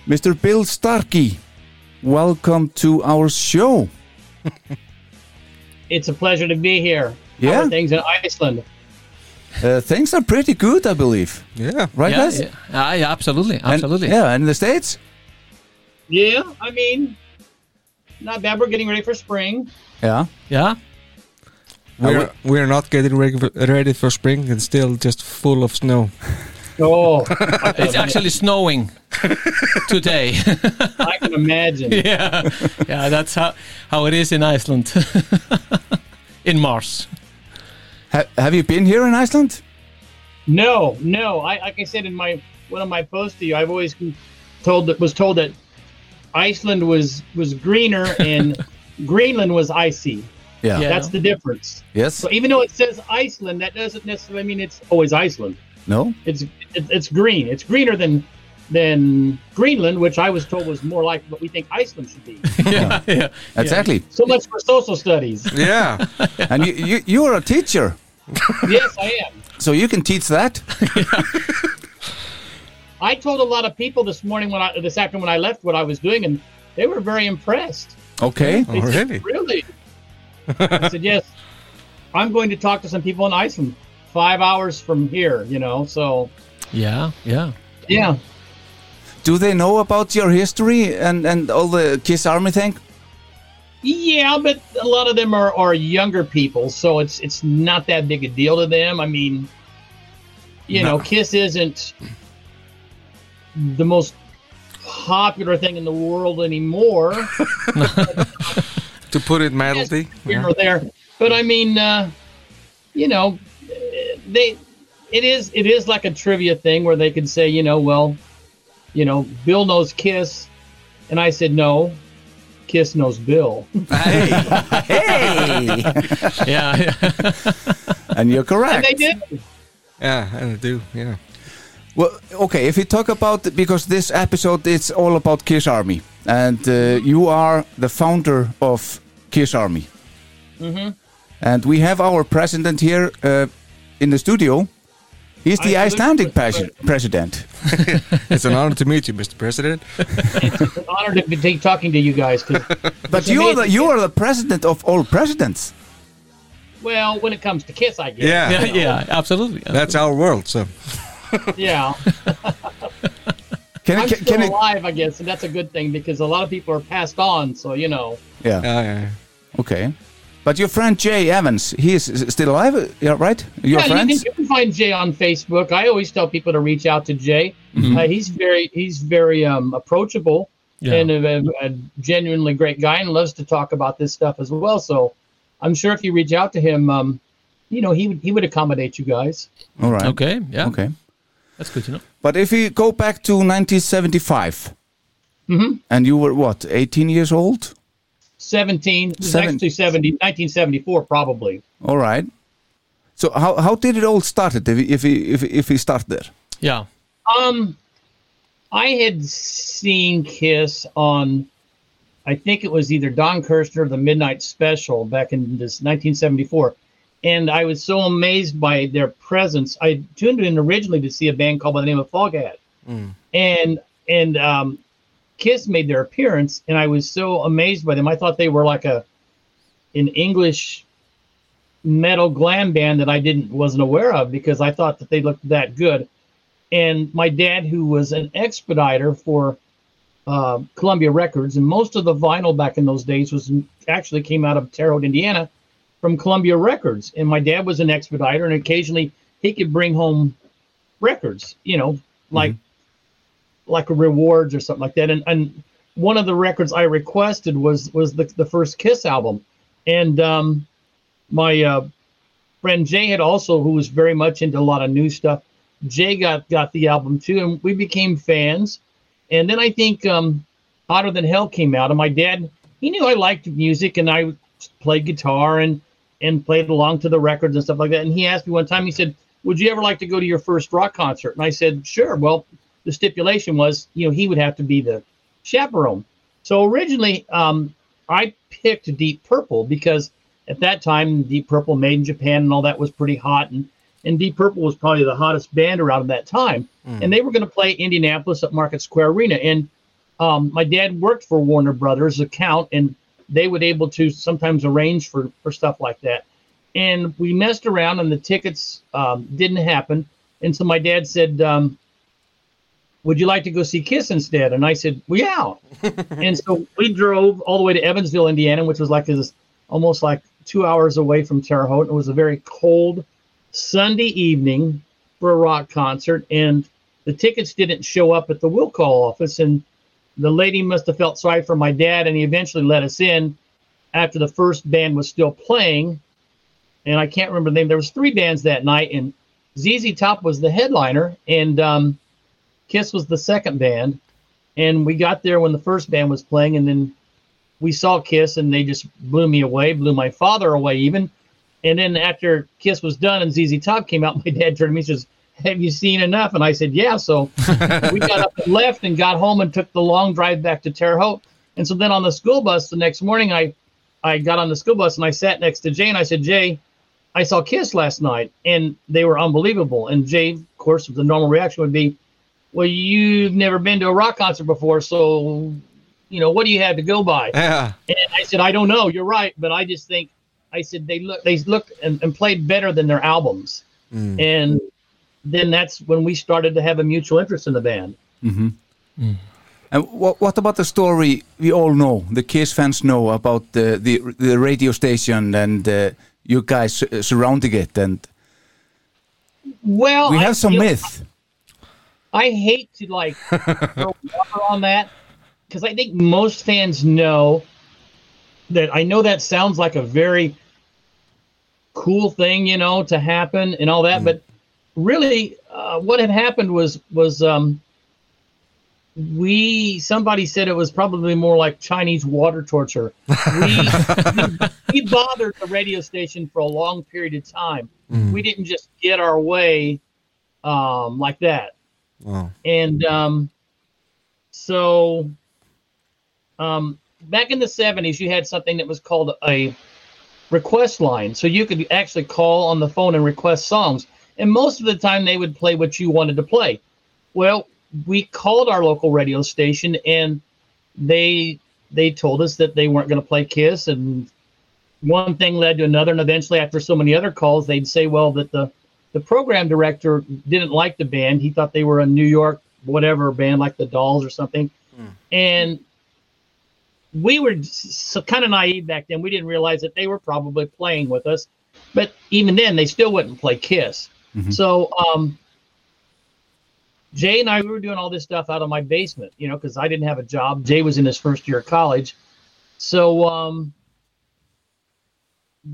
Speaker 3: Mr. Bill Starkey Welcome to our show
Speaker 9: It's a pleasure to be here. How
Speaker 3: Yeah,
Speaker 9: are things in Iceland?
Speaker 3: uh, things are pretty good I believe
Speaker 4: Já,
Speaker 3: Right
Speaker 6: Já,
Speaker 3: guys?
Speaker 6: já, já, já, absolutely, absolutely.
Speaker 3: And, yeah, and in the States?
Speaker 9: Yeah, I mean, not bad. We're getting ready for spring.
Speaker 3: Yeah
Speaker 6: Já,
Speaker 4: We're, we're not getting ready for, ready for spring It's still just full of snow
Speaker 9: Oh,
Speaker 6: it's actually snowing today
Speaker 9: I can imagine.
Speaker 6: yeah. yeah, that's how, how it is in Iceland In Mars
Speaker 3: ha Have you been here in Iceland?
Speaker 9: No, no. I like I said in my one of my posts to you, I've always been told that was told that Iceland was was greener and Greenland was icy.
Speaker 3: Yeah,
Speaker 6: Yeah.
Speaker 9: That's the difference.
Speaker 3: Yes?
Speaker 9: So even though it says Iceland, that doesn't necessarily mean it's always Iceland.
Speaker 3: No?
Speaker 9: It's it, it's green. It's greener than than Greenland, which I was told was more like what we think Iceland should be.
Speaker 6: yeah, yeah.
Speaker 3: Exactly
Speaker 9: So much for social studies.
Speaker 4: Yeah
Speaker 3: And you, you, you are a teacher
Speaker 9: yes, I am.
Speaker 3: So you can teach that?
Speaker 9: I told a lot of people this morning when I this afternoon when I left what I was doing, and they were very impressed.
Speaker 3: Okay
Speaker 4: Oh,
Speaker 9: They said,
Speaker 4: really?
Speaker 9: Really? I said yes. I'm going to talk to some people in Iceland, five hours from here. You know, so
Speaker 6: Yeah, yeah.
Speaker 9: yeah.
Speaker 3: Do they know about your history and, and all the Kiss Army thing?
Speaker 9: Yeah, but a lot of them are, are younger people, so it's it's not that big a deal to them. I mean, you know, Kiss isn't the most popular thing in the world anymore
Speaker 4: To put it mildly
Speaker 9: here or there. But I mean, uh, you know, they it is it is like a trivia thing where they can say, you know, well, you know, Bill knows Kiss, and I said no, Kiss knows Bill.
Speaker 3: Hey!
Speaker 6: yeah, yeah.
Speaker 3: and you're correct
Speaker 9: And they did.
Speaker 4: Yeah, I do, yeah
Speaker 3: Well, okay, if we talk about because this episode it's all about Kiss Army, and uh, you are the founder of Kiss Army, mm-hmm. and we have our president here uh, in the studio. He's the
Speaker 9: I salute
Speaker 3: Icelandic
Speaker 9: you,
Speaker 3: presi- president.
Speaker 4: It's an honor to meet you, Mr. President
Speaker 9: It's an honor to be t- talking to you guys. 'cause-
Speaker 3: But you are the you are the president of all presidents.
Speaker 9: well, when it comes to Kiss, I guess.
Speaker 4: Yeah,
Speaker 6: yeah, yeah, absolutely.
Speaker 4: that's our world, so
Speaker 9: Yeah.
Speaker 3: Can it-
Speaker 9: I'm
Speaker 3: can-
Speaker 9: still
Speaker 3: can it-
Speaker 9: alive, I guess, and that's a good thing because a lot of people are passed on. So you know,
Speaker 3: Yeah.
Speaker 4: Yeah, yeah.
Speaker 3: Okay. But your friend Jay Evans, he is is still alive, uh, yeah, right? Your
Speaker 9: yeah,
Speaker 3: friends?
Speaker 9: You, can, you can find Jay on Facebook. I always tell people to reach out to Jay.
Speaker 3: Mhm.
Speaker 9: Uh, he's very he's very um, approachable
Speaker 6: Yeah.
Speaker 9: and a, a- a genuinely great guy and loves to talk about this stuff as well. So I'm sure if you reach out to him, um, you know he would he would accommodate you guys.
Speaker 3: All right.
Speaker 6: Okay, yeah.
Speaker 3: Okay.
Speaker 6: That's good to know.
Speaker 3: But if you go back to 1975,
Speaker 9: Mhm.
Speaker 3: and you were what, 18 years old?
Speaker 9: 17, it was
Speaker 3: Seven-
Speaker 9: actually 70, 1974 probably.
Speaker 3: All right. So how how did it all started? If he- if he- if he- if he start there?
Speaker 6: Yeah.
Speaker 9: Um, I had seen Kiss on, I think it was either Don Kirshner or the Midnight Special back in this 1974, and I was so amazed by their presence. I tuned in originally to see a band called by the name of Foghat, and and um, Kiss made their appearance, and I was so amazed by them. I thought they were like a an English metal glam band that I didn't wasn't aware of because I thought that they looked that good and my dad, who was an expediter for uh, Columbia Records, and most of the vinyl back in those days was actually came out of Terre Haute, Indiana, from Columbia Records. And my dad was an expediter, and occasionally he could bring home records, you know, like like rewards or something like that. And and one of the records I requested was was the the first Kiss album, and um, my uh, friend Jay had also, who was very much into a lot of new stuff. Jay got got the album too, and we became fans. And then I think um, Hotter Than Hell came out, and my dad he knew I liked music, and I played guitar and and played along to the records and stuff like that. And he asked me one time, he said, "Would you ever like to go to your first rock concert?" And I said, "Sure." Well, the stipulation was, you know, he would have to be the chaperone. So originally, um, I picked Deep Purple because at that time, Deep Purple made in Japan and all that was pretty hot, and and Deep Purple was probably the hottest band around at that time. And they were going to play Indianapolis at Market Square Arena. And um, my dad worked for Warner Brothers account, and they would able to sometimes arrange for for stuff like that. And we messed around, and the tickets um, didn't happen. And so my dad said, um, "Would you like to go see Kiss instead?" And I said, "Well, yeah." and so we drove all the way to Evansville, Indiana, which was like this almost like two hours away from Terre Haute. It was a very cold Sunday evening for a rock concert, and the tickets didn't show up at the will call office. And the lady must have felt sorry for my dad, and he eventually let us in after the first band was still playing. And I can't remember the name. There was three bands that night, and ZZ Top was the headliner, and um, Kiss was the second band and we got there when the first band was playing and then we saw kiss and they just blew me away blew my father away even and then after kiss was done and zz top came out my dad turned to me and says have you seen enough and i said yeah so we got up and left and got home and took the long drive back to terre haute and so then on the school bus the next morning i i got on the school bus and i sat next to jay and i said jay I saw Kiss last night, and they were unbelievable. And Jay, of course, the normal reaction would be, "Well, you've never been to a rock concert before, so you know what do you have to go by?"
Speaker 4: Yeah.
Speaker 9: And I said, "I don't know. You're right, but I just think," I said, "They look, they look and, and played better than their albums."
Speaker 3: Mm.
Speaker 9: And then that's when we started to have a mutual interest in the band.
Speaker 3: And what, what about the story we all know, the Kiss fans know about the the, the radio station and uh, you guys su- surrounding it? And
Speaker 9: Well,
Speaker 3: we
Speaker 9: Oh, I
Speaker 3: have some
Speaker 9: feel-
Speaker 3: myth.
Speaker 9: I hate to like throw water on that because I think most fans know that I know that sounds like a very cool thing, you know, to happen and all that, but really, uh, what had happened was was um, we somebody said it was probably more like Chinese water torture. We we bothered the radio station for a long period of time. We didn't just get our way um, like that
Speaker 4: Wow.
Speaker 9: and um, so um, back in the 70s you had something that was called a request line so you could actually call on the phone and request songs and most of the time they would play what you wanted to play well we called our local radio station and they they told us that they weren't going to play kiss and one thing led to another and eventually after so many other calls they'd say well that the the program director didn't like the band he thought they were a new york whatever band like the Dolls or something, and we were so kind of naive back then. We didn't realize that they were probably playing with us, but even then, they still wouldn't play Kiss. So um, Jay and I we were doing all this stuff out of my basement, you know, because I didn't have a job. Jay was in his first year of college, so um,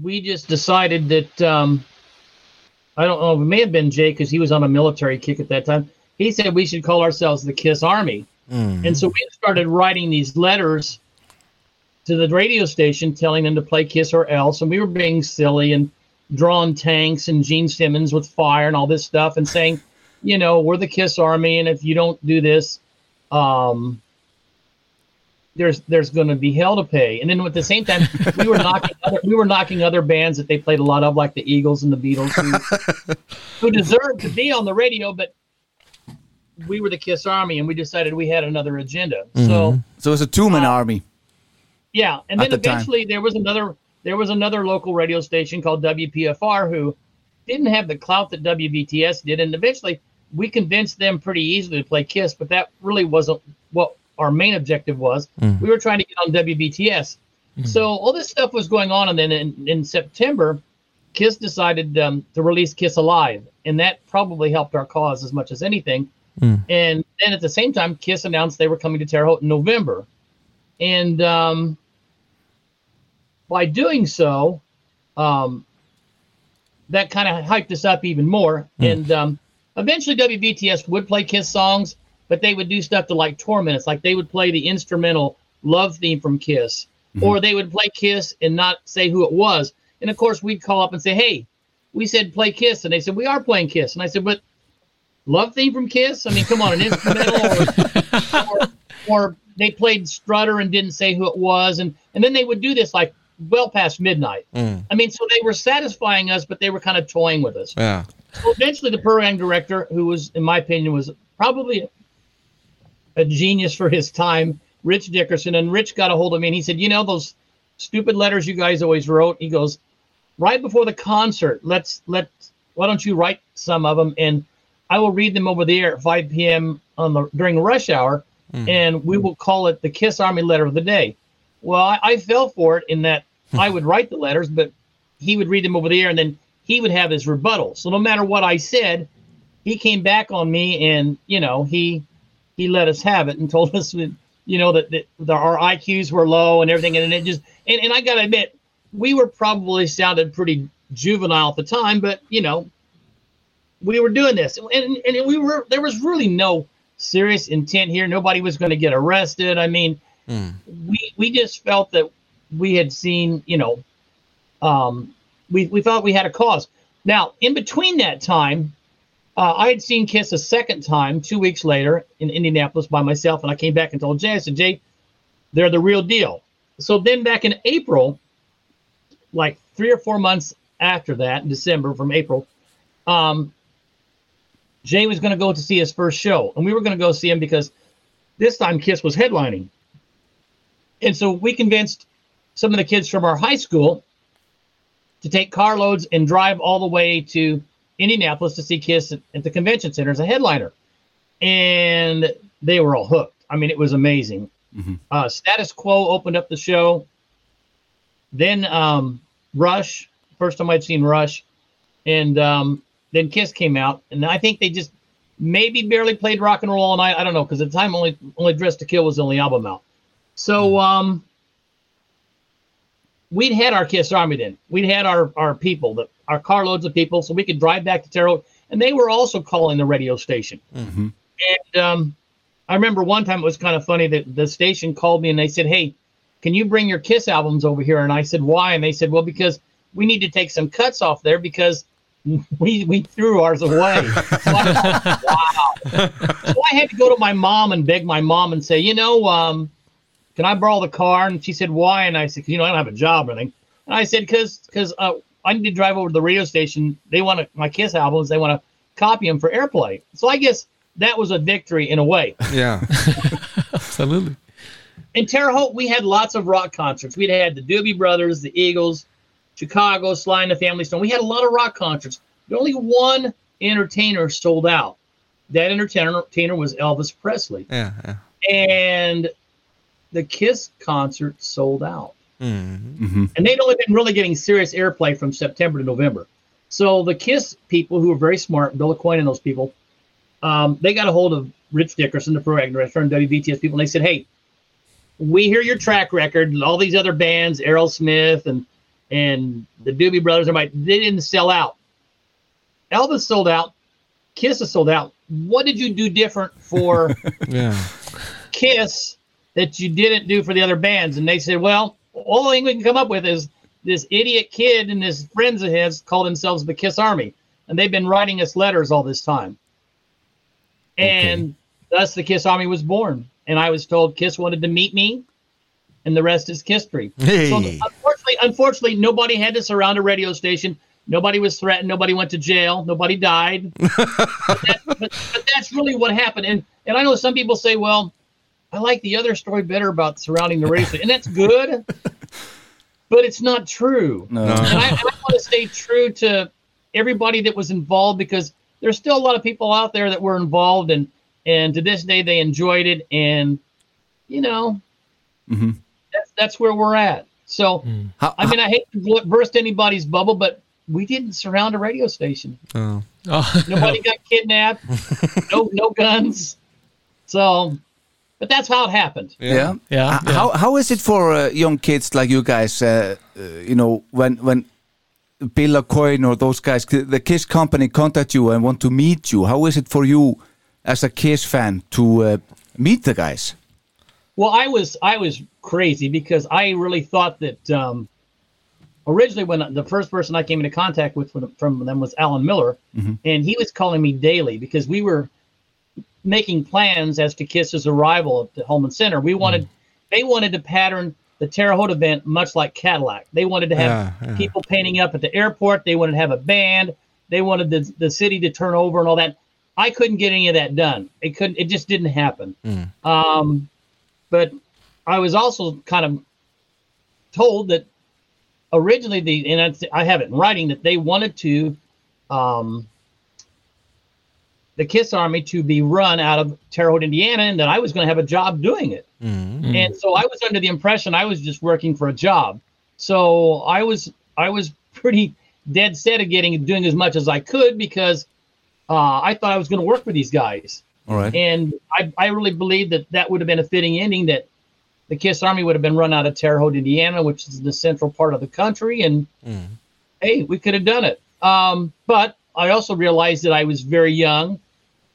Speaker 9: we just decided that um, I don't know. It may have been Jay because he was on a military kick at that time. He said we should call ourselves the Kiss Army. And so we started writing these letters to the radio station telling them to play Kiss or Else. And we were being silly and drawing tanks and Gene Simmons with fire and all this stuff and saying, you know, we're the Kiss Army. And if you don't do this, um, there's there's going to be hell to pay. And then at the same time, we were knocking other, we were knocking other bands that they played a lot of, like the Eagles and the Beatles, who, who deserved to be on the radio, but we were the Kiss Army, and we decided we had another agenda. So
Speaker 3: so it was a two-man army.
Speaker 9: yeah, and then
Speaker 3: At the time.
Speaker 9: eventually there was another there was another local radio station called WPFR who didn't have the clout that WBTS did, and eventually we convinced them pretty easily to play Kiss, but that really wasn't what our main objective was.
Speaker 3: Mm.
Speaker 10: Mhm.
Speaker 9: We were trying to get on WBTS. So all this stuff was going on, and then in, in September, Kiss decided um, to release Kiss Alive, and that probably helped our cause as much as anything.
Speaker 3: Mm.
Speaker 9: And then at the same time, Kiss announced they were coming to Terre Haute in November. And um, by doing so, um, that kind of hyped us up even more.
Speaker 10: Hmm.
Speaker 9: And um, eventually, WBTS would play Kiss songs, but they would do stuff to like torment us. Like they would play the instrumental love theme from Kiss, or they would play Kiss and not say who it was. And of course, we'd call up and say, hey, we said play Kiss. And they said, we are playing Kiss. And I said, but love theme from Kiss? I mean, come on, an instrumental, or, or, or they played Strutter and didn't say who it was, and and then they would do this like well past midnight. I mean, so they were satisfying us, but they were kind of toying with us.
Speaker 4: Yeah.
Speaker 9: So eventually, the program director, who was, in my opinion, was probably a genius for his time, Rich Dickerson, and Rich got a hold of me and he said, "You know those stupid letters you guys always wrote." He goes, "Right before the concert, let's let why don't you write some of them and I will read them over the air at 5 p.m. on the during rush hour,
Speaker 10: Mm.
Speaker 9: and we will call it the Kiss Army Letter of the Day." Well, I, I fell for it in that I would write the letters, but he would read them over the air, and then he would have his rebuttal. So no matter what I said, he came back on me, and you know he he let us have it and told us that you know that, that the, our IQs were low and everything, and it just and, and I gotta admit we were probably sounded pretty juvenile at the time, but you know we were doing this and and we were there was really no serious intent here. Nobody was going to get arrested. I mean we we just felt that we had seen you know um we we felt we had a cause now in between that time uh, i had seen kiss a second time two weeks later in indianapolis by myself and i came back and told jay i said jay they're the real deal so then back in april like three or four months after that in december from april um jay was going to go to see his first show and we were going to go see him because this time kiss was headlining and so we convinced some of the kids from our high school to take carloads and drive all the way to Indianapolis to see Kiss at, at the convention center as a headliner. And they were all hooked. I mean, it was amazing. Uh, Status Quo opened up the show. Then um, Rush, first time I'd seen Rush. And um, then Kiss came out. And I think they just maybe barely played rock and roll all night. I don't know, because at the time, only, only Dress to Kill was the only album out. So um, we'd had our Kiss Army then. We'd had our our people, the, our carloads of people, so we could drive back to Terre Haute, and they were also calling the radio station. And um, I remember one time it was kind of funny that the station called me and they said, "Hey, can you bring your Kiss albums over here?" And I said, "Why?" And they said, "Well, because we need to take some cuts off there because." We, we threw ours away. So I thought, wow. So I had to go to my mom and beg my mom and say, you know, um, can I borrow the car? And she said, why? And I said, 'Cause, you know, I don't have a job or anything. And I said, cause, cause, uh, I need to drive over to the radio station. They want to, my Kiss albums. They want to copy them for airplay. So I guess that was a victory in a way.
Speaker 4: Yeah.
Speaker 6: Absolutely.
Speaker 9: In Terre Haute, we had lots of rock concerts. We'd had the Doobie Brothers, the Eagles, Chicago, Sly and the Family Stone. We had a lot of rock concerts. But only one entertainer sold out. that entertainer entertainer was Elvis Presley,
Speaker 4: yeah, yeah.
Speaker 9: and the Kiss concert sold out.
Speaker 4: Mm-hmm.
Speaker 9: And they'd only been really getting serious airplay from September to November. So the KISS people, who were very smart, Bill Coin and those people, um, they got a hold of Rich Dickerson, the program director, and WBTS people, and they said, "Hey, we hear your track record, and all these other bands, Aerosmith and and the Doobie Brothers, are like they didn't sell out. Elvis sold out, Kiss is sold out. What did you do different for?"
Speaker 4: Yeah.
Speaker 9: kiss that you didn't do for the other bands. And they said, well, only thing we can come up with is this idiot kid and his friends of his call themselves the Kiss Army. And they've been writing us letters all this time. And thus the Kiss Army was born. And I was told Kiss wanted to meet me. And the rest is history. So
Speaker 11: Hey.
Speaker 9: unfortunately, unfortunately, nobody had to surround a radio station. Nobody was threatened. Nobody went to jail. Nobody died. but, that- but- but that's really what happened. And and I know some people say, well, I like the other story better about surrounding the race, and that's good, but it's not true.
Speaker 3: No.
Speaker 9: And I, and I want to stay true to everybody that was involved because there's still a lot of people out there that were involved, and and to this day they enjoyed it, and you know
Speaker 3: Mhm.
Speaker 9: that's that's where we're at. So I mean, I hate to bl- burst anybody's bubble, but we didn't surround a radio station.
Speaker 4: Oh.
Speaker 9: Nobody got kidnapped. no, no guns. So, but that's how it happened.
Speaker 3: Yeah.
Speaker 6: Uh, Yeah,
Speaker 3: H- Uh, How how is it for uh, young kids like you guys? Uh, uh, you know, when when Bill Coin or those guys, the Kiss company, contact you and want to meet you. How is it for you as a Kiss fan to uh, meet the guys?
Speaker 9: Well, I was I was crazy because I really thought that um, originally when the first person I came into contact with from, from them was Alan Miller,
Speaker 4: Mm-hmm.
Speaker 9: and he was calling me daily because we were making plans as to Kiss's arrival at the Holman Center. We wanted
Speaker 4: Mm.
Speaker 9: they wanted to pattern the Terre Haute event much like Cadillac. They wanted to have
Speaker 4: Yeah, yeah.
Speaker 9: people painting up at the airport. They wanted to have a band. They wanted the the city to turn over and all that. I couldn't get any of that done. It couldn't. It just didn't happen. Um, but I was also kind of told that originally the and it's- I have it in writing that they wanted to um, the Kiss Army to be run out of Terre Haute, Indiana, and that I was going to have a job doing it. And so I was under the impression I was just working for a job. So I was I was pretty dead set of getting doing as much as I could because uh, I thought I was going to work with these guys.
Speaker 3: All right.
Speaker 9: And I, I really believe that that would have been a fitting ending that the Kiss Army would have been run out of Terre Haute, Indiana, which is the central part of the country. And hey, we could have done it. Um, but I also realized that I was very young,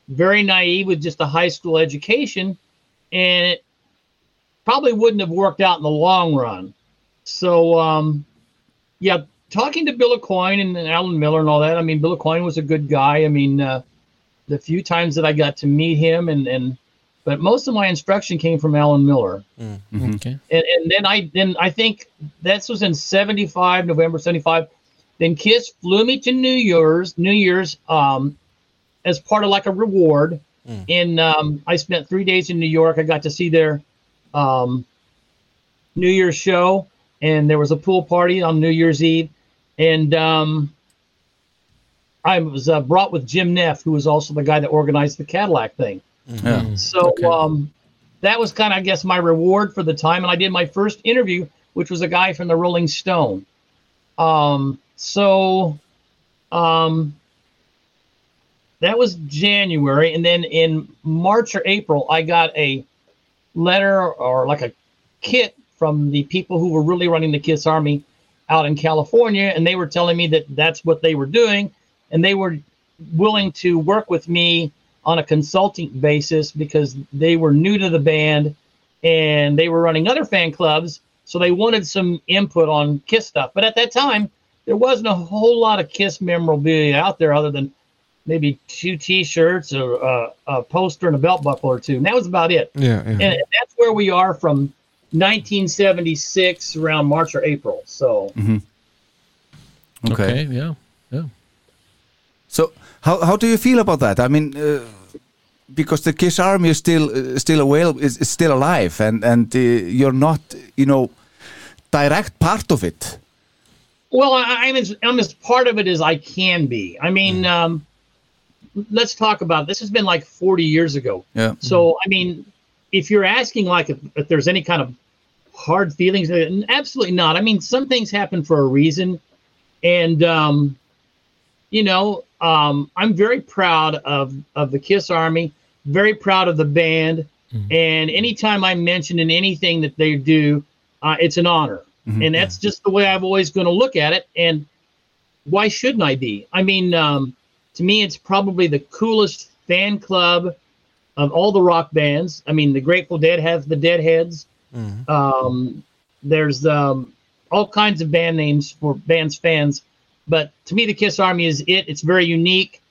Speaker 9: very naive with just a high school education, and it probably wouldn't have worked out in the long run. So, um, yeah, talking to Bill O'Coin and Alan Miller and all that, I mean, Bill O'Coin was a good guy. I mean, uh, the few times that I got to meet him and, and but most of my instruction came from Alan Miller.
Speaker 6: Okay.
Speaker 9: And, and then I then I think this was in '75, November '75. Then Kiss flew me to New Year's, New Year's, um, as part of like a reward. And um, I spent three days in New York. I got to see their um, New Year's show, and there was a pool party on New Year's Eve. And um, I was uh, brought with Jim Neff, who was also the guy that organized the Cadillac thing.
Speaker 3: Yeah.
Speaker 9: So um, that was kind of, I guess, my reward for the time. And I did my first interview, which was a guy from the Rolling Stone. Um, so um, that was January. And then in March or April, I got a letter or like a kit from the people who were really running the Kiss Army out in California. And they were telling me that that's what they were doing. And they were willing to work with me on a consulting basis because they were new to the band and they were running other fan clubs. So they wanted some input on Kiss stuff. But at that time, there wasn't a whole lot of Kiss memorabilia out there other than maybe two t shirts or uh, a poster and a belt buckle or two. And that was about it.
Speaker 4: Yeah, yeah.
Speaker 9: And that's where we are from 1976 around March or April. So.
Speaker 6: okay, yeah, yeah.
Speaker 3: So how how do you feel about that? I mean, uh, because the Kiss Army is still uh, still available, is, is still alive, and and uh, you're not, you know, direct part of it.
Speaker 9: Well, I, I'm as I'm as part of it as I can be. I mean, um, let's talk about it. this. Has been like 40 years ago.
Speaker 3: Yeah.
Speaker 9: So I mean, if you're asking like if, if there's any kind of hard feelings, uh, n- absolutely not. I mean, some things happen for a reason, and um, you know, um, I'm very proud of of the Kiss Army. Very proud of the band, and anytime I mention in anything that they do, uh, it's an honor,
Speaker 11: Mhm.
Speaker 9: and that's just the way I've always going to look at it. And why shouldn't I be? I mean, um, to me, it's probably the coolest fan club of all the rock bands. I mean, the Grateful Dead has the Deadheads. Um, there's um, all kinds of band names for bands fans, but to me, the Kiss Army is it. It's very unique,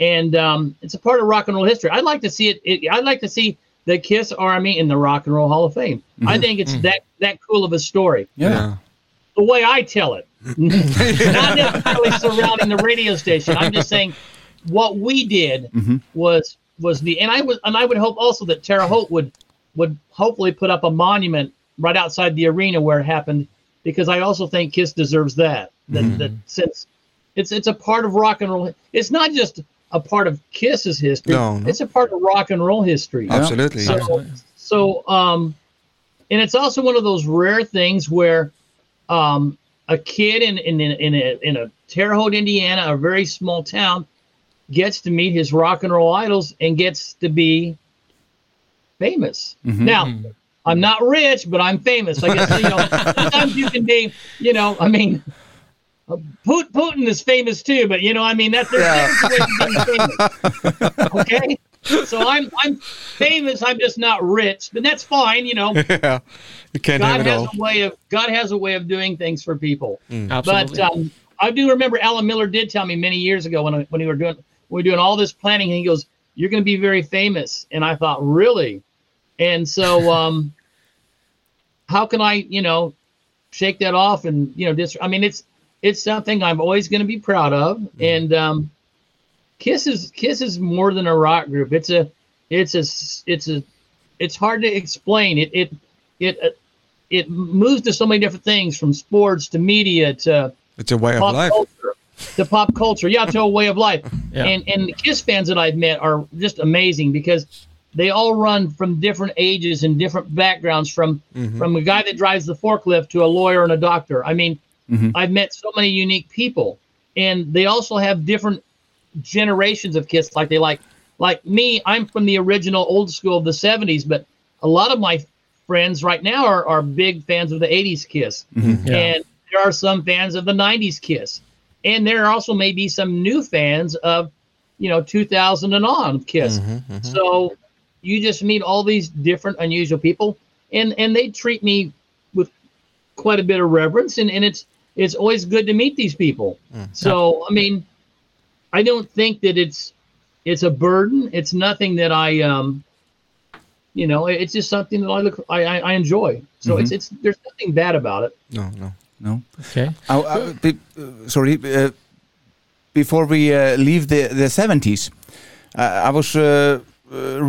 Speaker 9: and um, it's a part of rock and roll history. I'd like to see it, it. I'd like to see the Kiss Army in the Rock and Roll Hall of Fame. I
Speaker 11: Mhm.
Speaker 9: think it's
Speaker 11: Mhm.
Speaker 9: that that cool of a story
Speaker 3: Yeah.
Speaker 9: the way I tell it, not necessarily surrounding the radio station. I'm just saying what we did
Speaker 4: Mm-hmm.
Speaker 3: Mhm.
Speaker 9: was was the and I was and I would hope also that Terre Haute would would hopefully put up a monument right outside the arena where it happened because I also think Kiss deserves that that,
Speaker 4: Mm-hmm.
Speaker 9: that since it's it's a part of rock and roll. It's not just a part of Kiss's history.
Speaker 4: No, no.
Speaker 9: It's a part of rock and roll history.
Speaker 4: Absolutely,
Speaker 9: So-
Speaker 4: yeah.
Speaker 9: so um and it's also one of those rare things where um a kid in in in, in a in a Terre Haute, Indiana, a very small town, gets to meet his rock and roll idols and gets to be famous.
Speaker 11: Mhm.
Speaker 9: Now, I'm not rich, but I'm famous. I guess you know. sometimes you can be, you know. I mean, uh, Put- Putin is famous too, but you know, I mean, that's there's different ways of being famous okay so i'm i'm famous i'm just not rich but that's fine you know
Speaker 4: yeah, you can't
Speaker 9: god
Speaker 4: have it
Speaker 9: has
Speaker 4: all.
Speaker 9: a way of god has a way of doing things for people
Speaker 4: Mm.
Speaker 9: but
Speaker 4: Absolutely.
Speaker 9: um, i do remember alan miller did tell me many years ago when I, when we were doing we were doing all this planning and he goes you're going to be very famous and i thought really and so um how can i you know shake that off and you know just i mean it's it's something i'm always going to be proud of and um Kiss is Kiss is more than a rock group. It's a it's a s- it's a it's hard to explain. It it it uh, it moves to so many different things from sports to media to
Speaker 4: It's a way of
Speaker 9: pop
Speaker 4: life.
Speaker 9: culture to pop culture. Yeah, to a way of life. And and the Kiss fans that I've met are just amazing because they all run from different ages and different backgrounds from
Speaker 4: Mm-hmm.
Speaker 11: Mhm.
Speaker 9: from a guy that drives the forklift to a lawyer and a doctor. I mean,
Speaker 4: Mm-hmm.
Speaker 11: Mhm.
Speaker 9: I've met so many unique people, and they also have different generations of Kiss. Like they like, like me, I'm from the original old school of the '70s, but a lot of my friends right now are, are big fans of the '80s Kiss,
Speaker 11: Mhm. Yeah.
Speaker 9: and there are some fans of the '90s Kiss, and there also may be some new fans of, you know, 2000 and on of Kiss. So you just meet all these different unusual people, and and they treat me with quite a bit of reverence, and, and it's it's always good to meet these people. So I mean, I don't think that it's it's a burden. It's nothing that I um, you know, it- it's just something that I look I I, I enjoy. So it's
Speaker 3: Mhm.
Speaker 9: it's there's nothing bad about it.
Speaker 4: No, no.
Speaker 3: No.
Speaker 9: uh,
Speaker 6: Okay.
Speaker 3: I, I, be, uh, sorry. Uh, before we uh, leave the the seventies, uh, I was uh, uh,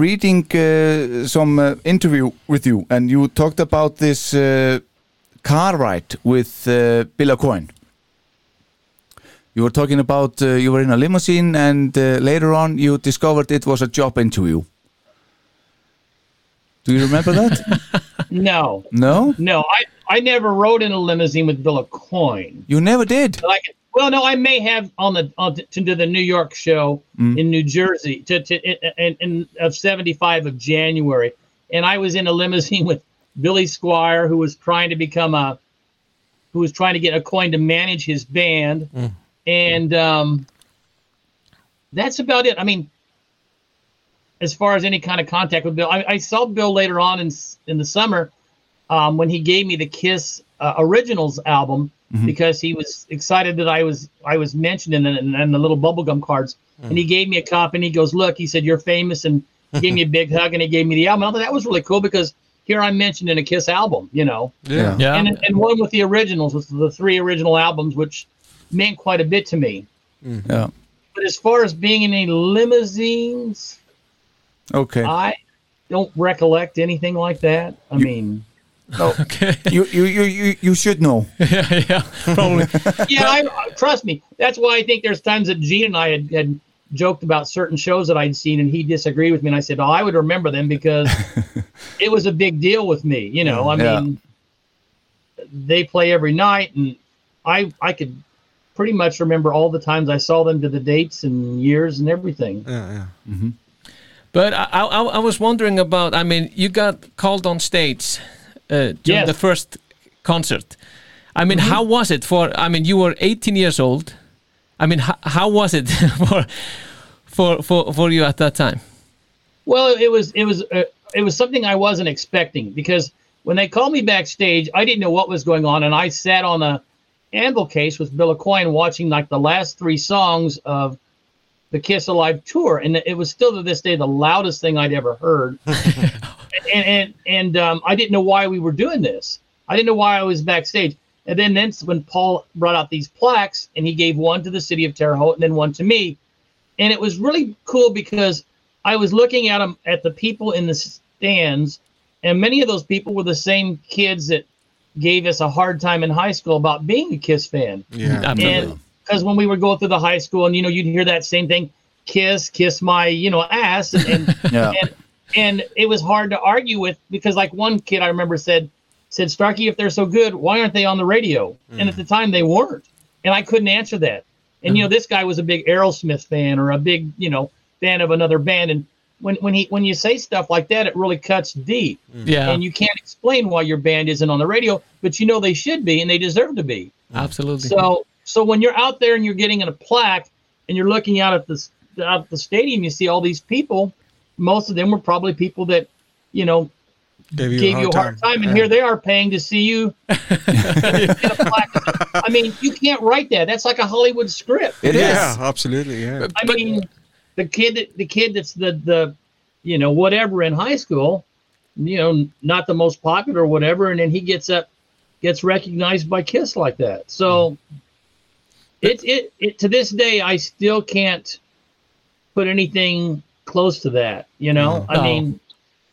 Speaker 3: reading uh, some uh, interview with you, and you talked about this uh, car ride with uh, Bill O'Coin. You were talking about uh, you were in a limousine, and uh, later on you discovered it was a job interview. Do you remember that?
Speaker 9: No,
Speaker 3: no,
Speaker 9: no, I I never rode in a limousine with Bill Coin.
Speaker 3: you never did.
Speaker 9: Like, well, no, I may have on the on the, to do the New York show
Speaker 3: Mm.
Speaker 9: in New Jersey to to in, in of seventy five of January, and I was in a limousine with Billy Squire, who was trying to become a, who was trying to get a coin to manage his band, and um, that's about it. I mean, as far as any kind of contact with Bill, I, I saw Bill later on in s- in the summer um, when he gave me the Kiss uh, Originals album
Speaker 11: Mhm.
Speaker 9: because he was excited that I was I was mentioned in the, in the little bubblegum cards, and he gave me a copy and he goes, "Look," he said, "You're famous," and he gave me a big hug and he gave me the album. I thought that was really cool because here I'm mentioned in a Kiss album, you know,
Speaker 11: Yeah.
Speaker 6: Oh.
Speaker 11: Yeah.
Speaker 9: and and one with the originals, with the three original albums, which meant quite a bit to me.
Speaker 3: Yeah.
Speaker 9: But as far as being in any limousines,
Speaker 3: Okay.
Speaker 9: I don't recollect anything like that. I mean,
Speaker 6: okay.
Speaker 3: You you you you, you should know.
Speaker 6: yeah, yeah, probably.
Speaker 9: yeah, I, I- trust me. That's why I think there's times that Gene and I had, had joked about certain shows that I'd seen, and he disagreed with me. And I said, "Oh, I would remember them because it was a big deal with me." You know, I
Speaker 3: Yeah.
Speaker 9: mean, they play every night, and I I could pretty much remember all the times I saw them to the dates and years and everything.
Speaker 4: Yeah, yeah.
Speaker 6: But I, I, I was wondering about. I mean, you got called on stage uh, during
Speaker 9: Yes.
Speaker 6: the first concert. I mean, how was it for? I mean, you were 18 years old. I mean, how, how was it for, for for for you at that time?
Speaker 9: Well, it was it was uh, it was something I wasn't expecting because when they called me backstage, I didn't know what was going on, and I sat on a anvil case with Bill O'Coin watching like the last three songs of the Kiss Alive tour, and it was still to this day the loudest thing I'd ever heard. and and and um, I didn't know why we were doing this. I didn't know why I was backstage. And then then when Paul brought out these plaques, and he gave one to the city of Terre Haute, and then one to me, and it was really cool because I was looking at 'em- at the people in the stands, and many of those people were the same kids that gave us a hard time in high school about being a Kiss fan.
Speaker 4: Yeah.
Speaker 6: Absolutely.
Speaker 9: And because when we were going through the high school, and you know, you'd hear that same thing, kiss, kiss my, you know, ass, and and,
Speaker 3: Yeah.
Speaker 9: and and it was hard to argue with because like one kid I remember said said Starkey, if they're so good, why aren't they on the radio? And at the time they weren't, and I couldn't answer that. And you know, this guy was a big Aerosmith fan or a big, you know, fan of another band, and when when he when you say stuff like that, it really cuts deep
Speaker 6: Yeah,
Speaker 9: Mm. and you can't explain why your band isn't on the radio, but you know they should be and they deserve to be.
Speaker 6: absolutely.
Speaker 9: So so when you're out there and you're getting in a plaque and you're looking out at this out at the stadium, you see all these people. Most of them were probably people that you know
Speaker 4: Gave you
Speaker 9: gave you a hard time, and
Speaker 4: Yeah.
Speaker 9: here they are paying to see you. in a plaque. I mean, you can't write that. That's like a Hollywood script.
Speaker 3: It is.
Speaker 4: Yeah, absolutely. Yeah.
Speaker 9: I mean, the kid that the kid that's the the you know whatever in high school, you know, not the most popular or whatever, and then he gets up, gets recognized by Kiss like that. So it it, it to this day I still can't put anything close to that. You know, I
Speaker 6: No.
Speaker 9: mean,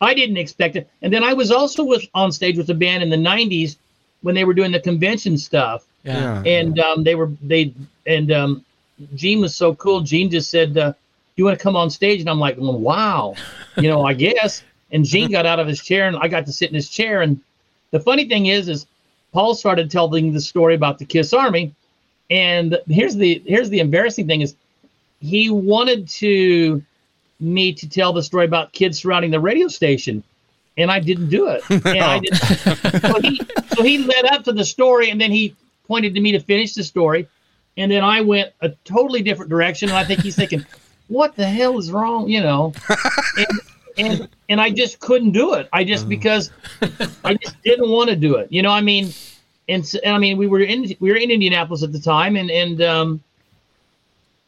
Speaker 9: I didn't expect it, and then I was also with on stage with the band in the '90s when they were doing the convention stuff
Speaker 6: yeah.
Speaker 9: and um, they were they and um, Gene was so cool. Gene just said, uh, "You want to come on stage?" And I'm like, well, "Wow, you know, I guess." And Gene got out of his chair, and I got to sit in his chair. And the funny thing is, is Paul started telling the story about the Kiss Army, and here's the here's the embarrassing thing is he wanted to me to tell the story about kids surrounding the radio station and I didn't do it. And I didn't, so, he, so he led up to the story, and then he pointed to me to finish the story, and then I went a totally different direction. And I think he's thinking, "What the hell is wrong?" You know, and and, and I just couldn't do it. I just because I just didn't want to do it. You know, I mean, and, s- and I mean, we were in we were in Indianapolis at the time, and and um,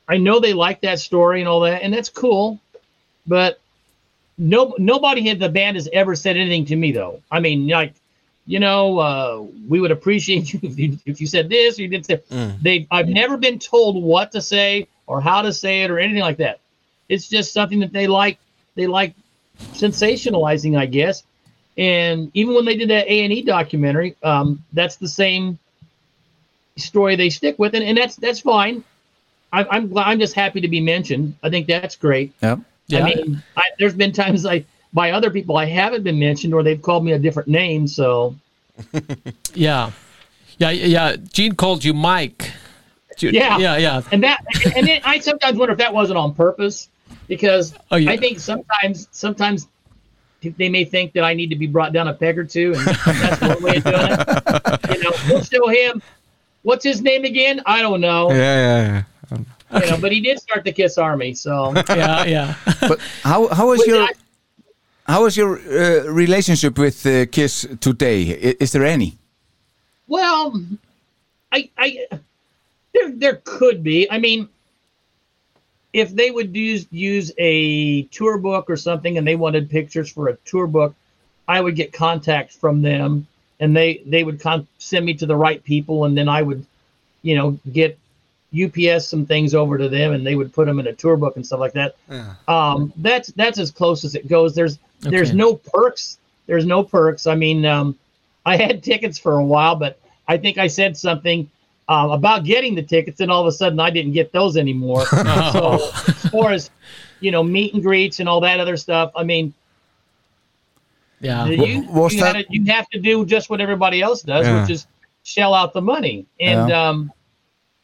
Speaker 9: I know they liked that story and all that, and that's cool, but no nobody in the band has ever said anything to me though. I mean, like, you know, uh, we would appreciate you if you if you said this or you didn't say. They, I've never been told what to say or how to say it or anything like that. It's just something that they like. They like sensationalizing, I guess. And even when they did that A and E documentary, um, that's the same story they stick with, and, and that's that's fine. I, I'm glad. I'm just happy to be mentioned. I think that's great.
Speaker 3: Yeah.
Speaker 6: Yeah.
Speaker 9: I mean, I, there's been times I by other people I haven't been mentioned, or they've called me a different name. So
Speaker 6: yeah, yeah, yeah. Gene called you Mike. Ju-
Speaker 9: Yeah.
Speaker 6: yeah, yeah.
Speaker 9: and that and then I sometimes wonder if that wasn't on purpose because
Speaker 6: Oh, yeah.
Speaker 9: I think sometimes sometimes they may think that I need to be brought down a peg or two, and that's one way of doing it. You know, we'll show him. What's his name again? I don't know.
Speaker 4: Yeah, yeah, yeah.
Speaker 9: You know, but he did start the Kiss Army, so
Speaker 6: yeah, yeah.
Speaker 3: But how how is
Speaker 9: But
Speaker 3: your
Speaker 9: I-
Speaker 3: how is your uh, relationship with uh, Kiss today? I, is there any?
Speaker 9: Well, I, I, there, there could be. I mean, if they would use use a tour book or something, and they wanted pictures for a tour book, I would get contact from them, and they they would con- send me to the right people, and then I would, you know, get UPS some things over to them, and they would put them in a tour book and stuff like that.
Speaker 4: Yeah.
Speaker 9: Um, that's that's as close as it goes. There's there's
Speaker 6: Okay.
Speaker 9: no perks. There's no perks. I mean, um, I had tickets for a while, but I think I said something. um, about getting the tickets, and all of a sudden I didn't get those anymore. so as far as you know, meet and greets and all that other stuff, I mean,
Speaker 6: yeah,
Speaker 9: you
Speaker 3: was
Speaker 9: you, had
Speaker 3: that-
Speaker 9: to- you have to do just what everybody else does,
Speaker 3: Yeah.
Speaker 9: which is shell out the money. And
Speaker 3: Yeah.
Speaker 9: um,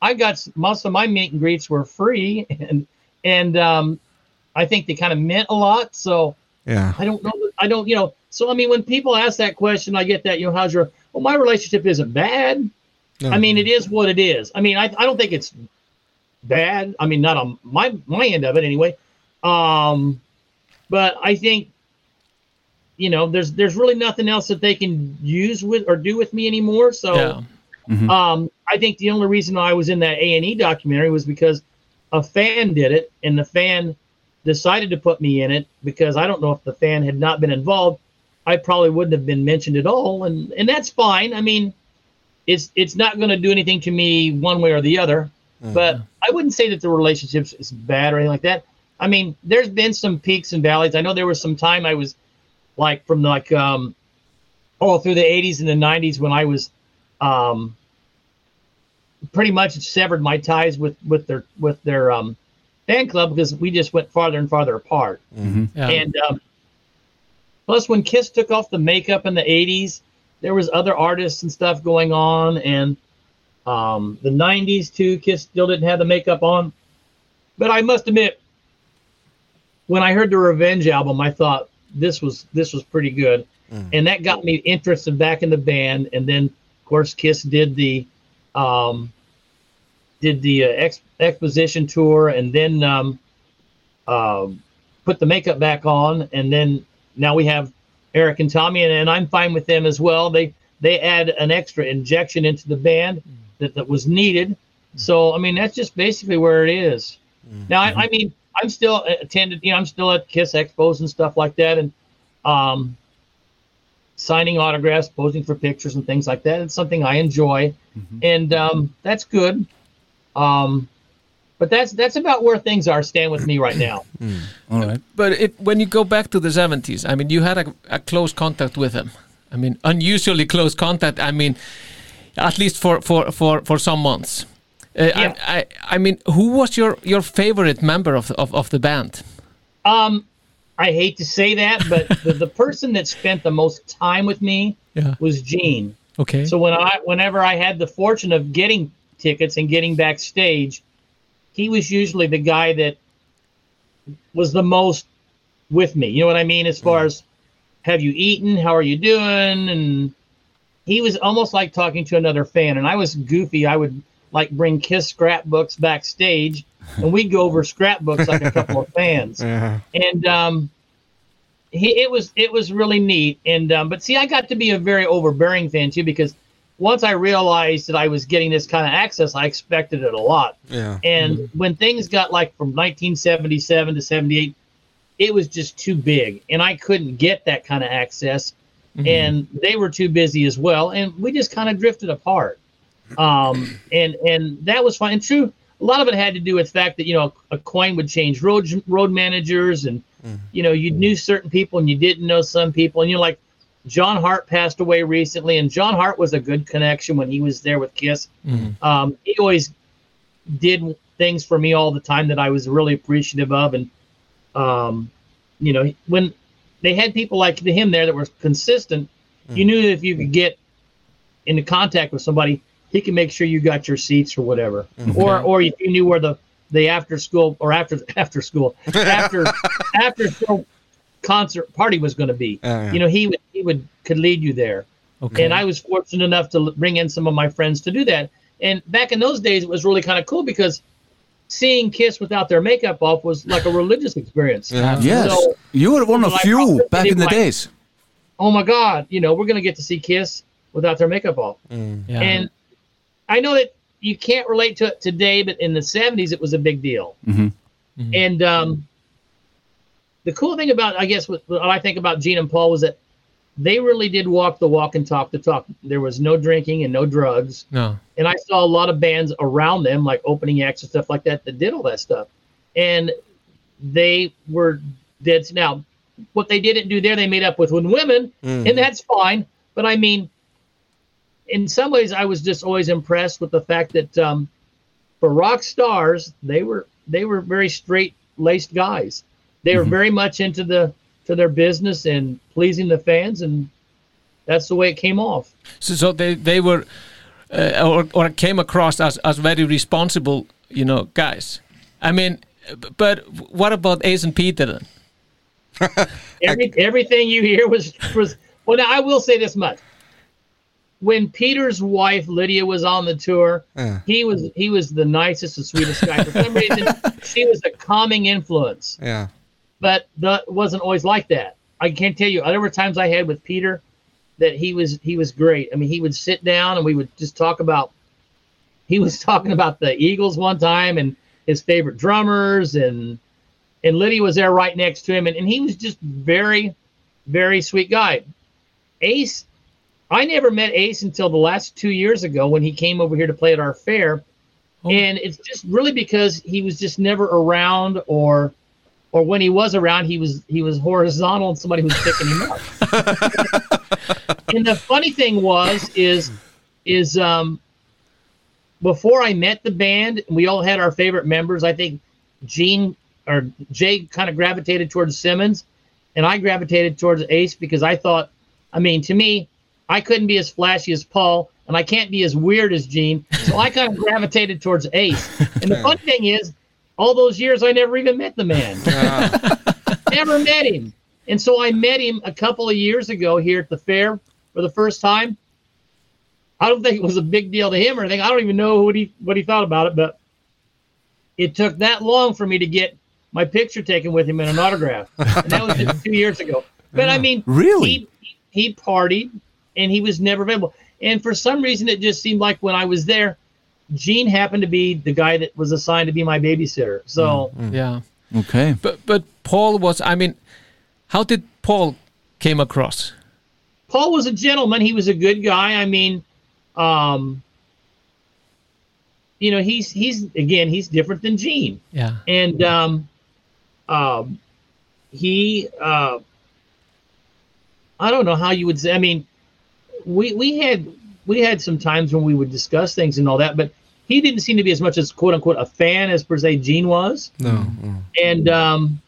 Speaker 9: I got s- most of my meet and greets were free, and and um, I think they kind of meant a lot. So
Speaker 4: Yeah.
Speaker 9: I don't know. I don't, you know. So I mean, when people ask that question, I get that. You know, how's your? Well, my relationship isn't bad.
Speaker 4: No.
Speaker 9: I mean, it is what it is. I mean, I, I don't think it's bad. I mean, not on my my end of it anyway. Um, but I think you know, there's there's really nothing else that they can use with or do with me anymore. So
Speaker 6: yeah.
Speaker 4: Mm-hmm.
Speaker 9: um, I think the only reason I was in that A and E documentary was because a fan did it, and the fan decided to put me in it because I don't know if the fan had not been involved, I probably wouldn't have been mentioned at all, and and that's fine. I mean, it's it's not going to do anything to me one way or the other, but I wouldn't say that the relationships is bad or anything like that. I mean, there's been some peaks and valleys. I know there was some time I was like from like um all through the 80s and the 90s when I was um pretty much severed my ties with with their with their um fan club because we just went farther and farther apart
Speaker 6: yeah.
Speaker 9: and um, plus when kiss took off the makeup in the 80s there was other artists and stuff going on and um the 90s too kiss still didn't have the makeup on but i must admit when i heard the revenge album i thought this was this was pretty good and that got me interested back in the band and then of course kiss did the um, did the uh, ex- exposition tour and then um, um put the makeup back on and then now we have eric and tommy and, and i'm fine with them as well they they add an extra injection into the band that, that was needed so i mean that's just basically where it is. now I, I mean i'm still a- attended you know i'm still at kiss expos and stuff like that and um signing autographs posing for pictures and things like that it's something i enjoy and um that's good um but that's that's about where things are stand with me right now
Speaker 3: All right.
Speaker 6: But it, when you go back to the 70s, I mean, you had a, a close contact with them. I mean, unusually close contact. I mean, at least for for for for some months. Uh,
Speaker 9: Yeah.
Speaker 6: I, I I mean, who was your your favorite member of of, of the band?
Speaker 9: Um, I hate to say that, but the, the person that spent the most time with me
Speaker 6: Yeah.
Speaker 9: was Gene.
Speaker 6: Okay.
Speaker 9: So when I, whenever I had the fortune of getting tickets and getting backstage, he was usually the guy that was the most with me. You know what I mean? As far as have you eaten? How are you doing? And he was almost like talking to another fan. And I was goofy. I would like bring Kiss scrapbooks backstage, and we'd go over scrapbooks like a couple of fans
Speaker 4: Yeah.
Speaker 9: and um, he, it was it was really neat. And um, but see, I got to be a very overbearing fan too because once I realized that I was getting this kind of access, I expected it a lot.
Speaker 4: Yeah.
Speaker 9: And when things got like from 1977 to 78, it was just too big, and I couldn't get that kind of access. And they were too busy as well, and we just kind of drifted apart. Um, and and that was fine. And true, a lot of it had to do with the fact that you know a coin would change road road managers, and you know you knew certain people and you didn't know some people, and you're like. John Hart passed away recently, and John Hart was a good connection when he was there with Kiss. Um, he always did things for me all the time that I was really appreciative of. And, um, you know, when they had people like him there that were consistent, you knew that if you could get into contact with somebody, he could make sure you got your seats or whatever. Or, or if you knew where the, the after school or after, after school, after, after school concert party was going to be,
Speaker 4: Yeah, yeah.
Speaker 9: you know, he would, he would, could lead you there.
Speaker 6: Okay.
Speaker 9: And I was fortunate enough to l- bring in some of my friends to do that. And back in those days, it was really kind of cool because seeing Kiss without their makeup off was like a religious experience.
Speaker 3: Yes.
Speaker 9: So-
Speaker 3: you were one of
Speaker 9: so I
Speaker 3: few
Speaker 9: probably
Speaker 3: back in the
Speaker 9: like-
Speaker 3: days.
Speaker 9: Oh my God, you know, we're going to get to see Kiss without their makeup off.
Speaker 6: yeah.
Speaker 9: And I know that you can't relate to it today, but in the 70s, it was a big deal. And um, the cool thing about, I guess, what, what I think about Gene and Paul was that they really did walk the walk and talk the talk. There was no drinking and no drugs.
Speaker 6: no.
Speaker 9: and I saw a lot of bands around them, like opening acts and stuff like that, that did all that stuff, and they were dead. Now, what they didn't do there, they made up with with women, and that's fine. But I mean, in some ways, I was just always impressed with the fact that um, for rock stars, they were they were very straight laced guys. They were very much into the to their business and pleasing the fans, and that's the way it came off.
Speaker 6: So, so they they were uh, or or came across as as very responsible, you know, guys. I mean, b- but what about Ace and Peter? Then?
Speaker 9: Every, everything you hear was was well. Now I will say this much: when Peter's wife Lydia was on the tour,
Speaker 4: Yeah.
Speaker 9: he was he was the nicest and sweetest guy. For some reason, she was a calming influence,
Speaker 4: Yeah.
Speaker 9: but that wasn't always like that. I can't tell you. There were times I had with Peter that he was he was great. I mean, he would sit down and we would just talk about. He was talking about the Eagles one time and his favorite drummers and and Lydia was there right next to him, and, and he was just very, very sweet guy. Ace, I never met Ace until the last two years ago when he came over here to play at our fair, and it's just really because he was just never around, or or when he was around, he was he was horizontal and somebody was picking him up. and the funny thing was is is um before I met the band, we all had our favorite members. I think Gene or Jay kind of gravitated towards Simmons, and I gravitated towards Ace because I thought, I mean, to me, I couldn't be as flashy as Paul, and I can't be as weird as Gene, so I kind of gravitated towards Ace. And the fun thing is, all those years I never even met the man, never met him. And so I met him a couple of years ago here at the fair for the first time. I don't think it was a big deal to him or anything. I don't even know what he what he thought about it, but it took that long for me to get my picture taken with him and an autograph. And that was just two years ago. But I mean,
Speaker 3: Really?
Speaker 9: he, he partied and he was never available. And for some reason, it just seemed like when I was there, Gene happened to be the guy that was assigned to be my babysitter. So
Speaker 6: Yeah,
Speaker 3: Okay.
Speaker 6: but but Paul was. I mean, how did Paul came across?
Speaker 9: Paul was a gentleman. He was a good guy. I mean, um, you know, he's he's again, he's different than Gene.
Speaker 6: Yeah,
Speaker 9: and um, um, he uh, I don't know how you would say. I mean, we we had we had some times when we would discuss things and all that, but he didn't seem to be as much as quote unquote a fan as per se Gene was,
Speaker 4: No.
Speaker 9: and um,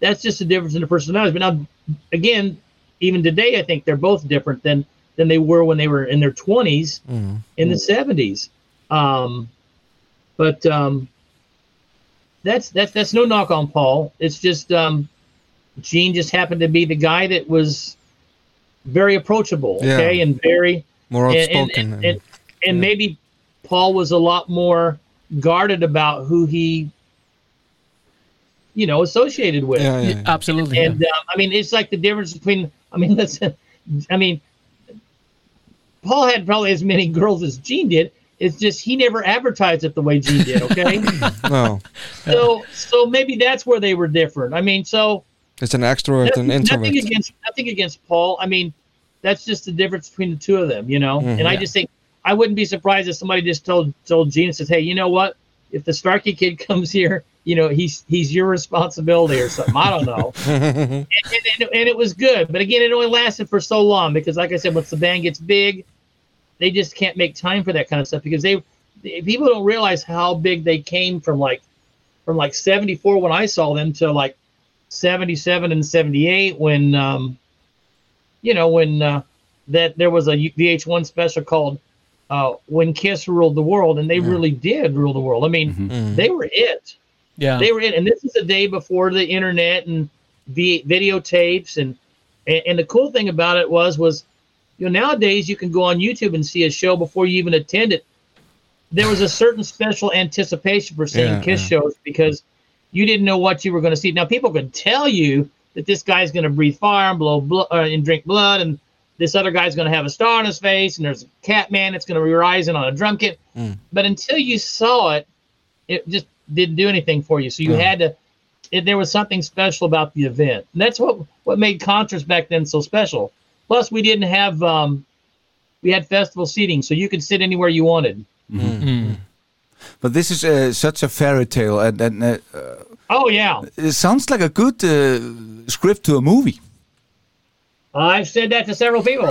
Speaker 9: that's just the difference in the personalities. But now, again, even today, I think they're both different than than they were when they were in their twenties
Speaker 4: Mm.
Speaker 9: in the seventies. Um, but um, that's that's that's no knock on Paul. It's just um, Gene just happened to be the guy that was very approachable,
Speaker 4: Yeah.
Speaker 9: okay, and very
Speaker 4: More
Speaker 9: and and,
Speaker 4: outspoken.
Speaker 9: and, and, and maybe Paul was a lot more guarded about who he, you know, associated with.
Speaker 4: yeah, yeah, yeah.
Speaker 6: absolutely. yeah.
Speaker 9: And uh, I mean, it's like the difference between. I mean, listen. I mean, Paul had probably as many girls as Gene did. It's just he never advertised it the way Gene did. Okay,
Speaker 4: No.
Speaker 9: so so maybe that's where they were different. I mean, so
Speaker 4: It's an extrovert and
Speaker 9: nothing,
Speaker 4: introvert.
Speaker 9: nothing against nothing against Paul. I mean, that's just the difference between the two of them, you know.
Speaker 4: Mm-hmm.
Speaker 9: and I just think I wouldn't be surprised if somebody just told told Gene and says, "Hey, you know what? If the Starkey kid comes here, you know, he's he's your responsibility or something. I don't know." and, and, and- and it was good, but again, it only lasted for so long because, like I said, once the band gets big, they just can't make time for that kind of stuff because they they- people don't realize how big they came from like from like 74 when i saw them to like 77 and 78 when um you know when uh, that there was a vh1 special called uh when kiss ruled the world and they really did rule the world i mean they were it
Speaker 6: yeah.
Speaker 9: they were in and this is the day before the internet and vi- videotapes and, and and the cool thing about it was was you know nowadays you can go on youtube and see a show before you even attend it there was a certain special anticipation for seeing
Speaker 4: Yeah,
Speaker 9: kiss
Speaker 4: yeah.
Speaker 9: shows because you didn't know what you were going to see now people could tell you that this guy's going to breathe fire and blow blood uh, and drink blood and this other guy's going to have a star on his face and there's a cat man that's going to be rising on a drum kit
Speaker 4: Mm.
Speaker 9: but until you saw it it just didn't do anything for you. So you had to. It, there was something special about the event, and that's what what made concerts back then so special. Plus, we didn't have um, we had festival seating, so you could sit anywhere you wanted.
Speaker 3: But this is uh, such a fairy tale, and, and uh,
Speaker 9: Oh yeah,
Speaker 3: it sounds like a good uh, script to a movie.
Speaker 9: I've said that to several people.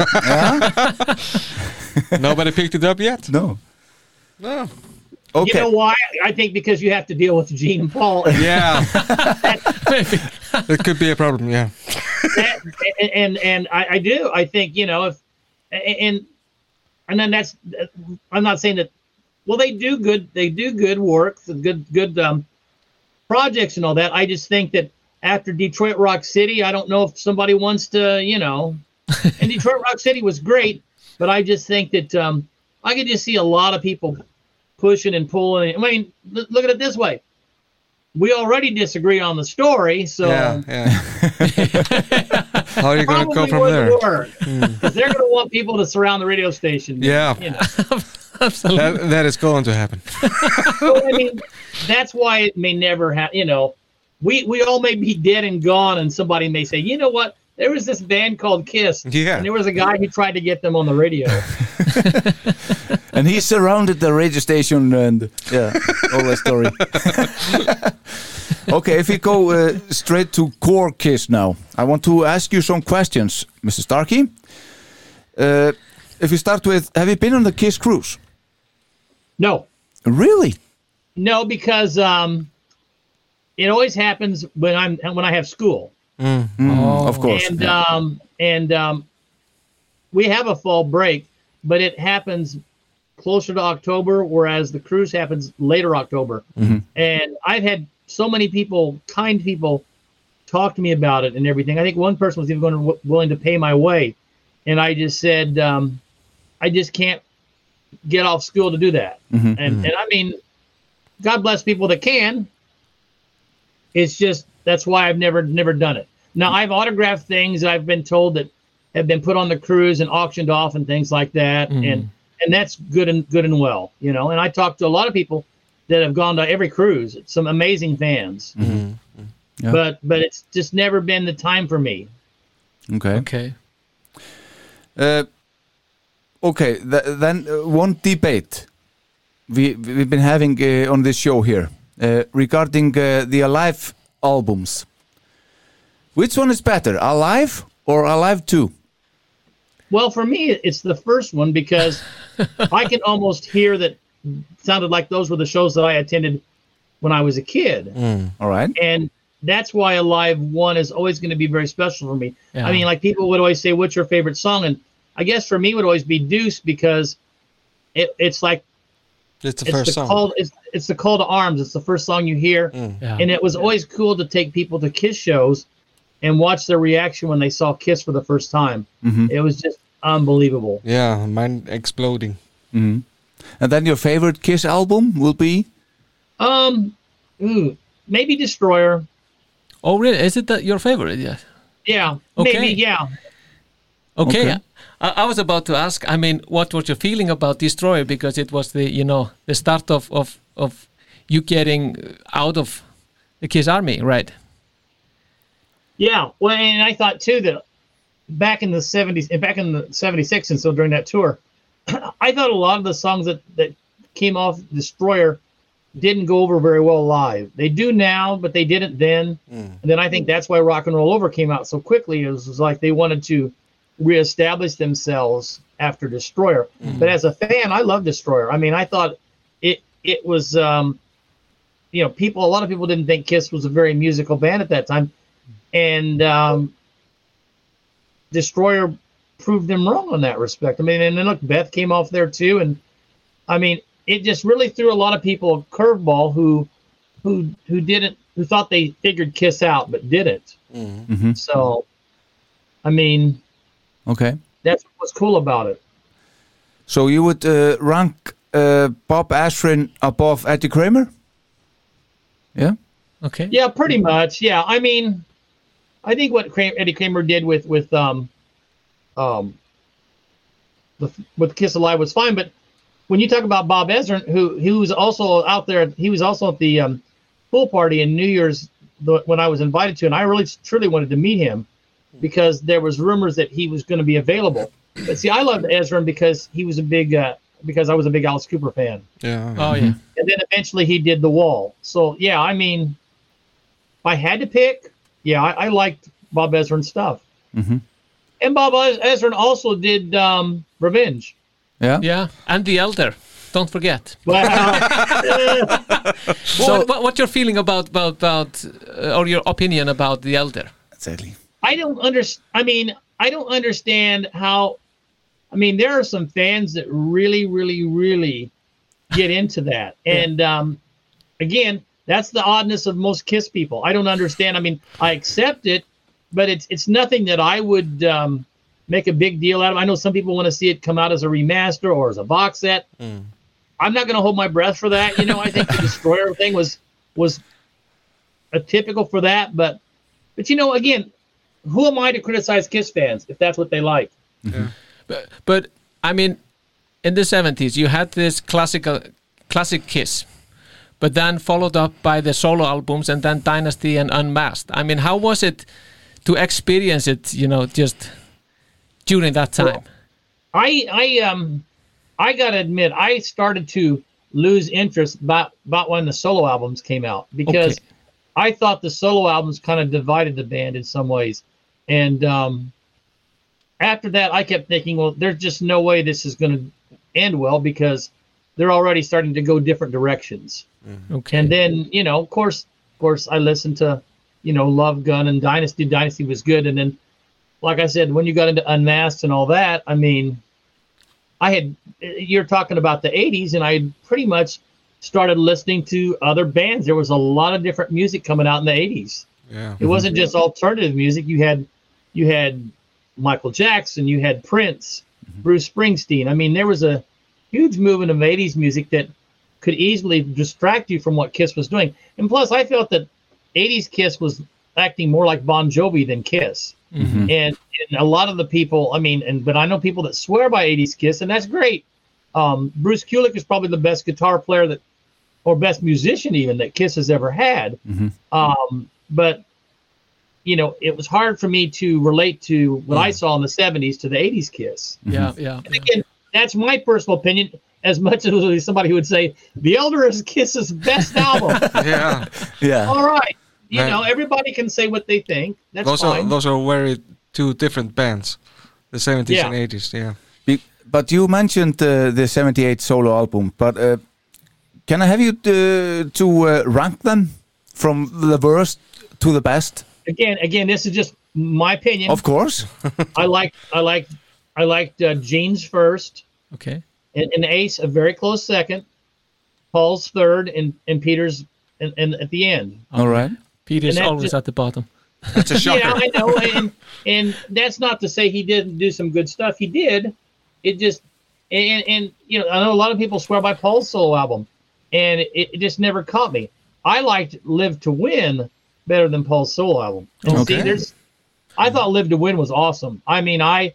Speaker 4: Nobody picked it up yet?
Speaker 3: No.
Speaker 4: No.
Speaker 9: You know why? I think because you have to deal with Gene and Paul. And
Speaker 4: Yeah. it could be a problem, yeah.
Speaker 9: and and, and I, I do. I think you know if and and then that's I'm not saying that. Well, they do good. They do good work, the good good um, projects and all that. I just think that after Detroit Rock City, I don't know if somebody wants to you know. and Detroit Rock City was great, but I just think that um, I could just see a lot of people pushing and pulling. I mean, l- look at it this way. We already disagree on the story, so um,
Speaker 4: Yeah, yeah. How are you going to go
Speaker 9: Probably
Speaker 4: from
Speaker 9: wouldn't
Speaker 4: there? Hmm.
Speaker 9: work, 'cause they're going to want people to surround the radio station.
Speaker 4: Yeah.
Speaker 9: You know.
Speaker 4: That, that is going to happen.
Speaker 9: So, I mean, that's why it may never happen. You know, we we all may be dead and gone, and somebody may say, you know what? There was this band called Kiss,
Speaker 4: Yeah.
Speaker 9: and there was a guy who tried to get them on the radio.
Speaker 3: And he surrounded the radio station and yeah, all that story. okay, if we go uh, straight to core kiss now, I want to ask you some questions, Mr. Starkey. Uh, if we start with, have you been on the Kiss cruise?
Speaker 9: No,
Speaker 3: Really?
Speaker 9: no, because um, it always happens when I'm when I have school.
Speaker 3: Mm, Of course.
Speaker 9: And um, and um, we have a fall break, but it happens closer to October, whereas the cruise happens later October. And I've had so many people, kind people, talk to me about it and everything. I think one person was even going to, willing to pay my way, and I just said, um, I just can't get off school to do that. And and I mean, God bless people that can. It's just that's why I've never never done it. Now I've autographed things that I've been told that have been put on the cruise and auctioned off and things like that, and and that's good and good and well, you know. And I talked to a lot of people that have gone to every cruise, some amazing fans,
Speaker 3: Yeah.
Speaker 9: but but it's just never been the time for me.
Speaker 3: okay.
Speaker 6: Okay.
Speaker 3: Uh, okay, th- then uh, one debate we, we've been having uh, on this show here uh, regarding uh, the Alive albums. Which one is better, Alive or Alive 2?
Speaker 9: Well, for me, it's the first one because I can almost hear that sounded like those were the shows that I attended when I was a kid.
Speaker 3: All right.
Speaker 9: and that's why Alive One is always going to be very special for me.
Speaker 6: Yeah.
Speaker 9: I mean, like people would always say, "What's your favorite song?" And I guess for me, it would always be Deuce because it, it's like
Speaker 4: It's the
Speaker 9: it's
Speaker 4: first
Speaker 9: the
Speaker 4: song. Mm.
Speaker 9: call. It's, it's the call to arms. It's the first song you hear,
Speaker 6: Yeah.
Speaker 9: and it was always cool to take people to Kiss shows and watch their reaction when they saw Kiss for the first time.
Speaker 6: Mm-hmm.
Speaker 9: It was just unbelievable.
Speaker 4: Yeah, mine exploding.
Speaker 3: And then your favorite Kiss album will be?
Speaker 9: Um, ooh, maybe Destroyer.
Speaker 6: oh, really? Is it that your favorite? Yeah.
Speaker 9: Yeah,
Speaker 6: Okay.
Speaker 9: maybe. Yeah,
Speaker 6: Okay.
Speaker 3: Okay.
Speaker 6: I, I was about to ask. I mean, what was your feeling about Destroyer? Because it was the you know the start of of of you getting out of the Kiss Army, right?
Speaker 9: Yeah, well, and I thought too that back in the seventies, and back in the '76, and so during that tour, I thought a lot of the songs that that came off Destroyer didn't go over very well live. They do now, but they didn't then. And then I think that's why Rock and Roll Over came out so quickly. It was, was like they wanted to reestablish themselves after Destroyer. But as a fan, I love Destroyer. I mean, I thought it it was. Um, you know, people. A lot of people didn't think Kiss was a very musical band at that time and um, Destroyer proved them wrong on that respect. I mean, and then look, Beth came off there too, and I mean, it just really threw a lot of people a curveball who, who, who didn't, who thought they figured Kiss out but didn't.
Speaker 3: Mhm.
Speaker 9: So, I mean,
Speaker 3: Okay.
Speaker 9: that's what's cool about it.
Speaker 3: So you would uh, rank uh, Bob Ashrin above Eddie Kramer? Yeah?
Speaker 6: Okay.
Speaker 9: Yeah, pretty much. Yeah, I mean, I think what Kram- Eddie Kramer did with with um, um, the, with Kiss Alive was fine, but when you talk about Bob Ezrin, who who was also out there, he was also at the um, pool party in New Year's the, when I was invited to, and I really truly wanted to meet him because there was rumors that he was going to be available. But see, I loved Ezrin because he was a big uh, because I was a big Alice Cooper fan
Speaker 4: Yeah.
Speaker 6: Oh yeah.
Speaker 9: and then eventually he did the wall. So yeah, I mean, if I had to pick, yeah, I, I liked Bob Ezrin's stuff, E-,
Speaker 3: Mhm.
Speaker 9: and Bob Ez- Ezrin also did um, Revenge.
Speaker 3: Yeah.
Speaker 6: Yeah. And the elder. Don't forget.
Speaker 3: So-
Speaker 6: what, what, what's your feeling about about about uh, or your opinion about the elder?
Speaker 3: Sadly.
Speaker 9: I don't understand. I mean, I don't understand how. I mean, there are some fans that really, really, really get into that, and um, again, that's the oddness of most Kiss people. I don't understand. I mean, I accept it, but it's it's nothing that I would um, make a big deal out of. I know some people want to see it come out as a remaster or as a box set. I'm not going to hold my breath for that. You know, I think the Destroyer thing was was a typical for that, but but you know, again, who am I to criticize Kiss fans if that's what they like?
Speaker 6: But, but I mean, in the seventies, you had this classical classic Kiss, but then followed up by the solo albums and then Dynasty and Unmasked. I mean, how was it to experience it? You know, just during that time.
Speaker 9: I I um I gotta admit, I started to lose interest about about when the solo albums came out because
Speaker 6: Okay.
Speaker 9: I thought the solo albums kind of divided the band in some ways, and um, after that, I kept thinking, well, there's just no way this is going to end well because they're already starting to go different directions.
Speaker 6: Okay.
Speaker 9: And then, you know, of course, of course, I listened to, you know, Love Gun and Dynasty. Dynasty was good. And then, like I said, when you got into Unmasked and all that, I mean, I had, you're talking about the 80s, and I had pretty much started listening to other bands. There was a lot of different music coming out in the 80s.
Speaker 11: Yeah.
Speaker 9: It wasn't just alternative music. You had, you had Michael Jackson, you had Prince, Bruce Springsteen. I mean, there was a huge movement of 80s music that could easily distract you from what Kiss was doing. And plus, I felt that 80s Kiss was acting more like Bon Jovi than Kiss.
Speaker 10: Mhm.
Speaker 9: And, and a lot of the people, I mean, and but I know people that swear by 80s Kiss, and that's great. Um, Bruce Kulick is probably the best guitar player that, or best musician even that Kiss has ever had. Um, but you know, it was hard for me to relate to what
Speaker 11: Mm.
Speaker 9: I saw in the '70s to the '80s Kiss.
Speaker 6: Yeah, yeah.
Speaker 9: And again, that's my personal opinion. As much as somebody who would say the Elder is Kiss's best album.
Speaker 4: yeah.
Speaker 3: Yeah.
Speaker 9: All right, you
Speaker 11: Right.
Speaker 9: know, everybody can say what they think. That's
Speaker 11: those
Speaker 9: fine.
Speaker 11: are those are very two different bands, the 70s
Speaker 9: Yeah.
Speaker 11: and 80s. Yeah.
Speaker 3: Be- But you mentioned uh, the 78 solo album, but uh, can I have you uh, to uh, rank them from the worst to the best?
Speaker 9: again, again, this is just my opinion.
Speaker 3: Of course.
Speaker 9: I like, I like, I liked uh, Jeans first,
Speaker 6: Okay.
Speaker 9: and, and Ace a very close second, Paul's third, and and Peter's and, and at the end.
Speaker 3: All right.
Speaker 6: Peter's
Speaker 9: And that
Speaker 6: always
Speaker 9: just-
Speaker 6: at the bottom.
Speaker 11: That's a shocker.
Speaker 9: Yeah, I know, and and that's not to say he didn't do some good stuff. He did. It just and and you know I know a lot of people swear by Paul's solo album, and it, it just never caught me. I liked Live to Win better than Paul's solo album. And
Speaker 10: Okay.
Speaker 9: see, there's I thought Live to Win was awesome. I mean, I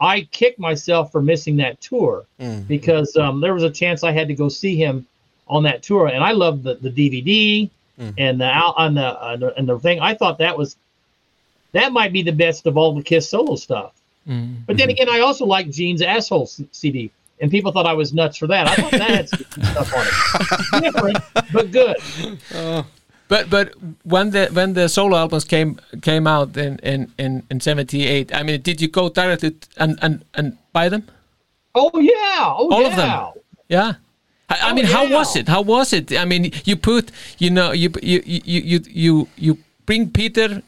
Speaker 9: I kicked myself for missing that tour because um, there was a chance I had to go see him on that tour, and I loved the, the DVD and the out on the, on the and the thing. I thought that was that might be the best of all the Kiss solo stuff.
Speaker 6: Mm-hmm.
Speaker 9: But then again, I also like Gene's asshole C- CD, and people thought I was nuts for that. I thought that had some good stuff on it, different but good.
Speaker 6: But but when the when the solo albums came came out in in in, in seventy eight, I mean, did you go directly t- and and and buy them?
Speaker 9: Oh yeah, oh
Speaker 6: All
Speaker 9: yeah.
Speaker 6: of them. Yeah. I,
Speaker 9: Oh,
Speaker 6: I mean, how was it? How was it? I mean, you put, you know, you you you you you, you bring Peter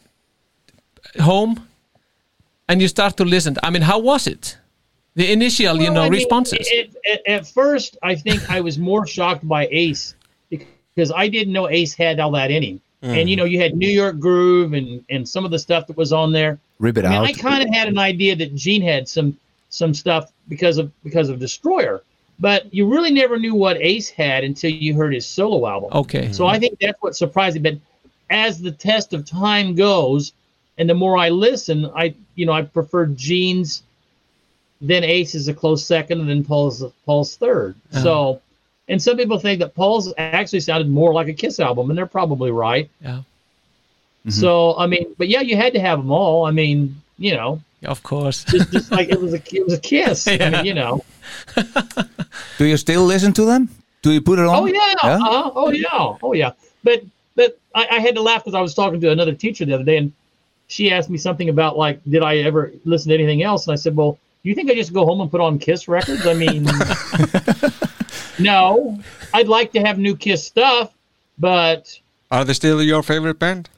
Speaker 6: home, and you start to listen. I mean, how was it? The initial, you
Speaker 9: Well,
Speaker 6: know,
Speaker 9: I mean,
Speaker 6: responses.
Speaker 9: at- at, at first, I think I was more shocked by Ace because I didn't know Ace had all that in him. And
Speaker 6: Mm.
Speaker 9: you know, you had New York Groove and and some of the stuff that was on there.
Speaker 3: Rip it
Speaker 9: I mean,
Speaker 3: out.
Speaker 9: I kind of had an idea that Gene had some some stuff because of because of Destroyer, but you really never knew what Ace had until you heard his solo album.
Speaker 6: Okay.
Speaker 9: So I think that's what surprised me. But as the test of time goes, and the more I listen, I you know I prefer Gene's, then Ace is a close second, and then Paul's Paul's 3rd So, and some people think that Paul's actually sounded more like a Kiss album, and they're probably right.
Speaker 6: yeah,
Speaker 9: So I mean, but yeah, you had to have them all. I mean, you know,
Speaker 6: of course.
Speaker 9: just just like it was a it was a kiss. I mean, you know.
Speaker 3: Do you still listen to them? Do you put it on?
Speaker 9: Oh yeah. Uh-huh. Oh yeah. Oh yeah. But but I, I had to laugh because I was talking to another teacher the other day, and she asked me something about like, did I ever listen to anything else? And I said, well, you think I just go home and put on Kiss records? I mean, no. I'd like to have new Kiss stuff, but
Speaker 11: Are they still your favorite band?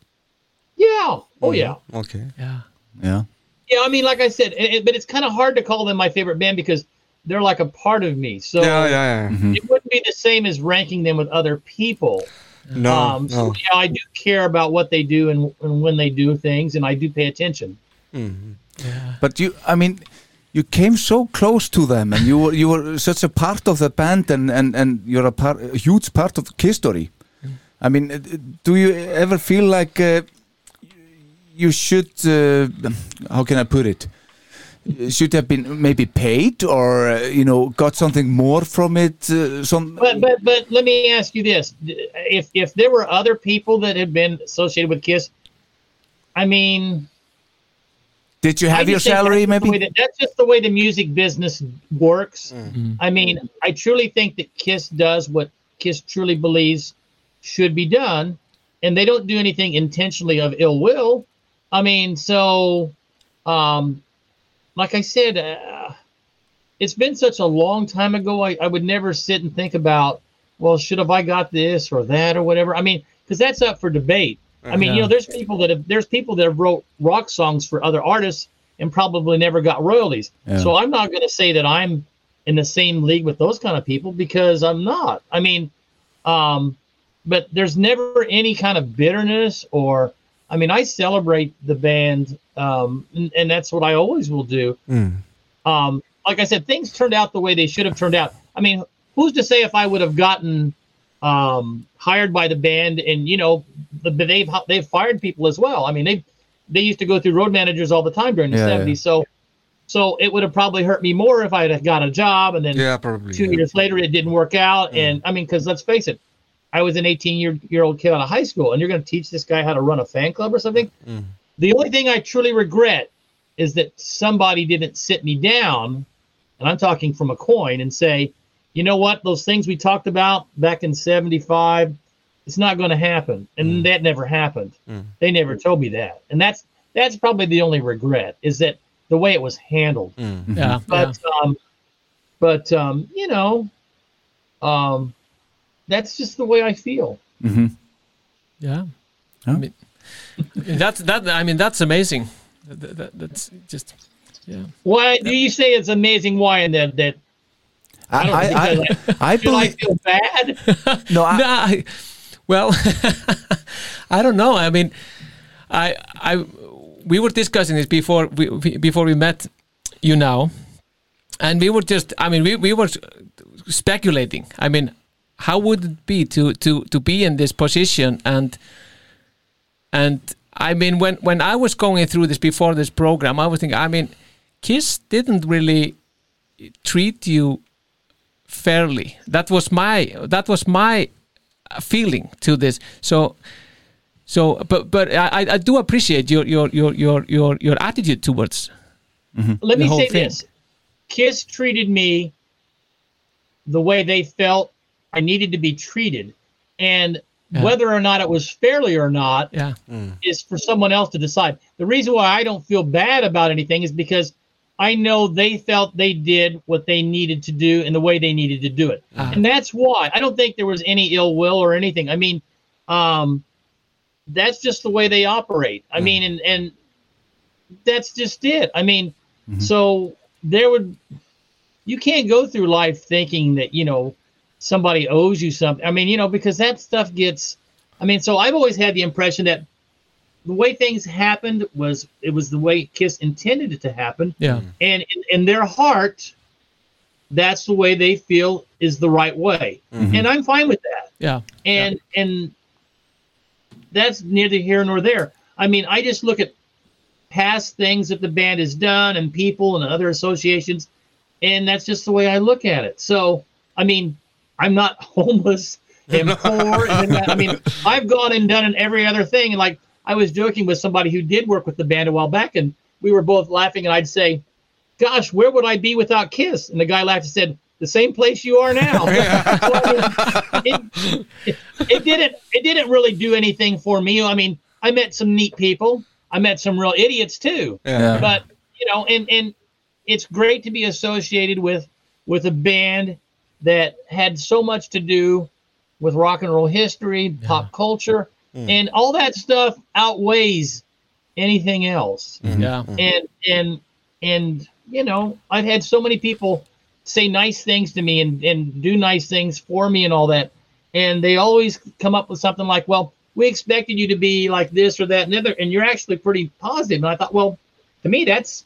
Speaker 9: yeah. Oh, yeah.
Speaker 11: Okay.
Speaker 6: Yeah.
Speaker 3: Yeah.
Speaker 9: Yeah, I mean, like I said, it, it- but it's kind of hard to call them my favorite band because they're like a part of me. So
Speaker 11: Yeah, yeah, yeah. Mhm.
Speaker 9: it wouldn't be the same as ranking them with other people.
Speaker 11: Mm-hmm. No,
Speaker 4: Oh,
Speaker 9: Um, So,
Speaker 11: no.
Speaker 9: yeah, I do care about what they do and, and when they do things, and I do pay attention.
Speaker 3: But you, I mean, you came so close to them, and you were you were such a part of the band, and and and you're a, part, a huge part of Kiss story. I mean, uh, do you ever feel like uh, you should? Uh, how can I put it? Should have been maybe paid, or uh, you know, got something more from it. Uh, some
Speaker 9: But but but let me ask you this: if if there were other people that had been associated with Kiss, I mean,
Speaker 3: did you
Speaker 9: I
Speaker 3: have your
Speaker 9: just think
Speaker 3: salary?
Speaker 9: that's just the way
Speaker 3: Maybe
Speaker 9: that- that's just the way the music business works.
Speaker 3: Mm-hmm.
Speaker 9: I mean, I truly think that Kiss does what Kiss truly believes should be done, and they don't do anything intentionally of ill will. I mean, so, um, like I said, uh, it's been such a long time ago. I, I would never sit and think about, well, should have I got this or that or whatever. I mean, because that's up for debate. I mean, you know,
Speaker 6: Yeah.
Speaker 9: there's people that have there's people that have wrote rock songs for other artists and probably never got royalties.
Speaker 3: Yeah.
Speaker 9: So I'm not going to say that I'm in the same league with those kind of people because I'm not. I mean, um, but there's never any kind of bitterness or, I mean, I celebrate the band, um, and, and that's what I always will do.
Speaker 11: Mm.
Speaker 9: Um, like I said, things turned out the way they should have turned out. I mean, who's to say if I would have gotten um, hired by the band and you know, the, but they've they've fired people as well. I mean, they they used to go through road managers all the time during the
Speaker 11: Yeah, yeah.
Speaker 9: seventies, so. So it would have probably hurt me more if I had got a job and then
Speaker 11: Yeah, probably,
Speaker 9: two
Speaker 11: yeah.
Speaker 9: years later it didn't work out. And I mean, because let's face it, I was an 18 year year old kid out of high school, and you're going to teach this guy how to run a fan club or something. The only thing I truly regret is that somebody didn't sit me down, and I'm talking from a coin, and say, you know what, those things we talked about back in 75, it's not going to happen. And that never happened. They never told me that. And that's that's probably the only regret is that the way it was handled.
Speaker 6: Yeah,
Speaker 9: But um but um, you know, um that's just the way I feel.
Speaker 3: Mm-hmm.
Speaker 6: Yeah. I mean, that's that. I mean, that's amazing. That, that- that's just yeah.
Speaker 9: Why do you say it's amazing why and that that
Speaker 3: I
Speaker 9: don't think
Speaker 3: I I,
Speaker 9: that-
Speaker 3: I
Speaker 9: should I
Speaker 3: believe
Speaker 9: feel bad?
Speaker 3: no. I,
Speaker 6: Nah, I- well, I don't know. I mean, I I we were discussing this before we we- before we met you now, and we were just I mean we we were speculating. I mean, how would it be to to to be in this position and and I mean when when I was going through this before this program, I was thinking. I mean, Kiss didn't really treat you fairly. That was my that was my feeling to this. So so but but I, I- I do appreciate your your your your your, your attitude towards
Speaker 9: Let
Speaker 6: the
Speaker 9: me
Speaker 6: whole
Speaker 9: say
Speaker 6: thing.
Speaker 9: this. Kiss treated me the way they felt I needed to be treated. And
Speaker 6: Yeah.
Speaker 9: whether or not it was fairly or not
Speaker 6: Yeah.
Speaker 3: Mm-hmm.
Speaker 9: is for someone else to decide. The reason why I don't feel bad about anything is because I know they felt they did what they needed to do and the way they needed to do it.
Speaker 6: Ah.
Speaker 9: And that's why I don't think there was any ill will or anything. I mean, um, that's just the way they operate. I mean, and, and that's just it. I mean, so there would you can't go through life thinking that you know somebody owes you something. I mean, you know, because that stuff gets. I mean, so I've always had the impression that the way things happened was it was the way Kiss intended it to happen,
Speaker 6: Yeah.
Speaker 9: and in, in their heart, that's the way they feel is the right way, and I'm fine with that
Speaker 6: Yeah.
Speaker 9: and and that's neither here nor there. I mean, I just look at past things that the band has done and people and other associations, and that's just the way I look at it. So, I mean, I'm not homeless and poor. and that, I mean, I've gone and done every other thing. And like I was joking with somebody who did work with the band a while back, and we were both laughing, and I'd say, "Gosh, where would I be without Kiss?" And the guy laughed and said. The same place you are now. So, I mean, it- it didn't it didn't really do anything for me. I mean, I met some neat people. I met some real idiots too.
Speaker 11: Yeah.
Speaker 9: But you know, and and it's great to be associated with with a band that had so much to do with rock and roll history, pop culture,
Speaker 6: Mm.
Speaker 9: and all that stuff outweighs anything else.
Speaker 3: Mm-hmm.
Speaker 6: Yeah.
Speaker 9: And and and you know, I've had so many people say nice things to me and and do nice things for me and all that, and they always come up with something like, "Well, we expected you to be like this or that and the other, and you're actually pretty positive." And I thought, well, to me, that's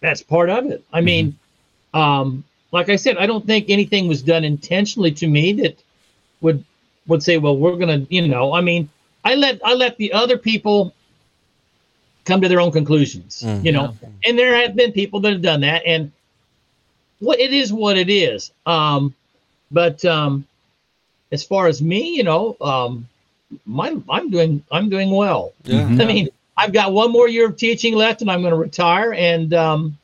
Speaker 9: that's part of it. I mean, um, like I said, I don't think anything was done intentionally to me that would would say, well, we're gonna, you know, I mean, I let I let the other people come to their own conclusions, you know, and there have been people that have done that, and what it is what it is. Um, but um, as far as me, you know, um, my I'm doing I'm doing well.
Speaker 11: Yeah.
Speaker 9: I mean, I've got one more year of teaching left, and I'm going to retire, and um,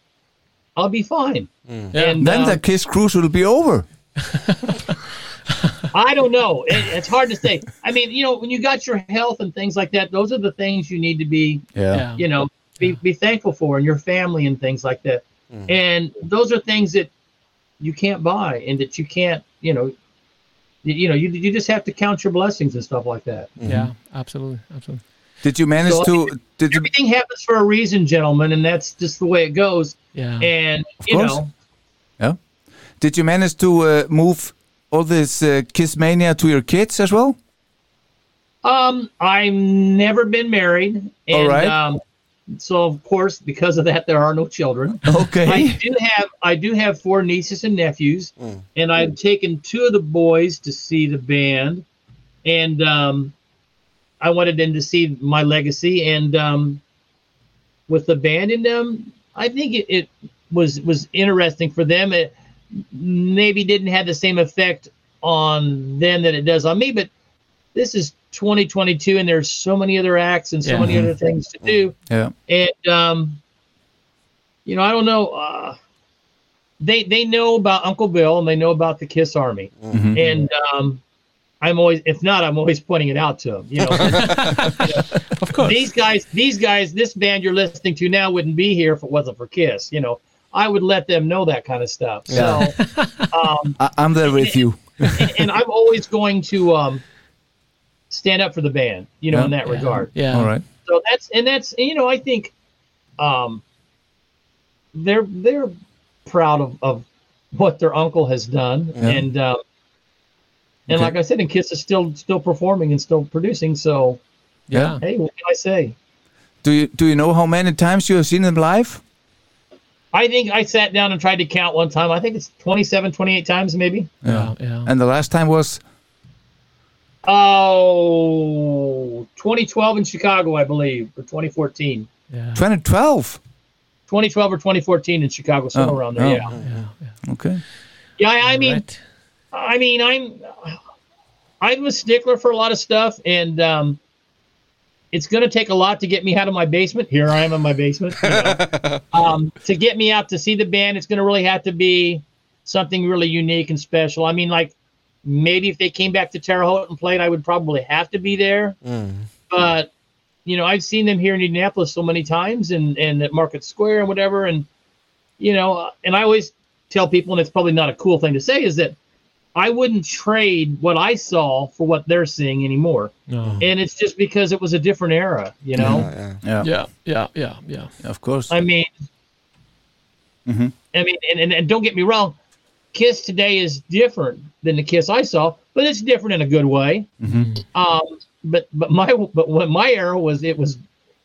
Speaker 9: I'll be fine. And
Speaker 3: then
Speaker 9: um,
Speaker 3: the Kiss cruise will be over.
Speaker 9: I don't know. It, it's hard to say. I mean, you know, when you got your health and things like that, those are the things you need to be,
Speaker 3: Yeah. Yeah. Mm-hmm.
Speaker 9: you know, be, be thankful for and your family and things like that. And those are things that you can't buy and that you can't, you know, you, you know, you, you just have to count your blessings and stuff like that.
Speaker 3: Mm-hmm.
Speaker 6: Yeah, absolutely, absolutely.
Speaker 3: Did you manage
Speaker 9: So,
Speaker 3: to? Did you?
Speaker 9: Everything happens for a reason, gentlemen, and that's just the way it goes.
Speaker 6: Yeah.
Speaker 9: And, you
Speaker 3: Mm-hmm. course.
Speaker 9: know,
Speaker 3: Yeah. Did you manage to uh, move all this uh, Kiss mania to your kids as well?
Speaker 9: Um, I've never been married, and
Speaker 3: All right.
Speaker 9: um, so of course, because of that, there are no children.
Speaker 3: Okay.
Speaker 9: I do have I do have four nieces and nephews, and
Speaker 3: Mm.
Speaker 9: I've taken two of the boys to see the band, and um, I wanted them to see my legacy, and um, with the band in them, I think it, it was was interesting for them. It maybe didn't have the same effect on them that it does on me, but this is 2022 and there's so many other acts and so
Speaker 3: Yeah. Mm-hmm.
Speaker 9: many other things to do
Speaker 3: Yeah.
Speaker 9: and um you know i don't know uh they they know about uncle bill and they know about the kiss army
Speaker 3: Mhm.
Speaker 9: and um i'm always if not i'm always pointing it out to them you know of course these guys these guys this band you're listening to now wouldn't be here if it wasn't for kiss you know i would let them know that kind of stuff so
Speaker 3: I, I'm there with you.
Speaker 9: and, and I'm always going to um, stand up for the band, you know, in
Speaker 3: Yeah.
Speaker 9: that regard.
Speaker 6: Yeah.
Speaker 3: All right.
Speaker 9: So that's and that's you know I think um, they're they're proud of, of what their uncle has done,
Speaker 3: Yeah.
Speaker 9: and uh, and
Speaker 3: Okay.
Speaker 9: like I said, and Kiss is still still performing and still producing. So
Speaker 3: Yeah.
Speaker 9: hey, what can I say?
Speaker 3: Do you do you know how many times you have seen them live?
Speaker 9: I think I sat down and tried to count one time. I think it's 27, 28 times maybe.
Speaker 6: Yeah. Yeah.
Speaker 3: And the last time was
Speaker 9: Oh, 2012 in Chicago, I believe, or 2014.
Speaker 3: 2012.
Speaker 9: 2012 or 2014 in Chicago, somewhere
Speaker 3: Oh,
Speaker 9: around there.
Speaker 3: oh.
Speaker 9: Yeah.
Speaker 3: Okay.
Speaker 9: Yeah. I, I mean, I mean, I'm, I'm a stickler for a lot of stuff and, um, it's going to take a lot to get me out of my basement. Here I am in my basement. you know. um, to get me out to see the band, it's going to really have to be something really unique and special. I mean, like maybe if they came back to Terre Haute and played, I would probably have to be there. but you know i've seen them here in indianapolis so many times and and at market square and whatever and you know and i always tell people and it's probably not a cool thing to say is that i wouldn't trade what i saw for what they're seeing anymore
Speaker 6: No.
Speaker 9: and it's just because it was a different era you know
Speaker 3: Yeah.
Speaker 6: Yeah. Yeah. Yeah. Yeah.
Speaker 3: Of course.
Speaker 9: i mean
Speaker 3: Mhm.
Speaker 9: i mean and, and, and don't get me wrong kiss today is different than the kiss i saw but it's different in a good way Um, but but my but when my era was it was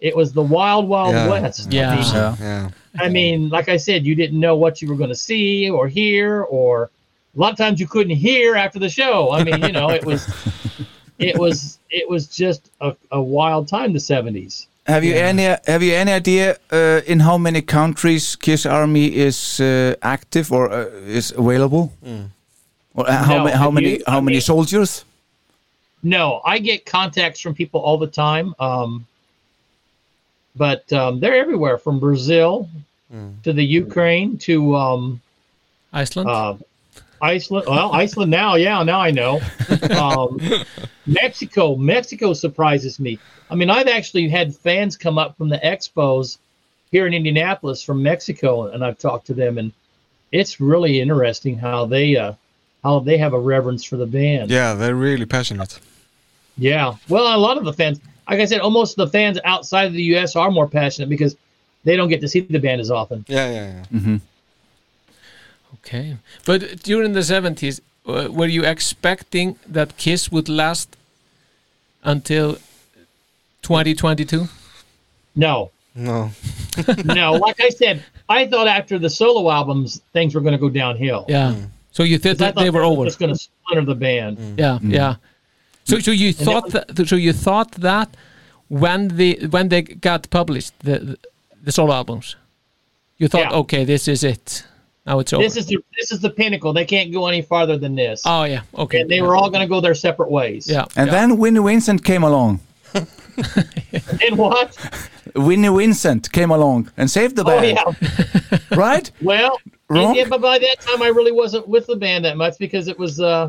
Speaker 9: it was the wild wild
Speaker 11: Yeah.
Speaker 9: west.
Speaker 6: Yeah.
Speaker 9: I mean,
Speaker 3: Yeah.
Speaker 11: Yeah.
Speaker 9: I mean, like I said, you didn't know what you were going to see or hear, or a lot of times you couldn't hear after the show. I mean, you know, it was it was it was just a, a wild time. The seventies.
Speaker 3: Have you any Have you any idea uh, in how many countries Kiss Army is uh, active or uh, is available? Or uh, how,
Speaker 9: Mm. No,
Speaker 3: ma- how
Speaker 9: have
Speaker 3: many
Speaker 9: you?
Speaker 3: how many soldiers?
Speaker 9: No, I get contacts from people all the time. Um, but um, they're everywhere from Brazil to the Ukraine to um,
Speaker 6: Iceland.
Speaker 9: uh, Iceland. Well, Iceland now. Yeah, now I know. Um, Mexico. Mexico surprises me. I mean, I've actually had fans come up from the expos here in Indianapolis from Mexico, and I've talked to them, and it's really interesting how they uh, how they have a reverence for the band.
Speaker 11: Yeah, they're really passionate.
Speaker 9: Yeah. Well, a lot of the fans, like I said, almost the fans outside of the U.S. are more passionate because they don't get to see the band as often.
Speaker 11: Yeah, yeah, yeah.
Speaker 3: Mm-hmm.
Speaker 6: Okay, but during the seventies, uh, were you expecting that Kiss would last until twenty twenty two?
Speaker 9: No,
Speaker 11: No.
Speaker 9: no. Like I said, I thought after the solo albums, things were going to go downhill.
Speaker 6: Yeah. So you thought
Speaker 9: 'Cause Mm. I
Speaker 6: that they
Speaker 9: thought
Speaker 6: were over? Mm-hmm.
Speaker 9: Just going to splinter the band.
Speaker 6: Yeah, yeah. Mm. So, so you
Speaker 9: And that
Speaker 6: thought that, so you thought that when the when they got published the the solo albums, you thought, okay, this is it. Now it's over.
Speaker 9: This is the this is the pinnacle. They can't go any farther than this.
Speaker 6: oh yeah, okay.
Speaker 9: And they were all going to go their separate ways.
Speaker 6: yeah.
Speaker 3: And
Speaker 6: yeah.
Speaker 3: then Winnie Vincent came along.
Speaker 9: And what?
Speaker 3: Winnie Vincent came along and saved the
Speaker 9: Oh
Speaker 3: band,
Speaker 9: yeah.
Speaker 3: right?
Speaker 9: Well,
Speaker 3: Wrong?
Speaker 9: yeah, but by that time I really wasn't with the band that much because it was uh,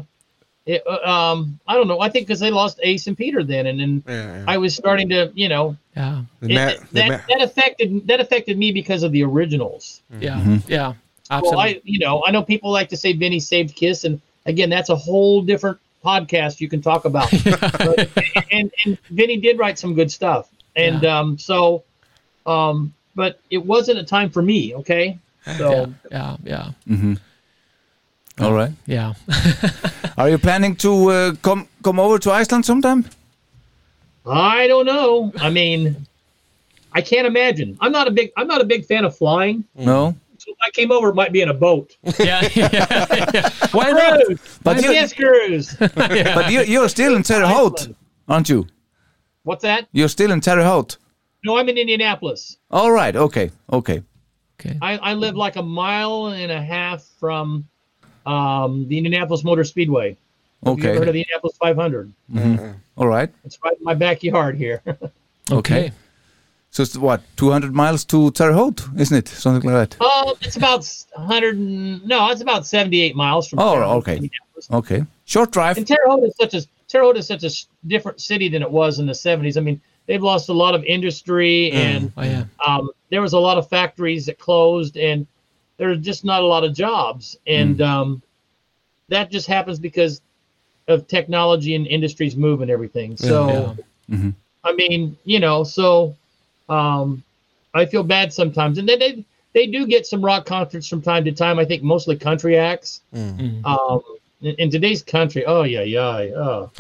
Speaker 9: it, uh, um, I don't know. I think because they lost Ace and Peter then, and then
Speaker 11: Yeah, yeah.
Speaker 9: I was starting to, you know,
Speaker 6: yeah,
Speaker 11: The
Speaker 9: it-
Speaker 11: ma-
Speaker 9: it-
Speaker 11: the
Speaker 9: that
Speaker 11: ma-
Speaker 9: that affected that affected me because of the originals.
Speaker 3: Mm-hmm.
Speaker 6: yeah, yeah.
Speaker 9: Well,
Speaker 6: Absolutely.
Speaker 9: I you know I know people like to say Benny saved Kiss, and again that's a whole different podcast you can talk about. But- and and Vinny did write some good stuff, and um, so, um, but it wasn't a time for me. Okay, so.
Speaker 6: Ah, yeah, yeah, yeah,
Speaker 3: All right.
Speaker 6: yeah.
Speaker 3: Are you planning to uh, come come over to Iceland sometime?
Speaker 9: Mm. I don't know. I mean, I can't imagine. I'm not a big. I'm not a big fan of flying.
Speaker 3: No.
Speaker 9: So if I came over, it might be in a boat.
Speaker 6: yeah, yeah, yeah. Why not?
Speaker 9: Cruise.
Speaker 3: But
Speaker 9: But
Speaker 3: you-
Speaker 9: yes, cruise.
Speaker 3: But you, you're still in Terre Haute,
Speaker 9: Iceland.
Speaker 3: aren't you?
Speaker 9: What's that?
Speaker 3: You're still in Terre Haute.
Speaker 9: No, I'm in Indianapolis.
Speaker 3: All right. Okay. Okay.
Speaker 6: Okay.
Speaker 9: I, I live like a mile and a half from um, the Indianapolis Motor Speedway. Have you ever heard of
Speaker 3: Okay.
Speaker 9: the Indianapolis 500?
Speaker 3: All right.
Speaker 9: It's right in my backyard here.
Speaker 6: Okay.
Speaker 3: So it's what 200 miles to Terre Haute, isn't it? Something like that.
Speaker 9: Oh, it's about 100. and- No, it's about 78 miles from.
Speaker 3: Oh,
Speaker 9: Terre Haute to
Speaker 3: okay.
Speaker 9: Indianapolis.
Speaker 3: Okay. Short drive.
Speaker 9: Oh. And Terre Haute is such a Terre Haute is such a s- different city than it was in the '70s. I mean, they've lost a lot of
Speaker 3: Hmm.
Speaker 9: industry, and
Speaker 6: Oh
Speaker 3: Mm.
Speaker 6: yeah.
Speaker 9: um, there was a lot of factories that closed, and there's just not a lot of jobs, and um, that just happens because of technology and industries moving everything. So, I mean, you know, so um, I feel bad sometimes, and then they they do get some rock concerts from time to time. I think mostly country acts. Um, in, in today's country, oh yeah, yeah, oh,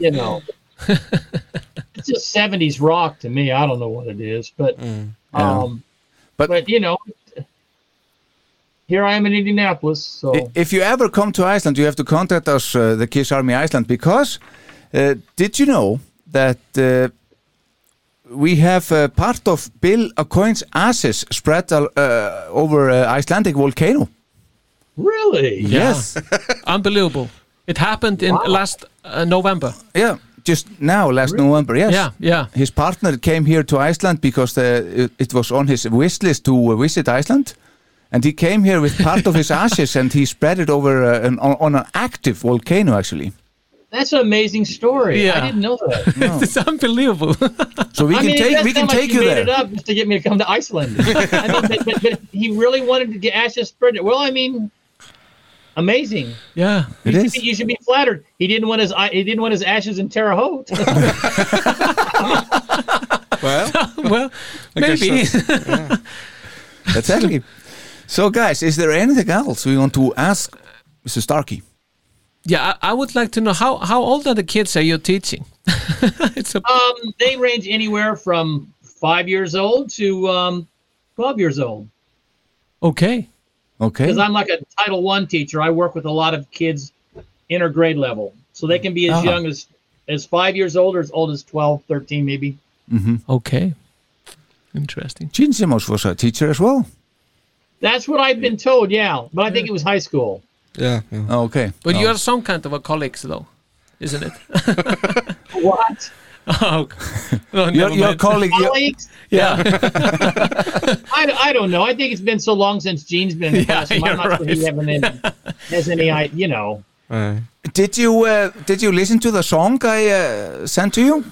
Speaker 9: you know, it's just seventies rock to me. I don't know what it is, but um,
Speaker 3: Mm, But-
Speaker 9: but you know, here I am in Indianapolis, so
Speaker 3: I- If you ever come to Iceland, you have to contact us, uh, the Kiss Army Iceland, because uh, did you know that uh, we have uh, part of Bill Acoin's ashes spread al- uh, over uh, Icelandic volcano?
Speaker 9: really,
Speaker 3: Yes.
Speaker 6: Unbelievable. It happened in
Speaker 9: Wow.
Speaker 6: last uh, November.
Speaker 3: yeah. Just now, last November. Yes.
Speaker 6: Yeah, yeah.
Speaker 3: His partner came here to Iceland because the, it, it was on his wish list to uh, visit Iceland. And he came here with part of his ashes and he spread it over uh, an, on, on an active volcano, actually.
Speaker 9: that's an amazing story.
Speaker 6: Yeah.
Speaker 9: I didn't know that.
Speaker 6: it's unbelievable.
Speaker 3: So we
Speaker 9: I
Speaker 3: can
Speaker 9: mean, it
Speaker 3: take
Speaker 9: does
Speaker 3: we can
Speaker 9: sound like
Speaker 3: take
Speaker 9: he
Speaker 3: you
Speaker 9: made
Speaker 3: there.
Speaker 9: It up just to get me to come to Iceland. I mean, but, but, but he really wanted to get Ashes spread. Well, I mean, amazing.
Speaker 6: yeah.
Speaker 3: It
Speaker 9: You
Speaker 3: is.
Speaker 9: should, be, you should be flattered. He didn't want his I- he didn't want his ashes in Terre Haute.
Speaker 11: Well,
Speaker 6: Well,
Speaker 11: guess
Speaker 6: maybe.
Speaker 3: Exactly. so, guys, is there anything else we want to ask Mr. Starkey?
Speaker 6: Yeah, I, I would like to know how, how old are the kids are you teaching? it's a,
Speaker 9: um, they range anywhere from five years old to um, twelve years old.
Speaker 6: okay.
Speaker 3: Okay.
Speaker 9: Because I'm like a Title One teacher, I work with a lot of kids intergrade level, so they can be as
Speaker 6: Uh-huh.
Speaker 3: Ah.
Speaker 9: young as as five years old or as old as 12, 13 maybe.
Speaker 6: Okay. Interesting.
Speaker 3: Gene Simmons was a teacher as well.
Speaker 9: That's what I've been told. Yeah, but I think it was high school.
Speaker 11: yeah, yeah.
Speaker 3: Okay.
Speaker 6: But
Speaker 3: Oh.
Speaker 6: you are some kind of a colleagues though, isn't it?
Speaker 9: What?
Speaker 6: oh, no,
Speaker 3: your,
Speaker 6: never
Speaker 3: your
Speaker 6: mind.
Speaker 3: colleague. your-
Speaker 9: Colleagues?
Speaker 6: yeah.
Speaker 9: I, I don't know. I think it's been so long since Gene's been in the classroom.
Speaker 6: you're
Speaker 9: I'm not sure he
Speaker 6: right.
Speaker 9: haven't any, has any, I- you know.
Speaker 11: Alright.
Speaker 3: did you uh, did you listen to the song I uh, sent to you?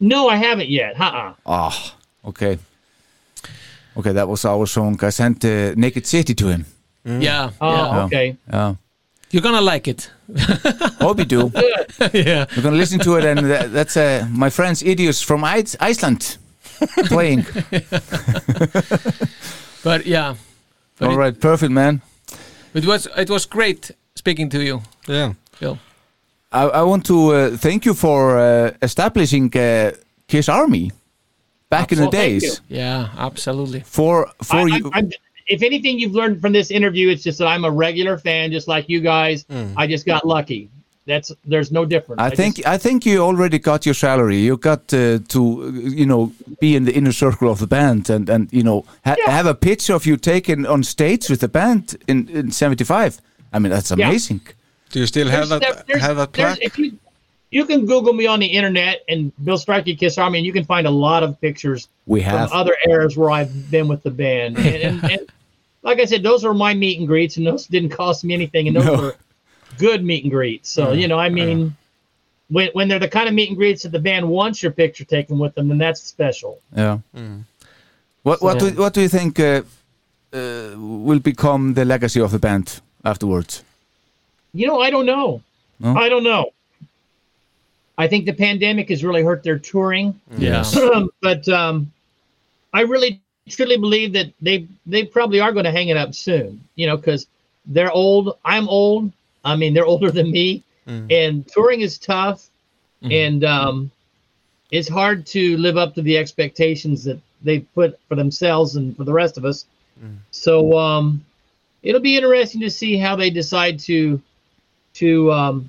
Speaker 9: No, I haven't yet. Uh-uh.
Speaker 3: Ah. Okay. Okay, that was our song. I sent uh, Naked City to him.
Speaker 6: Yeah,
Speaker 9: Oh,
Speaker 6: yeah.
Speaker 9: okay.
Speaker 3: Yeah.
Speaker 6: You're gonna like it.
Speaker 3: Hope you do.
Speaker 6: yeah.
Speaker 3: We're going to listen to it, and tha- that's uh, my friends Idios from Ice- Iceland playing.
Speaker 6: But yeah, But
Speaker 3: All
Speaker 6: it-
Speaker 3: right, perfect, man.
Speaker 6: it was it was great speaking to you.
Speaker 4: Yeah.
Speaker 6: Phil.
Speaker 3: I, I want to uh, thank you for uh, establishing uh, Kiss Army back in the
Speaker 9: Well, thank
Speaker 3: days.
Speaker 9: you.
Speaker 6: Yeah, absolutely.
Speaker 3: For for
Speaker 9: I-
Speaker 3: you,
Speaker 9: I, am if anything you've learned from this interview, it's just that I'm a regular fan, just like you guys. I just got lucky. That's there's no difference.
Speaker 3: Hmm. I think
Speaker 9: just-
Speaker 3: I think you already got your salary. You got uh, to uh, you know be in the inner circle of the band and and you know ha- have a picture of you taken on stage with the band in in '75. I mean that's
Speaker 9: Yeah.
Speaker 3: amazing.
Speaker 4: Do you still have
Speaker 9: there's-
Speaker 4: that?
Speaker 9: there's-
Speaker 4: Have that
Speaker 9: there's-
Speaker 4: plaque?
Speaker 9: if you, you can Google me on the internet and Bill Strike Kiss Army, and you can find a lot of pictures
Speaker 3: We have.
Speaker 9: from other eras where I've been with the band. And, and, and like I said, those were my meet and greets, and those didn't cost me anything, and those
Speaker 3: No. Mm.
Speaker 9: were good meet and greets. So you know, I mean, when when they're the kind of meet and greets that the band wants your picture taken with them, then that's special.
Speaker 3: Yeah. What what
Speaker 9: So-
Speaker 3: do, what do you think uh, uh, will become the legacy of the band afterwards?
Speaker 9: You know, I don't know.
Speaker 3: No?
Speaker 9: I don't know. I think the pandemic has really hurt their touring.
Speaker 6: Yeah.
Speaker 9: but um, I really truly believe that they they probably are going to hang it up soon. You know, because they're old. I'm old. I mean, they're older than me, and touring is tough, and um, it's hard to live up to the expectations that they put for themselves and for the rest of us. So um, it'll be interesting to see how they decide to to um,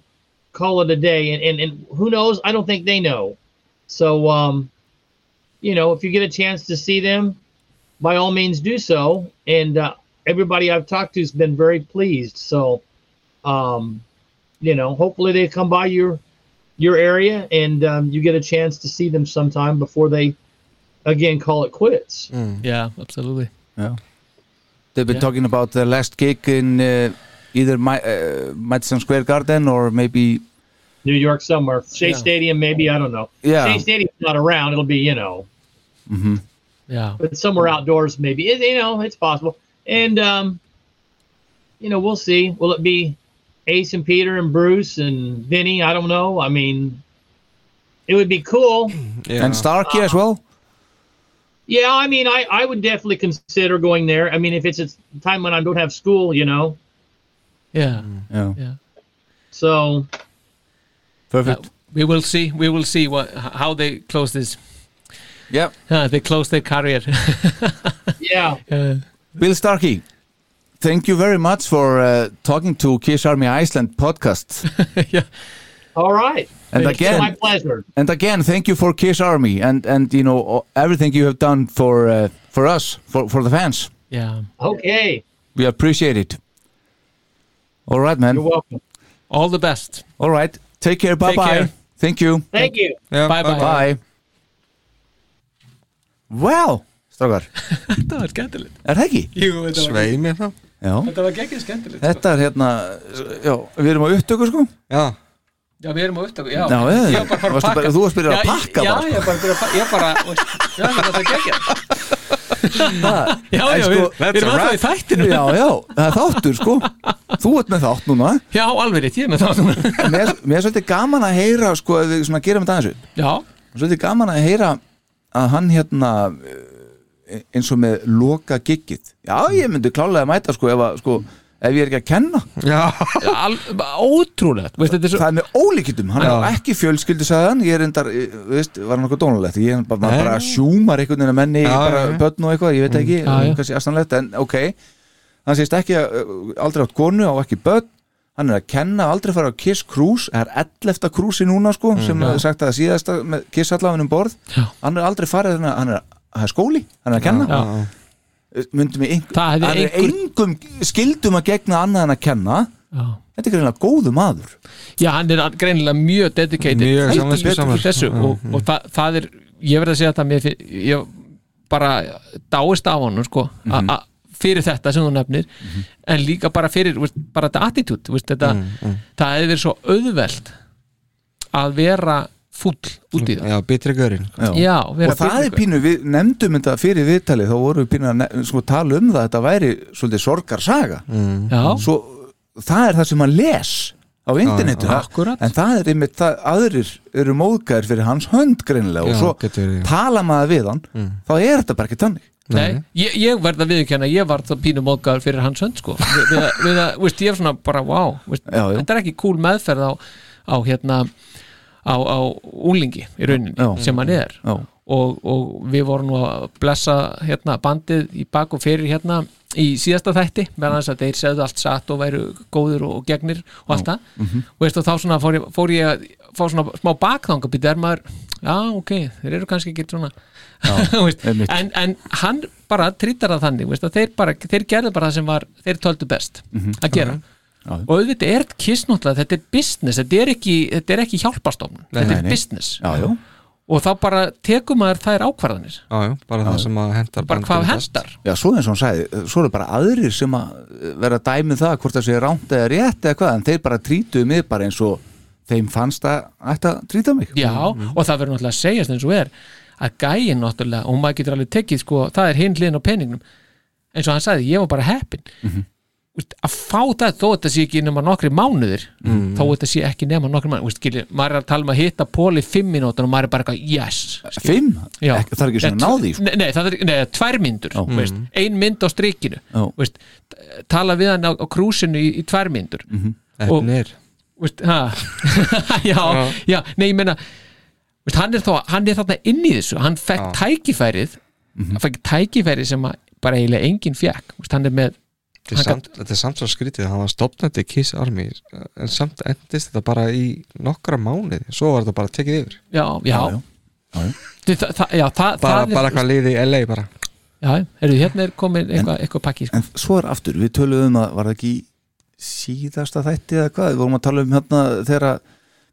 Speaker 9: call it a day, and, and and who knows? I don't think they know. So um, you know, if you get a chance to see them, by all means do so. And uh, everybody I've talked to has been very pleased. So, um, you know, hopefully they come by your your area and um, you get a chance to see them sometime before they again call it quits.
Speaker 6: Yeah, absolutely.
Speaker 3: Yeah. They've been
Speaker 6: Yeah.
Speaker 3: talking about the last gig in uh, either my, uh, Madison Square Garden or maybe
Speaker 9: New York somewhere, Shea Stadium maybe I don't know.
Speaker 3: Yeah.
Speaker 9: Shea Stadium's not around. It'll be you know,
Speaker 6: Yeah.
Speaker 9: but somewhere outdoors maybe. It, you know, it's possible. And um, you know, we'll see. Will it be Ace and Peter and Bruce and Vinny? I don't know. I mean, it would be cool.
Speaker 4: Yeah.
Speaker 3: and Starkey as well.
Speaker 9: Yeah, I mean, I I would definitely consider going there. I mean, if it's a time when I don't have school, you know.
Speaker 6: Yeah.
Speaker 3: Yeah,
Speaker 6: Yeah.
Speaker 9: So
Speaker 3: perfect.
Speaker 6: We will see. We will see what h- how they close this.
Speaker 3: yeah,
Speaker 6: Uh, they close their career.
Speaker 9: yeah,
Speaker 6: Uh,
Speaker 3: Bill Starkey. Thank you very much for uh, talking to Kiss Army Iceland podcast.
Speaker 9: all right.
Speaker 3: And
Speaker 6: Thank you.
Speaker 3: again,
Speaker 9: My pleasure.
Speaker 3: and again, thank you for Kiss Army and and you know o- everything you have done for uh, for us for for the fans.
Speaker 6: yeah.
Speaker 9: Okay,
Speaker 3: We appreciate it. All right, man.
Speaker 9: you're welcome.
Speaker 6: All the best.
Speaker 3: All right. Take care. Bye bye.
Speaker 6: care.
Speaker 3: Thank you.
Speaker 9: Thank you.
Speaker 4: Yeah,
Speaker 6: Bye bye.
Speaker 3: Bye. Well, strákar,
Speaker 6: Þetta var skemmtilegt.
Speaker 3: er það ekki?
Speaker 6: Jú,
Speaker 4: ok. Svei mér þá
Speaker 3: Já.
Speaker 6: Þetta var geggið skemmtilegt.
Speaker 3: Þetta er hérna, já, við erum á upptöku sko.
Speaker 4: Já,
Speaker 6: Já, við erum á upptöku. Já,
Speaker 3: Já, já.
Speaker 6: ég var bara að fara að
Speaker 3: Varstu
Speaker 6: pakka.
Speaker 3: bara- þú varst byrjuð að
Speaker 6: Já, ég-
Speaker 3: pakka
Speaker 6: já,
Speaker 3: bara, sko.
Speaker 6: ég var bara að byrja að pakka. Ég bara, já, þetta var geggið. Já,
Speaker 3: En
Speaker 6: já,
Speaker 3: sko,
Speaker 6: við
Speaker 4: that's
Speaker 6: við erum
Speaker 4: a
Speaker 6: alltaf í þættinu.
Speaker 3: Já, já, það er þáttur sko. Þú ert með þátt núna.
Speaker 6: Já, alveg rétt, ég er með það núna.
Speaker 3: Mér, mér er svolítið gaman að heyra sko, ef við svona gerum þetta aðeins upp.
Speaker 6: Já,
Speaker 3: Svolítið gaman að heyra að hann hérna eh, eins og með loka giggið. Já, ég myndi klálega að mæta sko ef, að, sko, ef ég er ekki að kenna.
Speaker 4: já,
Speaker 6: al, ótrúlegt. Veist, þetta er svo...
Speaker 3: Það er með ólíkjöndum, hann er ekki fjölskyldu sagðan, ég er endar, veist, var hann eitthvað dónalegt ég bara, maður
Speaker 4: Nei.
Speaker 3: bara sjúmar einhvern veginn að menni
Speaker 4: Já,
Speaker 3: bara
Speaker 4: já, já.
Speaker 3: börn og eitthvað, ég veit ekki,
Speaker 6: Mm. Já, já.
Speaker 3: kannski astanlegt en ok, hann sést ekki uh, aldrei átt konu á ekki börn hann er að kenna, aldrei fara á Kiss Cruise það er 11. krúsi núna sko sem er sagt að það síðasta með Kiss allafinn um borð
Speaker 6: Mm, Já.
Speaker 3: hann er aldrei farið, þannig að hann er hann er skóli, hann er að kenna Eh,
Speaker 6: Já.
Speaker 3: myndum við einhver,
Speaker 6: Það hefði
Speaker 3: hann er engum skildum að gegna annað en að kenna
Speaker 6: Já.
Speaker 3: þetta er greinlega góðu maður
Speaker 6: Já, hann er greinilega mjög dedicated
Speaker 4: Mjög
Speaker 6: heldur betur
Speaker 4: samviskusamur.
Speaker 6: í þessu og, og það, það er, ég verð að segja þetta mér fyrir, ég bara dáist af honum sko, mm fyrir þetta sem þú nefnir en líka bara fyrir, þú veist, bara þetta attitude þú veist, þetta, það hefði verið svo auðvelt að vera fúll út í það
Speaker 4: Já, betri görinn
Speaker 6: Já, vera
Speaker 3: og það
Speaker 6: betri
Speaker 3: er pínu, við nefndum þetta fyrir viðtalið þá vorum við pínu að nef- sko, tala um það að þetta væri svolítið sorgarsaga
Speaker 6: Mhm. Já.
Speaker 3: svo það er það sem hann les á internetu
Speaker 6: já, akkúrat.
Speaker 3: en það er einmitt það, aðrir eru móðgæðir fyrir hans hönd greinilega
Speaker 6: Já,
Speaker 3: og svo
Speaker 6: getur verið, já. Mm.
Speaker 3: tala maður við hann þá er þetta bara ekki tannig
Speaker 6: Nei, ég, ég verð að viðkjanna, ég var það pínu móðgæður fyrir hans hönd sko við, við, að- við að, veist, ég er svona bara, wow veist, já, já. þetta er ekki cool meðferð á, á hérna, á, á úlingi í rauninni, sem hann er
Speaker 3: já.
Speaker 6: Og, og við vorum nú að blessa hérna, bandið í bak og fyrir hérna í síðasta þætti, meðan þess að þeir segðu allt satt og væru góður og gegnir og allt það og veist, og þá svona fór ég, fór ég að fá svona smá bakþanga býta er maður, já ok, þeir eru kannski ekki svona Þú veist, en, en hann bara trýtar það þannig veist, að þeir, bara, þeir gerðu bara það sem var þeir töldu best
Speaker 3: Mhm.
Speaker 6: að gera og auðvitað er kiss náttúrulega, þetta er business þetta er ekki, þetta er ekki hjálpastofn
Speaker 4: Nei,
Speaker 6: þetta
Speaker 4: nei, nei.
Speaker 6: er business
Speaker 4: Já, já.
Speaker 6: og þá bara tekum maður þær ákvarðanir
Speaker 4: Já, já, bara það
Speaker 3: Já.
Speaker 4: sem að hentar
Speaker 6: Bara hvað hentar?
Speaker 3: Já, svo eins og hann sagði, svo eru bara aðrir sem að eh, vera dæmið það hvort það sé ránt eða rétt eða hvað, en þeir bara trítuðu mig bara eins og þeim fannst að ætti að tríta mig
Speaker 6: Já,
Speaker 3: mm.
Speaker 6: og það verður náttúrulega að segjast eins og er að gæin náttúrulega, og maður getur alveg tekið sko, það er hinn hliðin á peningnum eins og hann sagði, ég var bara heppin
Speaker 3: Mhm.
Speaker 6: Vist, að fá það þó þetta sé ekki nema nokkri mánuðir,
Speaker 3: Mm.
Speaker 11: Mhm.
Speaker 6: þó þetta sé ekki nema nokkri mánuðir, Vist, skilur, maður er að tala um að hitta pól í fimm mínútur og maður er bara eitthvað, yes skilur.
Speaker 3: Fimm?
Speaker 6: Já.
Speaker 3: Ek- það er ekki svona
Speaker 6: Nei,
Speaker 3: náð í, sko.
Speaker 6: Nei, nei, það er, nei tvær myndur,
Speaker 3: Já.
Speaker 6: veist,
Speaker 3: Mhm.
Speaker 6: ein mynd á strikinu
Speaker 3: Já.
Speaker 6: veist, t- tala við hann á, á krúsinu í, í tvær myndur og, veist, ha, já, já, nei, ég meina veist, hann, er þó, hann er þarna inn í þessu hann fekk tækifærið
Speaker 3: Mhm.
Speaker 6: hann fekk tækifærið sem að bara eiginlega enginn fekk, veist, hann er með
Speaker 4: Þetta er samt- þetta er samt svo skrítið hann var stopnandi Kiss Army en samt endist þetta bara í nokkra mánuði svo var þetta bara tekið yfir
Speaker 6: já, já,
Speaker 4: Já,
Speaker 3: já.
Speaker 6: Þi- það- það- já, það-
Speaker 4: bara,
Speaker 6: það er-
Speaker 4: bara eitthvað liði í LA bara
Speaker 6: já, heyrðu, hérna er komin eitthvað, eitthvað pakki sko.
Speaker 3: En svo er aftur, við töluðum um að var það ekki í síðasta þætti eða hvað, við vorum að tala um hérna þegar að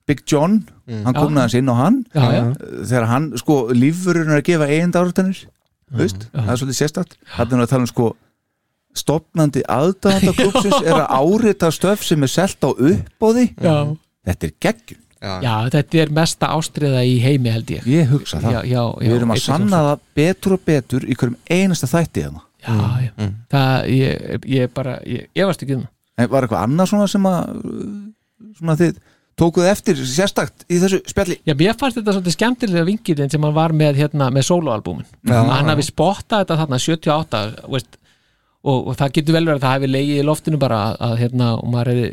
Speaker 3: Big John,
Speaker 6: Mm.
Speaker 3: hann
Speaker 6: Já.
Speaker 3: komnaði hans inn á hann
Speaker 6: Já, já.
Speaker 3: þegar hann, sko, lífurinn er að gefa eigenda árutanir, veist, það er svolítið sérstætt hann er að tala um sko stopnandi aðdæðanda klubsins er að árita stöf sem er selt á uppbóði
Speaker 6: Já.
Speaker 3: þetta er geggjum
Speaker 6: já, þetta er mesta ástriða í heimi held ég
Speaker 3: ég hugsa það,
Speaker 6: já, já, já,
Speaker 3: við erum að
Speaker 6: einnig
Speaker 3: sanna það betur og betur í hverjum einasta þætti hérna.
Speaker 6: já, já.
Speaker 4: Mm.
Speaker 6: það, ég, ég bara, ég, ég varst ekki um það.
Speaker 3: En var eitthvað annað svona sem að uh, svona þið tókuð eftir sérstakt í þessu spjalli
Speaker 6: Já, mér fannst þetta svolítið skemmtilega vingilinn sem hann var með hérna, með soloalbúmin
Speaker 3: Já.
Speaker 6: hann hafi spottað þetta þarna 78 veist, og, og það getur vel verið að það hafi legið í loftinu bara að, að hérna, og maður hefði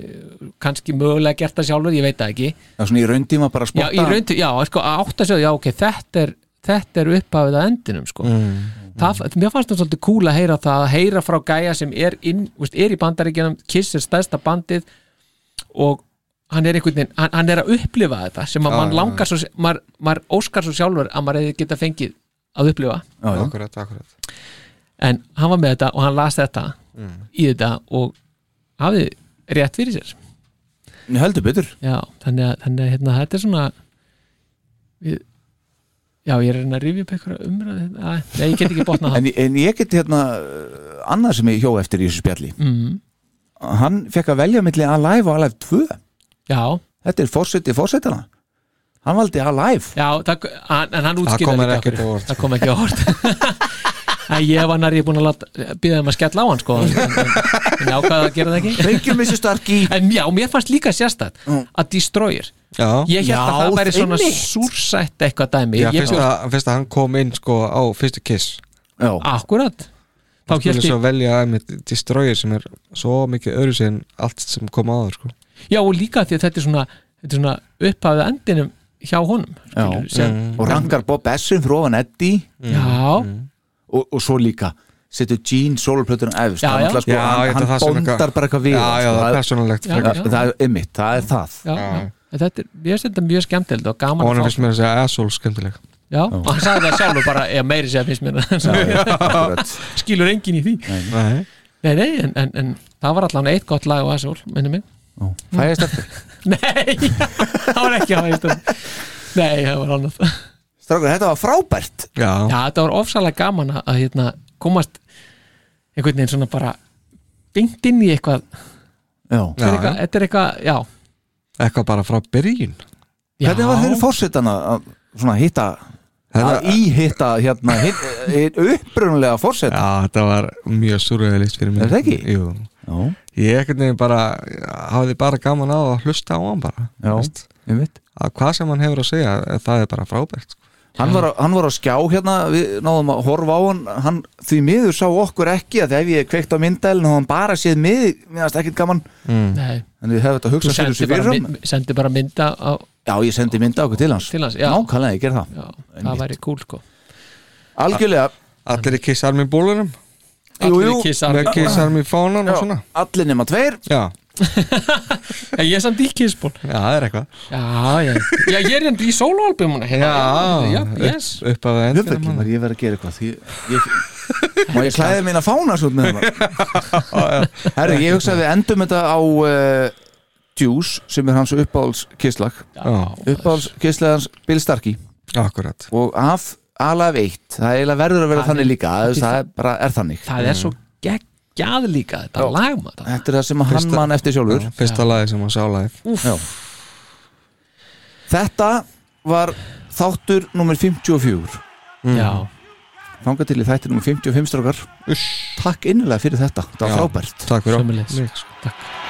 Speaker 6: kannski mögulega gert það sjálfur, ég veit það ekki
Speaker 3: Já, svona í raundíma bara
Speaker 6: Já,
Speaker 3: spotta
Speaker 6: í raundi, já, sko, að átta sig á því, já, ok, þetta er þetta er upphafið að endinum, sko
Speaker 4: Mm.
Speaker 6: það, mér fannst það svolítið cool að heyra það að heyra frá gæja sem er, inn, veist, er í bandaríkjanum Kiss er stærsta bandið og hann er einhvern veginn hann, hann er að upplifa þetta sem að
Speaker 4: Já,
Speaker 6: mann
Speaker 4: já,
Speaker 6: langar svo, maður, maður óskar svo sjálfur að maður hefði geta fengið að upplifa
Speaker 3: já.
Speaker 4: akkurat, akkurat
Speaker 6: en hann var með þetta og hann las þetta
Speaker 4: Mm.
Speaker 6: í þetta og hafði rétt fyrir sér
Speaker 3: heldur betur
Speaker 6: já, þannig að, þannig að hérna, þetta er svona við, já, ég er að reyna að rifja upp eitthvað umræð nei, ég get ekki botnað
Speaker 3: en,
Speaker 6: það
Speaker 3: en ég get hérna uh, annað sem ég hjó eftir í þessu spjalli
Speaker 6: mm,
Speaker 3: hann fekk að velja milli Alive og Alive 2
Speaker 6: já,
Speaker 3: þetta er fórseti fórsetana hann valdi Alive
Speaker 6: já það, hann, en hann
Speaker 3: Það
Speaker 6: útskýrði
Speaker 3: kom mér
Speaker 6: líka
Speaker 3: ekkert
Speaker 6: okkur.
Speaker 3: á óvart. sko.
Speaker 6: það kom ekki á orð en ég var nær ég búin að láta býða um að skella á hann sko en, en, en ég ákvaði að gera það ekki
Speaker 3: Thank you Mrs. Starkey
Speaker 6: en já, mér fannst líka sérstætt að Destroyer ég held að
Speaker 4: Já,
Speaker 6: það væri svona
Speaker 4: einmitt.
Speaker 6: súrsætt eitthvað dæmi
Speaker 4: Já,
Speaker 6: Ég
Speaker 4: fyrst,
Speaker 6: bjóst-
Speaker 4: að, fyrst að hann kom inn sko á fyrstu Kiss
Speaker 3: Já.
Speaker 6: Akkurat Þá
Speaker 4: Þá
Speaker 6: hélt
Speaker 4: hélt
Speaker 6: ég-
Speaker 4: svo velja einmitt Destroyer sem er svo mikið öðru en allt sem kom áður sko
Speaker 6: Já og líka því að þetta er svona, þetta er svona upphafið endinum hjá honum
Speaker 3: Já.
Speaker 6: skilurðu, sem,
Speaker 3: og rankar Bob Essin frá hann Eddie
Speaker 6: Já.
Speaker 3: og, og svo líka setur Gene soloplötunum efst
Speaker 6: Já,
Speaker 3: Það er
Speaker 6: já.
Speaker 3: náttúrulega
Speaker 4: Já, ég
Speaker 3: hann,
Speaker 4: held að það
Speaker 3: hann
Speaker 4: sé
Speaker 3: bóndar
Speaker 4: eitthvað-
Speaker 3: bara eitthvað við
Speaker 4: Já,
Speaker 3: hann,
Speaker 4: já,
Speaker 3: sko.
Speaker 4: það er persónulegt
Speaker 6: Já, frekar. já.
Speaker 3: það er ymmit, það er það
Speaker 6: já, já. En Þetta er, ég finnst þetta mjög skemmtilegt og
Speaker 4: og
Speaker 6: gaman
Speaker 4: hann
Speaker 6: að
Speaker 4: finnst
Speaker 6: fá
Speaker 4: mér að segja asshole skemmtileg
Speaker 6: Já, og hann sagði það sjálfur bara, eða meiri sér finnst mér það
Speaker 3: akkurat.
Speaker 6: Skilur enginn í því
Speaker 4: Nei.
Speaker 6: Nei, nei, en, en, en það var allan eitt gott lag og aðsól, minni mig
Speaker 3: Fæðist eftir?
Speaker 6: Nei, það var ekki fæðist eftir Nei, það var annað
Speaker 3: Strákur, þetta var frábært
Speaker 4: Já,
Speaker 6: þetta var ofsalega gaman að hérna, komast einhvern veginn svona bara bengt inn í eitthvað
Speaker 3: Já,
Speaker 6: Þetta er eitthvað, þetta er eitthvað já,
Speaker 4: eitthvað bara frá byrjun
Speaker 3: Hvernig var fyrir fórsetan að svona hitta að íhitta hérna hit, hit, upprunlega fórseta
Speaker 4: Já, þetta var mjög surrealist fyrir mig
Speaker 3: Er það ekki?
Speaker 4: Jú
Speaker 3: Já.
Speaker 4: Ég ekkert nefnir bara hafði bara gaman á að hlusta á hann bara
Speaker 3: Já, ég veit
Speaker 4: Að hvað sem hann hefur að segja, eh, það er bara frábært sko.
Speaker 3: hann var, á- hann var á skjá hérna við náðum að horfa á hann, hann því miður sá okkur ekki að ef ég kveikt á myndælinu og hann bara séð mið meðast ekkert gaman
Speaker 4: mm.
Speaker 6: Nei.
Speaker 3: en við hefum þetta
Speaker 6: Þú
Speaker 3: hugsað fyrir
Speaker 6: sendi
Speaker 3: sér
Speaker 6: bara,
Speaker 3: fyrir hann
Speaker 6: mynd, sendi bara mynda á,
Speaker 3: já ég sendi mynda okkur til hans
Speaker 6: til hans Já,
Speaker 3: nákvæmlega ég ger það
Speaker 6: já
Speaker 3: Einmitt.
Speaker 6: það væri cool sko
Speaker 3: algjörlega
Speaker 4: Allir í Kiss Army bólunum
Speaker 6: Allir í Kiss Army-
Speaker 4: Með Kiss Army fánan og
Speaker 3: Já,
Speaker 4: svona
Speaker 3: allir nema tveir
Speaker 4: Já,
Speaker 6: En ég er samt í kissból
Speaker 4: já það er eitthvað
Speaker 6: Já, já, já, ég er endur í soloalbumuna hérna. já, yes
Speaker 4: upp, upp að
Speaker 3: Ég veit ekki, maður, ég verð að gera eitthvað því, ég, Má ég klæði mín að fána svo með það Herri, ég hugsa að við endum þetta á uh, Juice sem er hans uppáhalds kisslag uppáhalds kisslag hans Bill Starkey
Speaker 4: Akkurat
Speaker 3: og af alaf eitt það er eiginlega verður að vera
Speaker 6: Það
Speaker 3: þannig
Speaker 6: er-
Speaker 3: líka það,
Speaker 6: það-
Speaker 3: það er bara er þannig
Speaker 6: Það er svo geggjað líka þetta lagum þetta
Speaker 3: Þetta er það sem hann
Speaker 4: Fyrsta-
Speaker 3: mann eftir sjálfur
Speaker 4: Fyrsta lagi sem hann sá live
Speaker 6: Úff,
Speaker 3: Já. Þetta var þáttur nummer 54
Speaker 6: já,
Speaker 3: Þanga til í þætti nummer 55 strókar Takk innilega fyrir þetta, þetta var
Speaker 4: Já.
Speaker 3: frábært
Speaker 4: Takk fyrir okkur
Speaker 6: sömulegis
Speaker 4: Mikið, sko.
Speaker 6: Takk